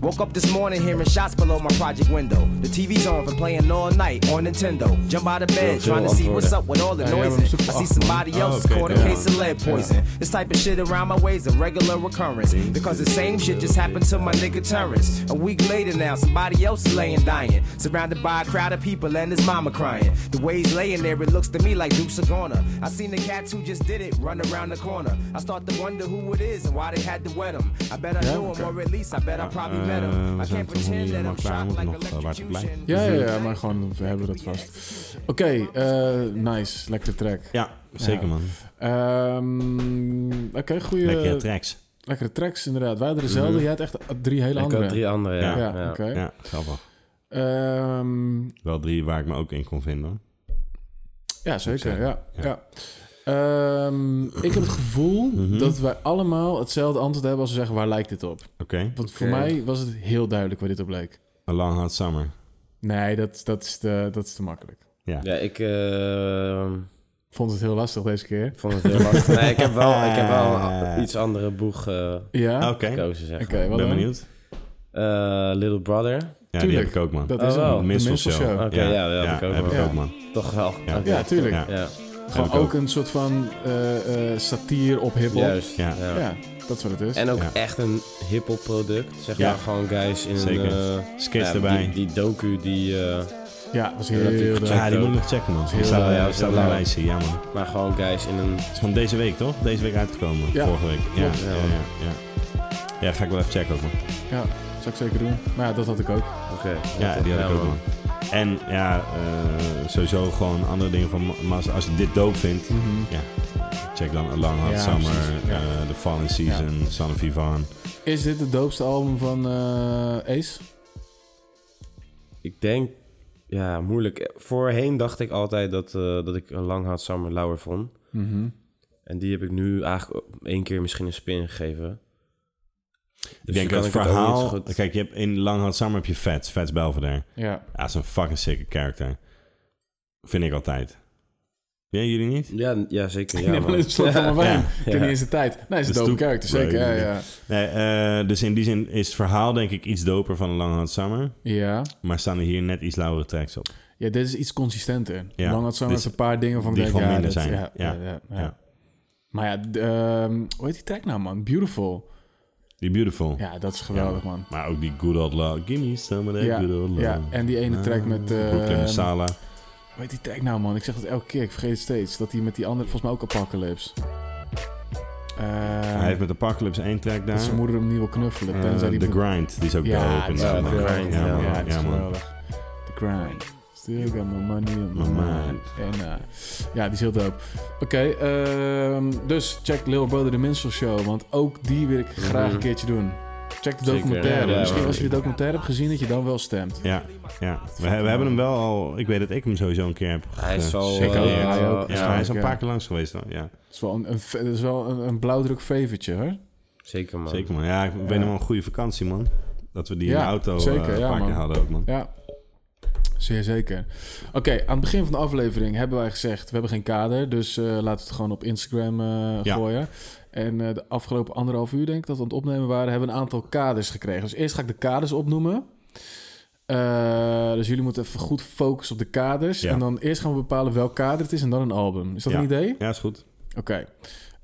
Speaker 5: Woke up this morning hearing shots below my project window. The TV's on, been playing all night on Nintendo. Jump out of bed,
Speaker 21: Yo,
Speaker 5: trying to
Speaker 21: veel
Speaker 5: see what's
Speaker 21: antwoorden.
Speaker 5: up with all the
Speaker 21: Ja, jij
Speaker 5: noise.
Speaker 21: bent
Speaker 5: in.
Speaker 21: super
Speaker 5: I see
Speaker 21: af, man.
Speaker 5: somebody
Speaker 21: Oh,
Speaker 5: else
Speaker 21: oké,
Speaker 5: caught a
Speaker 21: ja.
Speaker 5: case of lead poison. This type of shit around my way's a regular occurrence. Because the same shit just happened to my nigga Terrence. A week later now, somebody else is laying dying. Surrounded by a crowd of people and his mama crying. The way he's laying there, it looks to me like Duke Sagona. I seen the cats who just did it run around the corner. I start to wonder who it is and why they had to wet him. I bet I
Speaker 2: Ja,
Speaker 5: knew him, or at least I bet I probably met him.
Speaker 1: Eh, we zijn toch nog niet helemaal klaar. We moeten
Speaker 5: uh,
Speaker 1: nog eh, waar te blijven.
Speaker 2: Ja, ja, ja, maar gewoon, we hebben dat vast. Oké, eh, nice. Lekkere track.
Speaker 1: Ja, zeker, man.
Speaker 2: Ehm, Oké, goede...
Speaker 1: Lekkere tracks.
Speaker 2: Lekkere tracks, inderdaad. Wij hadden dezelfde.
Speaker 1: Mhm.
Speaker 2: Jij had echt eh, drie hele
Speaker 3: Ik had
Speaker 2: andere.
Speaker 3: drie andere, ja.
Speaker 2: Ja,
Speaker 3: Ja.
Speaker 2: oké.
Speaker 1: Ja, grappig.
Speaker 2: Ehm,
Speaker 1: Wel drie waar ik me ook in kon vinden. hoor.
Speaker 2: ja, zeker.
Speaker 1: Zeker.
Speaker 2: Ja, ja. Ehm, ik heb het gevoel
Speaker 1: Mhm.
Speaker 2: dat wij allemaal hetzelfde antwoord hebben als we zeggen, waar lijkt dit op?
Speaker 1: Oké.
Speaker 2: Want voor mij was het heel duidelijk waar dit op leek.
Speaker 1: A Long Hot Summer.
Speaker 2: Nee, dat, dat, is, te, dat is te makkelijk.
Speaker 1: Ja.
Speaker 3: Ja, ik... eh,
Speaker 2: Vond het heel lastig deze keer.
Speaker 3: vond het heel lastig. Nee, ik heb wel, ik heb wel een iets andere boeg eh,
Speaker 2: Ja?
Speaker 1: Oké.
Speaker 3: gekozen, zeg
Speaker 2: Oké,
Speaker 3: maar.
Speaker 2: wat Ben dan? benieuwd.
Speaker 3: Eh, Little Brother. Ja,
Speaker 1: die Tuurlijk. heb ik ook, man. Dat is hem.
Speaker 3: wel.
Speaker 1: De Minstrel
Speaker 3: Minstrel
Speaker 1: Show.
Speaker 3: Oh. Oké,
Speaker 1: Ja.
Speaker 3: ja, dat
Speaker 1: Ja,
Speaker 3: heb ik ook,
Speaker 1: heb ik
Speaker 3: wel.
Speaker 1: ook, man.
Speaker 3: Toch wel.
Speaker 1: Ja.
Speaker 3: Oké.
Speaker 2: Ja, tuurlijk.
Speaker 3: Ja.
Speaker 2: Gewoon
Speaker 1: Heb
Speaker 2: ook,
Speaker 1: ik ook.
Speaker 2: een soort van eh eh satire op hiphop.
Speaker 3: Juist, ja.
Speaker 2: Ja.
Speaker 3: Ja.
Speaker 2: dat is wat het is.
Speaker 3: En ook
Speaker 2: Ja.
Speaker 3: echt een hip-hop product. Zeg
Speaker 2: Ja.
Speaker 3: maar gewoon guys in
Speaker 1: Zeker.
Speaker 3: een. eh,
Speaker 1: Skits
Speaker 3: ja,
Speaker 1: erbij.
Speaker 3: Die, die docu die. eh,
Speaker 2: Ja, was
Speaker 1: Ja, dat heb ik
Speaker 2: heel
Speaker 1: gecheckt Ja, die moet ik nog checken, man. Die staat- die staat op mijn lijstje, ja, man.
Speaker 3: Maar gewoon guys in een...
Speaker 1: is van deze week, toch? Deze week uitgekomen.
Speaker 2: Ja.
Speaker 1: Vorige week. Ja, ja,
Speaker 2: Klopt.
Speaker 1: ja, ja. Ja, ga ik wel even checken ook, man.
Speaker 2: Ja, dat zou ik zeker doen. Maar ja, dat had ik ook.
Speaker 3: Oké.
Speaker 1: Ja, die had ik ook, man. En ja, eh, sowieso gewoon andere dingen van Ma- Mas. Als je dit dope vindt, ja, check dan A Long Hot
Speaker 2: Ja,
Speaker 1: Summer,
Speaker 2: precies, ja.
Speaker 1: eh, The Fallen Season, Son of Ivan.
Speaker 2: Is dit het doopste album van eh, Ace?
Speaker 3: Ik denk, ja, moeilijk. Voorheen dacht ik altijd dat, eh, dat ik een lang had Summer Lauer vond.
Speaker 2: Mhm.
Speaker 3: En die heb ik nu eigenlijk één keer misschien een spin gegeven.
Speaker 1: Ik
Speaker 3: Dus
Speaker 1: denk
Speaker 3: dan
Speaker 1: dat
Speaker 3: kan
Speaker 1: het
Speaker 3: ik ook niet zo
Speaker 1: verhaal...
Speaker 3: goed-
Speaker 1: Kijk, je hebt in Long Hot Summer heb je Fats, Fats Belvedere.
Speaker 2: Ja.
Speaker 1: dat is een fucking sicke character. Vind ik altijd. Ja, jullie niet?
Speaker 3: Ja, ja zeker.
Speaker 2: Ja, maar een slok van mijn wijn. Ik heb niet eens de tijd. Nee, is een
Speaker 1: Dus
Speaker 2: dope
Speaker 1: doe-
Speaker 2: character, zeker. Ja,
Speaker 1: Nee,
Speaker 2: ja.
Speaker 1: nee, eh, dus in die zin is het verhaal denk ik iets doper van Long Hot Summer.
Speaker 2: Ja.
Speaker 1: Maar staan er hier net iets lauwere tracks op.
Speaker 2: Ja, dit is iets consistenter.
Speaker 1: Ja.
Speaker 2: Lang had zomaar
Speaker 1: Dit is-
Speaker 2: een paar dingen van ik
Speaker 1: die
Speaker 2: denk,
Speaker 1: gewoon
Speaker 2: ja,
Speaker 1: minder
Speaker 2: dat-
Speaker 1: zijn.
Speaker 2: Ja, ja,
Speaker 1: Ja.
Speaker 2: ja,
Speaker 1: Ja.
Speaker 2: Maar ja, d- ehm, hoe heet die track nou, man? Beautiful.
Speaker 1: Die Beautiful.
Speaker 2: Ja, dat is geweldig,
Speaker 1: Ja,
Speaker 2: man.
Speaker 1: Maar ook die Good Old Love. Give me some of that
Speaker 2: Ja,
Speaker 1: Good Old Love. Ah,
Speaker 2: ja, en die ene track met, eh,
Speaker 1: Brooklyn Masala.
Speaker 2: Hoe heet die track nou, man? Ik zeg dat elke keer, ik vergeet het steeds. Dat hij met die andere, volgens mij ook Apocalypse.
Speaker 1: Hij heeft met Apocalypse één track daar.
Speaker 2: Dat Eh, zijn moeder hem niet wil knuffelen.
Speaker 1: Eh,
Speaker 2: tenzij die
Speaker 1: The Grind, die is ook dope
Speaker 2: ja, die is
Speaker 1: inderdaad,
Speaker 2: geweldig.
Speaker 1: man.
Speaker 2: Ja,
Speaker 1: Ja, man.
Speaker 2: ja, die is
Speaker 1: Ja, man.
Speaker 2: geweldig. The Grind. Still got my money on my
Speaker 1: My
Speaker 2: mind. En eh, ja, die is heel dope. Oké, ehm, dus check Lil Brother The Minstrel Show. Want ook die wil ik graag
Speaker 1: Mhm.
Speaker 2: een keertje doen. Check de
Speaker 1: Zeker.
Speaker 2: documentaire.
Speaker 1: Ja, ja,
Speaker 2: Misschien
Speaker 1: man.
Speaker 2: als je de documentaire hebt gezien, dat je dan wel stemt.
Speaker 1: Ja, ja. We, he- we hebben hem wel al... Ik weet dat ik hem sowieso een keer heb
Speaker 3: Hij is al,
Speaker 1: gesignaleerd.
Speaker 3: eh,
Speaker 1: Ja,
Speaker 3: hij ook,
Speaker 1: ja, hij is al een
Speaker 2: ja.
Speaker 1: paar keer langs geweest dan, ja.
Speaker 2: Dat is wel een, een, dat is wel een, een blauwdruk favorite, hoor.
Speaker 3: Zeker man.
Speaker 1: Zeker man. Ja, ik weet nog wel een goede vakantie man. Dat we die in
Speaker 2: Oh. Ja,
Speaker 1: de auto
Speaker 2: zeker,
Speaker 1: eh, een
Speaker 2: ja,
Speaker 1: paar keer
Speaker 2: man.
Speaker 1: hadden ook man.
Speaker 2: Ja, zeer zeker. Oké, aan het begin van de aflevering hebben wij gezegd... we hebben geen kader, dus eh, laten we het gewoon op Instagram eh,
Speaker 1: Ja.
Speaker 2: gooien. En eh, de afgelopen anderhalf uur, denk ik, dat we aan het opnemen waren... hebben we een aantal kaders gekregen. Dus eerst ga ik de kaders opnoemen. Eh, dus jullie moeten even goed focussen op de kaders.
Speaker 1: Ja.
Speaker 2: En dan eerst gaan we bepalen welk kader het is en dan een album. Is dat
Speaker 1: Ja.
Speaker 2: een idee?
Speaker 1: Ja, is goed.
Speaker 2: Oké.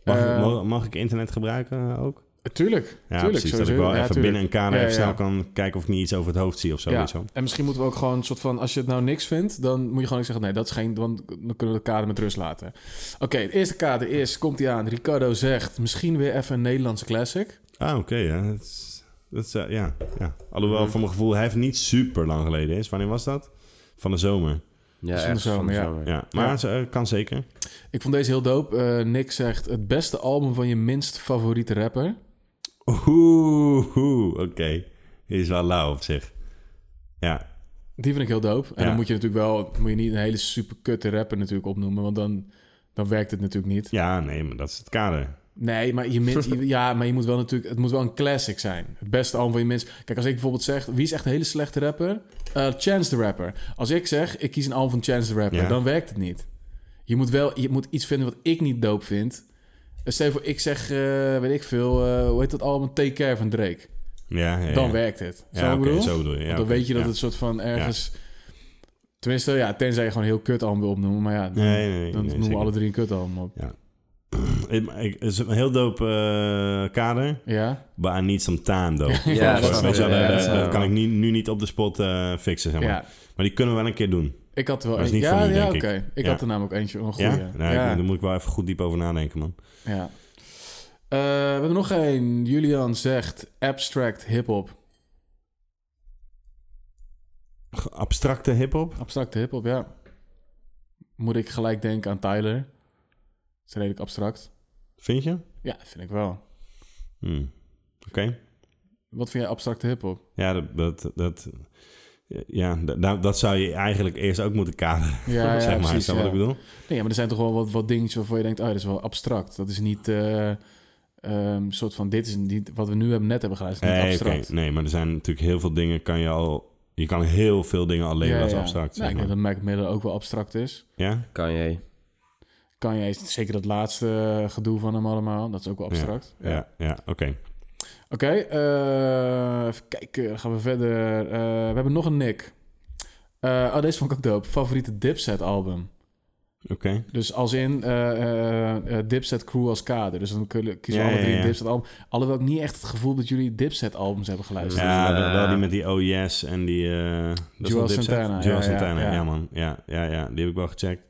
Speaker 1: Mag,
Speaker 2: Eh,
Speaker 1: mag, mag ik internet gebruiken eh, ook?
Speaker 2: Tuurlijk.
Speaker 1: Ja,
Speaker 2: tuurlijk,
Speaker 1: precies. Dat
Speaker 2: sowieso.
Speaker 1: ik wel
Speaker 2: Ja,
Speaker 1: even
Speaker 2: tuurlijk.
Speaker 1: binnen een kader
Speaker 2: Ja,
Speaker 1: even
Speaker 2: ja.
Speaker 1: snel kan kijken of ik niet iets over het hoofd zie of zo.
Speaker 2: Ja,
Speaker 1: weet je wel.
Speaker 2: en misschien moeten we ook gewoon een soort van... als je het nou niks vindt, dan moet je gewoon ook zeggen... nee, dat is geen... want dan kunnen we de kader met rust laten. Oké, het eerste kader is... komt hij aan, Ricardo zegt... misschien weer even een Nederlandse classic.
Speaker 1: Ah, oké. ja. Dat is- dat is, eh, ja, ja.
Speaker 2: Mhm.
Speaker 1: Alhoewel, voor mijn gevoel, hij heeft niet super lang geleden is. Wanneer was dat? Van de zomer.
Speaker 3: Ja,
Speaker 2: Dus van de
Speaker 3: echt van de
Speaker 2: zomer, ja.
Speaker 3: zomer.
Speaker 1: Ja, maar
Speaker 2: Ja.
Speaker 1: ze, eh, kan zeker.
Speaker 2: Ik vond deze heel dope. Eh, Nick zegt... het beste album van je minst favoriete rapper.
Speaker 1: Oeh, oeh, oké. Is wel lauw op zich. Ja,
Speaker 2: Die vind ik heel dope. En
Speaker 1: Ja.
Speaker 2: dan moet je natuurlijk wel... moet je niet een hele super kutte rapper natuurlijk opnoemen... want dan, dan werkt het natuurlijk niet.
Speaker 1: ja, nee, maar dat is het kader.
Speaker 2: Nee, maar je, minst, je- ja, maar je moet wel natuurlijk... Het moet wel een classic zijn. Het beste album van je minst... Kijk, als ik bijvoorbeeld zeg... Wie is echt een hele slechte rapper? Eh, Chance the Rapper. Als ik zeg... Ik kies een album van Chance the Rapper.
Speaker 1: Ja.
Speaker 2: Dan werkt het niet. Je moet wel... Je moet iets vinden wat ik niet dope vind. Eh, Stel je voor, ik zeg... eh, weet ik veel... eh, hoe heet dat album? Take Care van Drake.
Speaker 1: Ja, ja, ja.
Speaker 2: Dan werkt het.
Speaker 1: Ja,
Speaker 2: Zo
Speaker 1: oké,
Speaker 2: bedoel?
Speaker 1: zo bedoel je. Ja,
Speaker 2: Want dan
Speaker 1: oké,
Speaker 2: weet je dat
Speaker 1: ja.
Speaker 2: het soort van ergens... Tenminste, ja, tenzij je gewoon een heel kut album wil opnoemen. Maar ja, dan,
Speaker 1: Nee, nee, nee,
Speaker 2: dan noemen
Speaker 1: nee,
Speaker 2: we
Speaker 1: zeker.
Speaker 2: alle drie een kut album op.
Speaker 1: Ja. Ik- ik- Het is een heel dope eh, kader.
Speaker 2: Ja.
Speaker 1: Maar I need some time, though.
Speaker 2: Ja, ja, dat snap
Speaker 1: Weet je wel,
Speaker 2: ik. Ja,
Speaker 1: dat-
Speaker 2: dat
Speaker 1: dat-
Speaker 2: snap
Speaker 1: dat
Speaker 2: ik.
Speaker 1: kan ik nu, nu niet op de spot eh, fixen, zeg maar.
Speaker 2: Ja.
Speaker 1: Maar die kunnen we wel een keer doen.
Speaker 2: Ik had er wel
Speaker 1: Maar dat
Speaker 2: een-
Speaker 1: is niet
Speaker 2: ja,
Speaker 1: van nu,
Speaker 2: ja,
Speaker 1: denk
Speaker 2: oké. Ik had er namelijk eentje, een goeie.
Speaker 1: Ja? Nou, ik-
Speaker 2: Ja.
Speaker 1: Daar moet ik wel even goed diep over nadenken, man.
Speaker 2: Ja. Eh, we hebben nog één. Julian zegt abstract hip-hop.
Speaker 1: Abstracte hip-hop?
Speaker 2: Abstracte hip-hop, ja. Moet ik gelijk denken aan Tyler? Dat is redelijk abstract.
Speaker 1: Vind je?
Speaker 2: Ja, vind ik wel.
Speaker 1: Hmm. Oké.
Speaker 2: Wat vind jij abstracte hip-hop?
Speaker 1: Ja, dat, dat, dat, ja da- da- dat zou je eigenlijk eerst ook moeten kaderen.
Speaker 2: Ja, ja
Speaker 1: zeg maar.
Speaker 2: precies.
Speaker 1: Is dat wat
Speaker 2: ja.
Speaker 1: ik bedoel?
Speaker 2: Nee, maar er zijn toch wel wat, wat dingetjes waarvan je denkt... oh, dat is wel abstract. Dat is niet een soort van... dit is niet wat we nu hebben, net hebben gedaan. is niet
Speaker 1: Nee,
Speaker 2: abstract.
Speaker 1: Eh, oké. nee, maar er zijn natuurlijk heel veel dingen kan je al... Je kan heel veel dingen alleen
Speaker 2: Ja,
Speaker 1: als
Speaker 2: ja.
Speaker 1: abstract,
Speaker 2: Nou,
Speaker 1: zeg
Speaker 2: ik
Speaker 1: maar.
Speaker 2: denk dat Mac Miller ook wel abstract is.
Speaker 1: Ja?
Speaker 3: Kan je.
Speaker 2: kan je zeker dat laatste eh, gedoe van hem allemaal. Dat is ook wel abstract.
Speaker 1: Ja, ja, ja, oké.
Speaker 2: Oké, eh, even kijken. Dan gaan we verder. Eh, we hebben nog een Nick. Eh, oh, deze vond ik ook dope. Favoriete Dipset album.
Speaker 1: Oké.
Speaker 2: Dus als in eh, eh, eh, Dipset Crew als kader. Dus dan kun- kiezen we
Speaker 1: Ja,
Speaker 2: alle
Speaker 1: ja,
Speaker 2: drie
Speaker 1: ja.
Speaker 2: Dipset album. Alhoewel ik niet echt het gevoel dat jullie Dipset albums hebben geluisterd.
Speaker 1: Ja, wel- wel die met die Oh Yes en die... eh dat is
Speaker 2: Joel
Speaker 1: wel Dipset?
Speaker 2: Santana,
Speaker 1: Joel
Speaker 2: ja, ja,
Speaker 1: Santana, ja,
Speaker 2: ja.
Speaker 1: man. Ja, ja, ja, die heb ik wel gecheckt.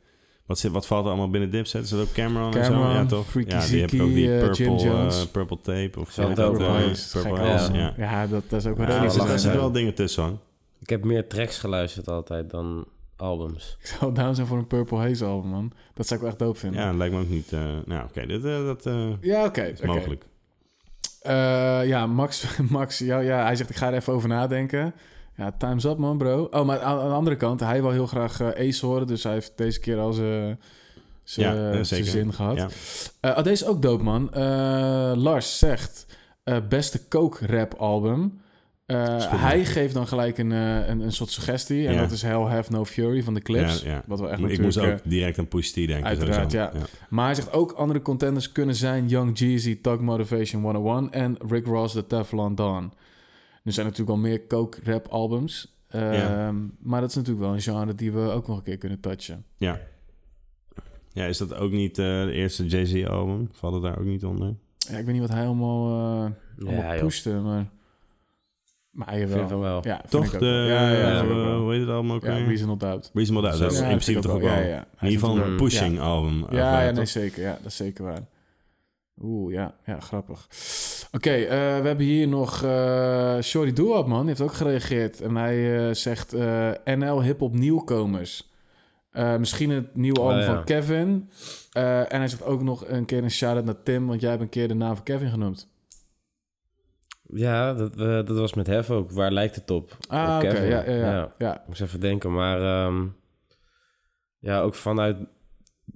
Speaker 1: Wat, zit, wat valt er allemaal binnen Dipset? Is dat ook Cameron, en
Speaker 2: Cameron,
Speaker 1: zo? Ja, toch?
Speaker 2: Freaky
Speaker 1: ja, die heb ik
Speaker 2: Ziki,
Speaker 1: ook die
Speaker 2: eh,
Speaker 1: purple,
Speaker 2: Jim Jones.
Speaker 1: eh, purple Tape. Of
Speaker 3: Zat
Speaker 1: ja,
Speaker 3: ook
Speaker 1: eh,
Speaker 3: wel eens,
Speaker 1: Purple
Speaker 3: gek
Speaker 1: Eyes,
Speaker 3: wel.
Speaker 1: ja.
Speaker 2: Ja, dat, dat is ook wel
Speaker 1: Ja,
Speaker 2: redelijk
Speaker 1: er
Speaker 2: te
Speaker 1: zitten
Speaker 2: zeggen.
Speaker 1: wel dingen tussen, hoor.
Speaker 3: Ik heb meer tracks geluisterd altijd dan albums.
Speaker 2: Ik zou down zijn voor een Purple Haze album, man. Dat zou ik wel echt dope vinden.
Speaker 1: Ja, dat lijkt me ook niet... eh, nou, oké, dit, eh, dat eh,
Speaker 2: Ja, oké,
Speaker 1: is
Speaker 2: oké.
Speaker 1: mogelijk.
Speaker 2: Eh, ja, Max, Max ja, ja, hij zegt ik ga er even over nadenken. Ja, time's up man, bro. Oh, maar aan, aan de andere kant, hij wil heel graag eh, Ace horen, dus hij heeft deze keer al zijn zijn-
Speaker 1: Ja, eh,
Speaker 2: zijn
Speaker 1: zeker.
Speaker 2: zin gehad.
Speaker 1: Ja.
Speaker 2: Eh, oh, deze is ook dope man. Eh, Lars zegt eh, beste coke rap album. Eh,
Speaker 1: goed,
Speaker 2: hij
Speaker 1: man.
Speaker 2: geeft dan gelijk een, eh, een, een soort suggestie. En
Speaker 1: Ja.
Speaker 2: dat is Hell Have No Fury van de Clips.
Speaker 1: Ja, ja.
Speaker 2: Wat wel echt
Speaker 1: Maar ik
Speaker 2: natuurlijk,
Speaker 1: moest
Speaker 2: eh,
Speaker 1: ook direct aan Push T denken.
Speaker 2: Uiteraard,
Speaker 1: sowieso.
Speaker 2: ja. Maar hij zegt ook andere contenders kunnen zijn Young Jeezy, Tug Motivation 101 en Rick Ross, The Teflon Don. Nu zijn er natuurlijk al meer coke-rap albums. ehm,
Speaker 1: Ja.
Speaker 2: Maar dat is natuurlijk wel een genre die we ook nog een keer kunnen touchen.
Speaker 1: Ja. Ja, is dat ook niet eh, de eerste Jay-Z-album? Valt het daar ook niet onder?
Speaker 2: Ja, ik weet niet wat hij allemaal, eh allemaal
Speaker 3: Ja, joh.
Speaker 2: pushte, maar... Maar hij wel.
Speaker 3: Vind van wel.
Speaker 2: Ja, vind
Speaker 1: Toch?
Speaker 2: ik ook
Speaker 1: De,
Speaker 2: wel. ja, ja,
Speaker 1: eh,
Speaker 2: vind ik ook wel.
Speaker 1: hoe heet het allemaal ook
Speaker 2: Ja,
Speaker 1: weer?
Speaker 2: Reasonable Doubt.
Speaker 1: Reasonable Doubt,
Speaker 2: Zo,
Speaker 1: dat is
Speaker 2: ja,
Speaker 1: in
Speaker 2: vind
Speaker 1: principe
Speaker 2: ik
Speaker 1: toch
Speaker 2: ook
Speaker 1: ook wel...
Speaker 2: wel, ja, ja.
Speaker 1: In
Speaker 2: Hij
Speaker 1: ieder
Speaker 2: is
Speaker 1: geval een
Speaker 2: natuurlijk-
Speaker 1: pushing
Speaker 2: ja.
Speaker 1: album. eh,
Speaker 2: Ja,
Speaker 1: vaak,
Speaker 2: ja, nee,
Speaker 1: toch?
Speaker 2: zeker. Ja, dat is zeker waar. Oeh, ja, ja grappig. Oké, eh, we hebben hier nog eh Shorty Doelhap, man. Die heeft ook gereageerd. En hij eh, zegt eh, NL hip-hop nieuwkomers. Eh, misschien het nieuwe album
Speaker 3: Oh, ja.
Speaker 2: van Kevin. Eh, en hij zegt ook nog een keer een shout-out naar Tim, want jij hebt een keer de naam van Kevin genoemd.
Speaker 3: Ja, dat, eh, dat was met Hef ook. Waar lijkt het op?
Speaker 2: Ah,
Speaker 3: Op
Speaker 2: oké,
Speaker 3: Kevin.
Speaker 2: ja, ja, ja, ja.
Speaker 3: Moest even denken, maar... ehm, ja, ook vanuit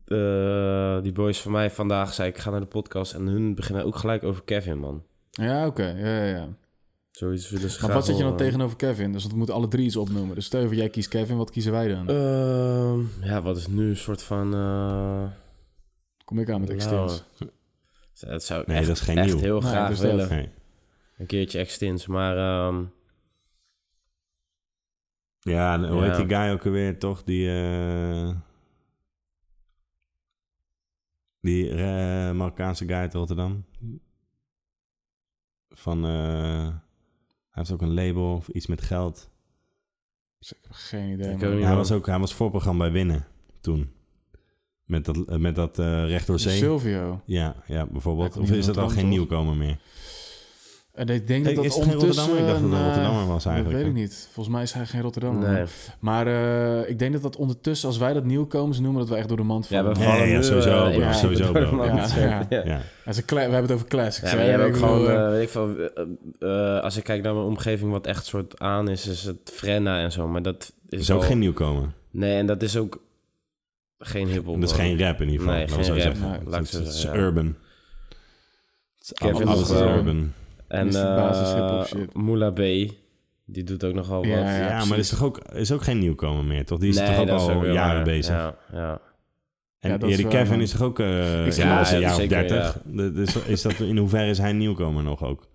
Speaker 3: eh, die boys van mij vandaag zei ik ga naar de podcast... en hun beginnen ook gelijk over Kevin, man.
Speaker 2: Ja, oké. Ja, ja, ja.
Speaker 3: Zoiets dus willen ze
Speaker 2: Maar
Speaker 3: graag
Speaker 2: wat zet je dan
Speaker 3: horen.
Speaker 2: tegenover Kevin? Dus we moeten alle drie iets opnoemen. Dus stel je voor, jij kiest Kevin, wat kiezen wij dan?
Speaker 3: Ehm, ja, wat is nu een soort van... eh,
Speaker 2: Kom ik aan met
Speaker 3: nou,
Speaker 2: extens.
Speaker 3: Dat zou ik
Speaker 1: Nee,
Speaker 3: echt,
Speaker 1: dat is geen
Speaker 3: echt
Speaker 1: nieuw.
Speaker 3: heel
Speaker 2: Nee,
Speaker 3: graag
Speaker 2: dus dat-
Speaker 3: willen.
Speaker 1: Nee.
Speaker 3: Een keertje extins, maar... ehm,
Speaker 1: Ja,
Speaker 3: Ja.
Speaker 1: hoe heet die guy ook alweer, toch? Die... eh, Die eh, Marokkaanse guy uit Rotterdam. Van... eh, hij heeft ook een label of iets met geld.
Speaker 2: Dus ik heb geen idee.
Speaker 3: Ik
Speaker 2: man.
Speaker 3: ook niet.
Speaker 1: Hij
Speaker 3: Ja.
Speaker 1: was ook hij was voorprogramma bij Winnen toen. Met dat, eh, met dat eh recht door zee.
Speaker 2: Silvio.
Speaker 1: Ja, ja, bijvoorbeeld.
Speaker 2: Hij komt
Speaker 1: Of
Speaker 2: niet uit
Speaker 1: is dat al
Speaker 2: Rotterdam,
Speaker 1: geen
Speaker 2: toch?
Speaker 1: nieuwkomer meer?
Speaker 2: En ik denk
Speaker 1: Hey,
Speaker 2: dat dat
Speaker 1: is het geen
Speaker 2: ondertussen...
Speaker 1: Rotterdammer? Ik dacht dat het een
Speaker 2: eh,
Speaker 1: Rotterdammer was eigenlijk,
Speaker 2: Dat weet
Speaker 1: hè?
Speaker 2: ik niet. Volgens mij is hij geen Rotterdammer.
Speaker 3: nee.
Speaker 2: Maar eh, ik denk dat dat ondertussen, als wij dat nieuwkomers noemen, dat we echt door de mand
Speaker 3: Ja,
Speaker 2: vallen.
Speaker 3: we
Speaker 1: Nee,
Speaker 3: vallen
Speaker 1: ja, dus.
Speaker 3: nu,
Speaker 1: sowieso,
Speaker 3: eh,
Speaker 1: bro,
Speaker 3: in principe
Speaker 1: sowieso,
Speaker 3: door de
Speaker 1: bro.
Speaker 3: mand.
Speaker 2: Ja, ja.
Speaker 1: Ja. ja.
Speaker 2: Dat is een klein- we hebben het over classics. hè?
Speaker 3: Ja, maar je hebt
Speaker 2: Ik
Speaker 3: ook
Speaker 2: bedoel,
Speaker 3: gewoon,
Speaker 2: eh,
Speaker 3: eh, weet ik veel, eh, eh, als ik kijk naar mijn omgeving, wat echt soort aan is, is het Frenna en zo. Maar dat is,
Speaker 1: Is ook
Speaker 3: al-
Speaker 1: geen nieuwkomer.
Speaker 3: Nee, en dat is ook geen hiphop.
Speaker 1: Dat is
Speaker 3: man.
Speaker 1: geen rap in ieder geval.
Speaker 3: Nee,
Speaker 1: laten
Speaker 3: geen
Speaker 1: we zo
Speaker 3: rap.
Speaker 1: zeggen.
Speaker 3: Nee,
Speaker 1: Het
Speaker 3: laat ik
Speaker 1: is-
Speaker 3: zo
Speaker 1: het is
Speaker 3: zeggen, ja.
Speaker 1: urban. Het is
Speaker 3: Kevin
Speaker 1: alles
Speaker 3: nog
Speaker 1: is
Speaker 3: wel.
Speaker 1: urban.
Speaker 3: En
Speaker 2: Is de basis hiphop
Speaker 3: eh
Speaker 2: shit.
Speaker 3: Moula B, die doet ook nogal
Speaker 2: Ja,
Speaker 3: wat.
Speaker 2: ja,
Speaker 1: Ja, maar dat is toch ook, is ook geen nieuwkomer meer, toch? Die is
Speaker 3: Nee,
Speaker 1: toch ook
Speaker 3: dat is
Speaker 1: al
Speaker 3: wel
Speaker 1: jaren
Speaker 3: waar.
Speaker 1: bezig.
Speaker 3: Ja, ja.
Speaker 1: En
Speaker 2: Ja,
Speaker 1: ja,
Speaker 2: dat is
Speaker 1: die
Speaker 2: waar,
Speaker 1: Kevin
Speaker 2: man.
Speaker 1: is toch ook eh
Speaker 2: Ik
Speaker 1: ja,
Speaker 2: zie
Speaker 1: ja,
Speaker 2: hem
Speaker 1: een
Speaker 2: ook,
Speaker 1: jaar
Speaker 3: ja,
Speaker 1: of
Speaker 3: zeker,
Speaker 1: dertig? Dus is dat, in hoeverre is hij nieuwkomer nog ook?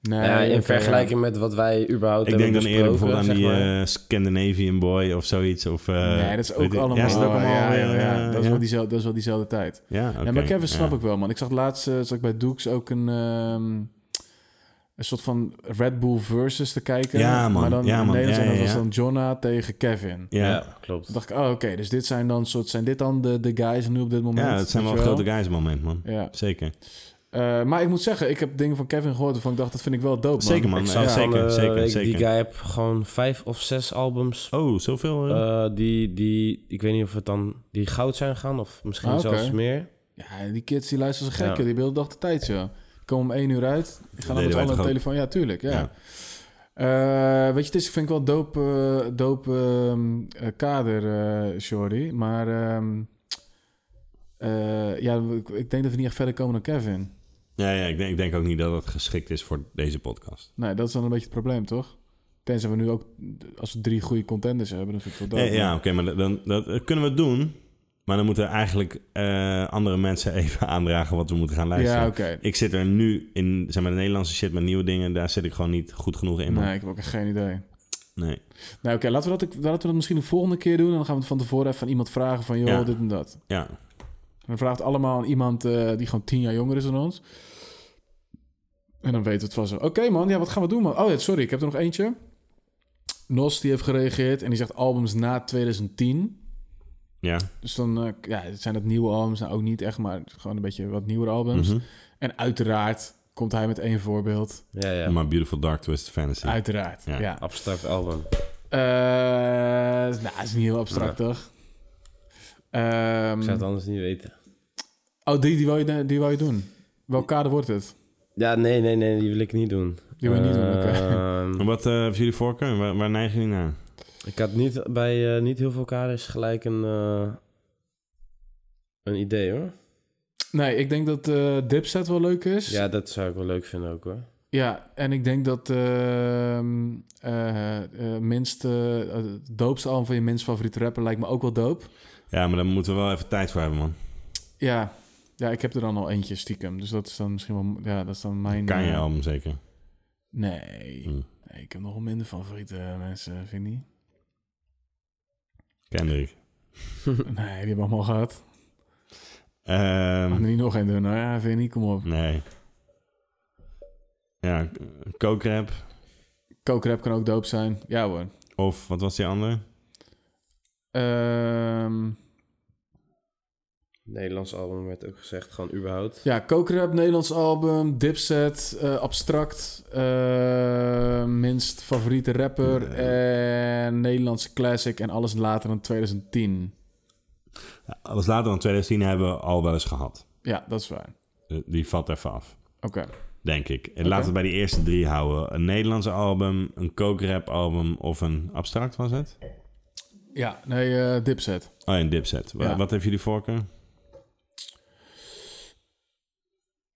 Speaker 2: nee,
Speaker 3: ja, in
Speaker 2: oké,
Speaker 3: vergelijking met wat wij überhaupt
Speaker 1: Ik denk
Speaker 3: hebben
Speaker 1: dan eerder bijvoorbeeld aan
Speaker 3: besproken,
Speaker 1: die
Speaker 3: zeg maar.
Speaker 1: eh, Scandinavian Boy of zoiets. Of, eh,
Speaker 2: ja. Nee, dat is
Speaker 1: weet
Speaker 2: ook
Speaker 1: ik-
Speaker 2: allemaal...
Speaker 1: Ja, is dat ook allemaal
Speaker 2: ja,
Speaker 1: weer,
Speaker 2: ja, ja.
Speaker 1: eh,
Speaker 2: Dat, is
Speaker 1: ja?
Speaker 2: wel diezelfde, dat is wel diezelfde tijd.
Speaker 1: Ja, oké,
Speaker 2: Ja, maar Kevin snap
Speaker 1: ja.
Speaker 2: ik wel, man. Ik zag laatst eh, zag ik bij Dukes ook een, ehm, een soort van Red Bull versus te kijken.
Speaker 1: Ja, man.
Speaker 2: Maar dan
Speaker 1: Ja,
Speaker 2: in
Speaker 1: man.
Speaker 2: Nederland
Speaker 1: Ja,
Speaker 2: en dat
Speaker 1: ja,
Speaker 2: was
Speaker 1: ja.
Speaker 2: dan Jonna tegen Kevin.
Speaker 1: eh, Ja, ja.
Speaker 3: Ja, klopt.
Speaker 2: Toen dacht ik, oh, oké, dus dit zijn dan soort, zijn dit dan de, de guys nu op dit moment?
Speaker 1: het zijn wel,
Speaker 2: weet je
Speaker 1: grote guys moment, man.
Speaker 2: Ja.
Speaker 1: Zeker.
Speaker 2: Eh, maar ik moet zeggen, ik heb dingen van Kevin gehoord waarvan ik dacht, dat vind ik wel dope, man.
Speaker 1: Zeker, man.
Speaker 3: eh, Ik
Speaker 1: Ja,
Speaker 3: zag van
Speaker 1: zeker,
Speaker 3: de
Speaker 1: zeker,
Speaker 3: week,
Speaker 1: zeker.
Speaker 3: Die guy heeft gewoon vijf of zes albums.
Speaker 1: Oh, zoveel? eh?
Speaker 3: eh, die, die, ik weet niet of het dan die goud zijn gaan of misschien
Speaker 2: Ah, oké.
Speaker 3: zelfs meer.
Speaker 2: Ja, die kids die luisteren ze gek,
Speaker 3: Ja.
Speaker 2: joh. die beelden dag de tijd, zo. Die komen om één uur uit, die gaan dan
Speaker 1: deden
Speaker 2: met
Speaker 1: wij
Speaker 2: alle
Speaker 1: toch ook?
Speaker 2: telefoon. Ja, tuurlijk, ja.
Speaker 1: Ja.
Speaker 2: Eh, weet je, het is, vind ik wel dope, eh, dope ehm, eh, kader, eh sorry. Maar ehm, eh, ja, ik, ik denk dat we niet echt verder komen dan Kevin.
Speaker 1: Ja, ja ik, denk, ik denk ook niet dat het geschikt is voor deze podcast.
Speaker 2: Nee, dat is dan een beetje het probleem, toch? Tenzij we nu ook, als we drie goede contenders hebben, dan vind ik het wel
Speaker 1: Eh,
Speaker 2: dope.
Speaker 1: ja, oké, maar dat- dan, dat, dat kunnen we doen. Maar dan moeten we eigenlijk eh, andere mensen even aandragen wat we moeten gaan luisteren.
Speaker 2: Ja, oké.
Speaker 1: Ik zit er nu in, zeg maar, de Nederlandse shit met nieuwe dingen. Daar zit ik gewoon niet goed genoeg in. man.
Speaker 2: Nee, ik heb ook echt geen idee.
Speaker 1: Nee.
Speaker 2: Nou, oké, laten, we dat- laten we dat misschien de volgende keer doen. En dan gaan we het van tevoren even aan iemand vragen van, joh,
Speaker 1: Ja.
Speaker 2: dit en dat.
Speaker 1: Ja.
Speaker 2: En dan vraagt allemaal aan iemand eh, die gewoon tien jaar jonger is dan ons. En dan weten we het van zo. Oké man, ja, wat gaan we doen man? Oh ja, sorry, ik heb er nog eentje. Nos die heeft gereageerd en die zegt albums na 2010.
Speaker 1: Ja.
Speaker 2: Dus dan eh, ja, het zijn dat nieuwe albums. Nou, ook niet echt, maar gewoon een beetje wat nieuwere albums.
Speaker 1: Mhm.
Speaker 2: En uiteraard komt hij met één voorbeeld.
Speaker 3: Ja, ja.
Speaker 1: My Beautiful Dark Twisted Fantasy.
Speaker 2: Uiteraard, ja.
Speaker 3: Abstract album.
Speaker 2: Eh, nou, is niet heel abstract,
Speaker 3: Nee.
Speaker 2: toch? Ehm,
Speaker 3: Ik zou het anders niet weten.
Speaker 2: oh, die, die, wil je, die wil je doen. Welk kader wordt het?
Speaker 3: Ja, nee, nee, nee, die wil ik niet doen.
Speaker 2: Die wil je niet doen, oké.
Speaker 3: Ehm,
Speaker 1: En wat eh hebben jullie voorkeur? Waar, waar neigen jullie naar?
Speaker 3: Ik had niet bij eh, niet heel veel kaders gelijk een, eh, een idee hoor.
Speaker 2: Nee, ik denk dat eh Dipset wel leuk is. Ja.
Speaker 3: Ja, dat zou ik wel leuk vinden ook hoor.
Speaker 2: en ik denk dat ehm eh, eh, minst, eh, het doopste album van je minst favoriete rapper lijkt me ook wel doop.
Speaker 1: Ja, maar daar moeten we wel even tijd voor hebben, man.
Speaker 2: Ja. ja, ik heb er dan al eentje stiekem. Dus dat is dan misschien wel... Ja, dat is dan mijn...
Speaker 1: Kan je Hm.
Speaker 2: eh,
Speaker 1: album zeker?
Speaker 2: Nee. nee. Ik heb nogal minder favoriete eh, mensen, vind je niet?
Speaker 1: Kendrick.
Speaker 2: nee, die hebben we allemaal gehad.
Speaker 1: Ehm,
Speaker 2: Mag er niet nog één doen? Nou ja, vind je niet? Kom op.
Speaker 1: nee. Ja, Coke
Speaker 2: Kookrap kan ook doop zijn. Ja hoor.
Speaker 1: Of wat was die andere?
Speaker 2: Ehm,
Speaker 3: Nederlands album werd ook gezegd, gewoon überhaupt.
Speaker 2: ja, Kookrap, Nederlands album, Dipset, eh, Abstract, eh, minst favoriete rapper en Nederlandse classic en alles later dan 2010.
Speaker 1: Alles later dan 2010 hebben we al wel eens gehad.
Speaker 2: Ja, dat is waar.
Speaker 1: Eh, Die vat even af.
Speaker 2: Oké.
Speaker 1: Denk ik. En
Speaker 2: Oké.
Speaker 1: laten we bij die eerste drie houden. Een Nederlandse album, een coke-rap album of een abstract was het?
Speaker 2: Ja, nee, eh, Dipset.
Speaker 1: Oh, en Dipset. Wa-
Speaker 2: Ja.
Speaker 1: Wat heeft jullie voorkeur?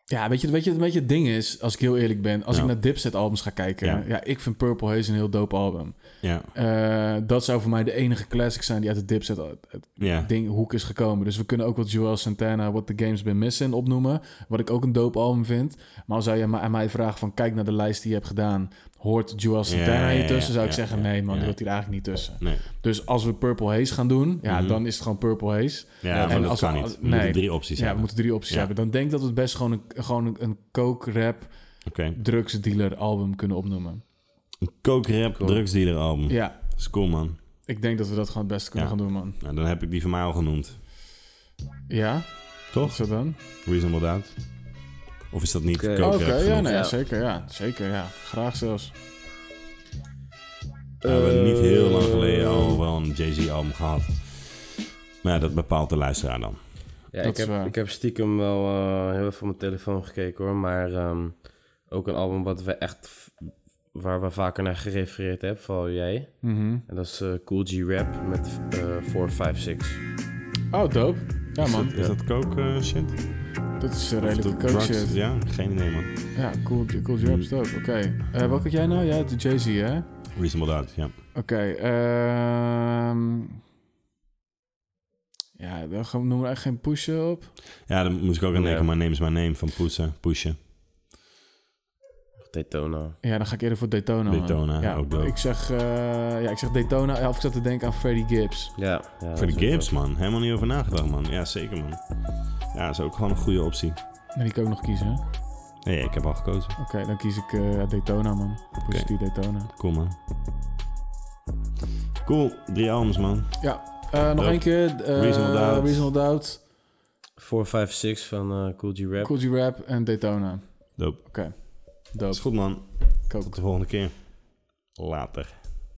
Speaker 2: Ja, weet je, weet je, weet je het ding is, als ik heel eerlijk ben, als
Speaker 1: Ja.
Speaker 2: ik naar Dipset albums ga kijken, ja.
Speaker 1: Ja.
Speaker 2: ik vind Purple Haze een heel dope album.
Speaker 1: Ja.
Speaker 2: Eh, dat zou voor mij de enige classic zijn die uit de Dipset eh, het
Speaker 1: Ja.
Speaker 2: ding hoek is gekomen. Dus we kunnen ook wat Joel Santana, What the Game's Been Missing opnoemen, wat ik ook een dope album vind. Maar als zou je ma- aan mij vragen van, kijk naar de lijst die je hebt gedaan, hoort Joel Santana
Speaker 1: ja,
Speaker 2: hier
Speaker 1: ja,
Speaker 2: tussen? Zou ik
Speaker 1: ja,
Speaker 2: zeggen,
Speaker 1: ja,
Speaker 2: nee man,
Speaker 1: ja.
Speaker 2: die hoort hier eigenlijk niet tussen.
Speaker 1: Nee.
Speaker 2: Dus als we Purple Haze gaan doen, ja,
Speaker 1: Mhm.
Speaker 2: dan is het gewoon Purple Haze.
Speaker 1: Ja, maar dat
Speaker 2: we-
Speaker 1: kan niet. We moeten drie opties
Speaker 2: ja, we
Speaker 1: hebben.
Speaker 2: moeten drie opties
Speaker 1: Ja.
Speaker 2: hebben. Dan denk ik dat we het best gewoon een, gewoon een, een coke-rap,
Speaker 1: Oké.
Speaker 2: drugsdealer album kunnen opnoemen.
Speaker 1: Een coke-rap drugsdealer album.
Speaker 2: Ja.
Speaker 1: Dat is cool, man.
Speaker 2: Ik denk dat we dat gewoon het beste kunnen
Speaker 1: Ja.
Speaker 2: gaan doen, man.
Speaker 1: Nou, dan heb ik die van mij al genoemd.
Speaker 2: Ja?
Speaker 1: Toch?
Speaker 2: Is dat dan?
Speaker 1: Reasonable Doubt. Of is dat niet
Speaker 2: Oké,
Speaker 1: coke-rap
Speaker 2: ja,
Speaker 1: genoemd?
Speaker 2: nou ja, zeker, ja. Zeker, ja. Graag zelfs.
Speaker 1: We hebben niet heel lang
Speaker 3: Eh.
Speaker 1: geleden al wel een Jay-Z-album gehad. Maar ja, dat bepaalt de luisteraar dan.
Speaker 3: Ja,
Speaker 2: Dat
Speaker 3: ik
Speaker 2: is waar.
Speaker 3: heb, ik heb stiekem wel eh, heel even op mijn telefoon gekeken hoor. Maar ehm, ook een album wat we echt v- waar we vaker naar gerefereerd hebben, vooral jij.
Speaker 2: Mhm.
Speaker 3: En dat is eh, Cool G Rap met eh 456.
Speaker 2: Oh, dope. Ja,
Speaker 1: Is
Speaker 2: man.
Speaker 1: dat, is dat coke eh, shit?
Speaker 2: Dat is
Speaker 1: Of
Speaker 2: een redelijk
Speaker 1: dat
Speaker 2: coke
Speaker 1: drugs?
Speaker 2: shit. Ja,
Speaker 1: Ja, geen idee, man.
Speaker 2: cool, cool jobs, dope. Oké. Eh, wat had jij nou? Ja, de Jay-Z, hè? Oké,
Speaker 1: Reasonable Doubt, ja.
Speaker 2: ehm... Ja, dan gaan we- noemen we echt geen pushen op.
Speaker 1: Ja, dan moest ik ook aan denken,
Speaker 3: Ja.
Speaker 1: maar neem is mijn name van Poesen, Pushen.
Speaker 3: Daytona.
Speaker 2: Ja, dan ga ik eerder voor Daytona. man.
Speaker 1: Daytona,
Speaker 2: ja,
Speaker 1: ook dope.
Speaker 2: Ik zeg, eh, ja, ik zeg Daytona. Ja, Of ik zat te denken aan Freddie Gibbs.
Speaker 3: Ja, ja
Speaker 1: Voor de
Speaker 3: dat is
Speaker 1: Gibbs,
Speaker 3: wel-
Speaker 1: man. Helemaal niet over nagedacht, man. Ja, zeker, man. Ja, is ook gewoon een goede optie.
Speaker 2: En die kan ik ook nog kiezen, hè? Oké,
Speaker 1: Nee, ik heb al gekozen.
Speaker 2: dan kies ik eh, Daytona, man. Push die Daytona.
Speaker 1: Cool, man. Cool, drie albums, man.
Speaker 2: Ja, eh, nog
Speaker 1: Dope.
Speaker 2: één keer. eh,
Speaker 1: Reasonable Doubt.
Speaker 2: Reasonable Doubt,
Speaker 3: 456 van eh, Cool G Rap.
Speaker 2: Cool G Rap en Daytona.
Speaker 1: Dope.
Speaker 2: Oké,
Speaker 1: Dat
Speaker 2: dope.
Speaker 1: is goed, man.
Speaker 2: Coke.
Speaker 1: Tot de volgende keer. Later.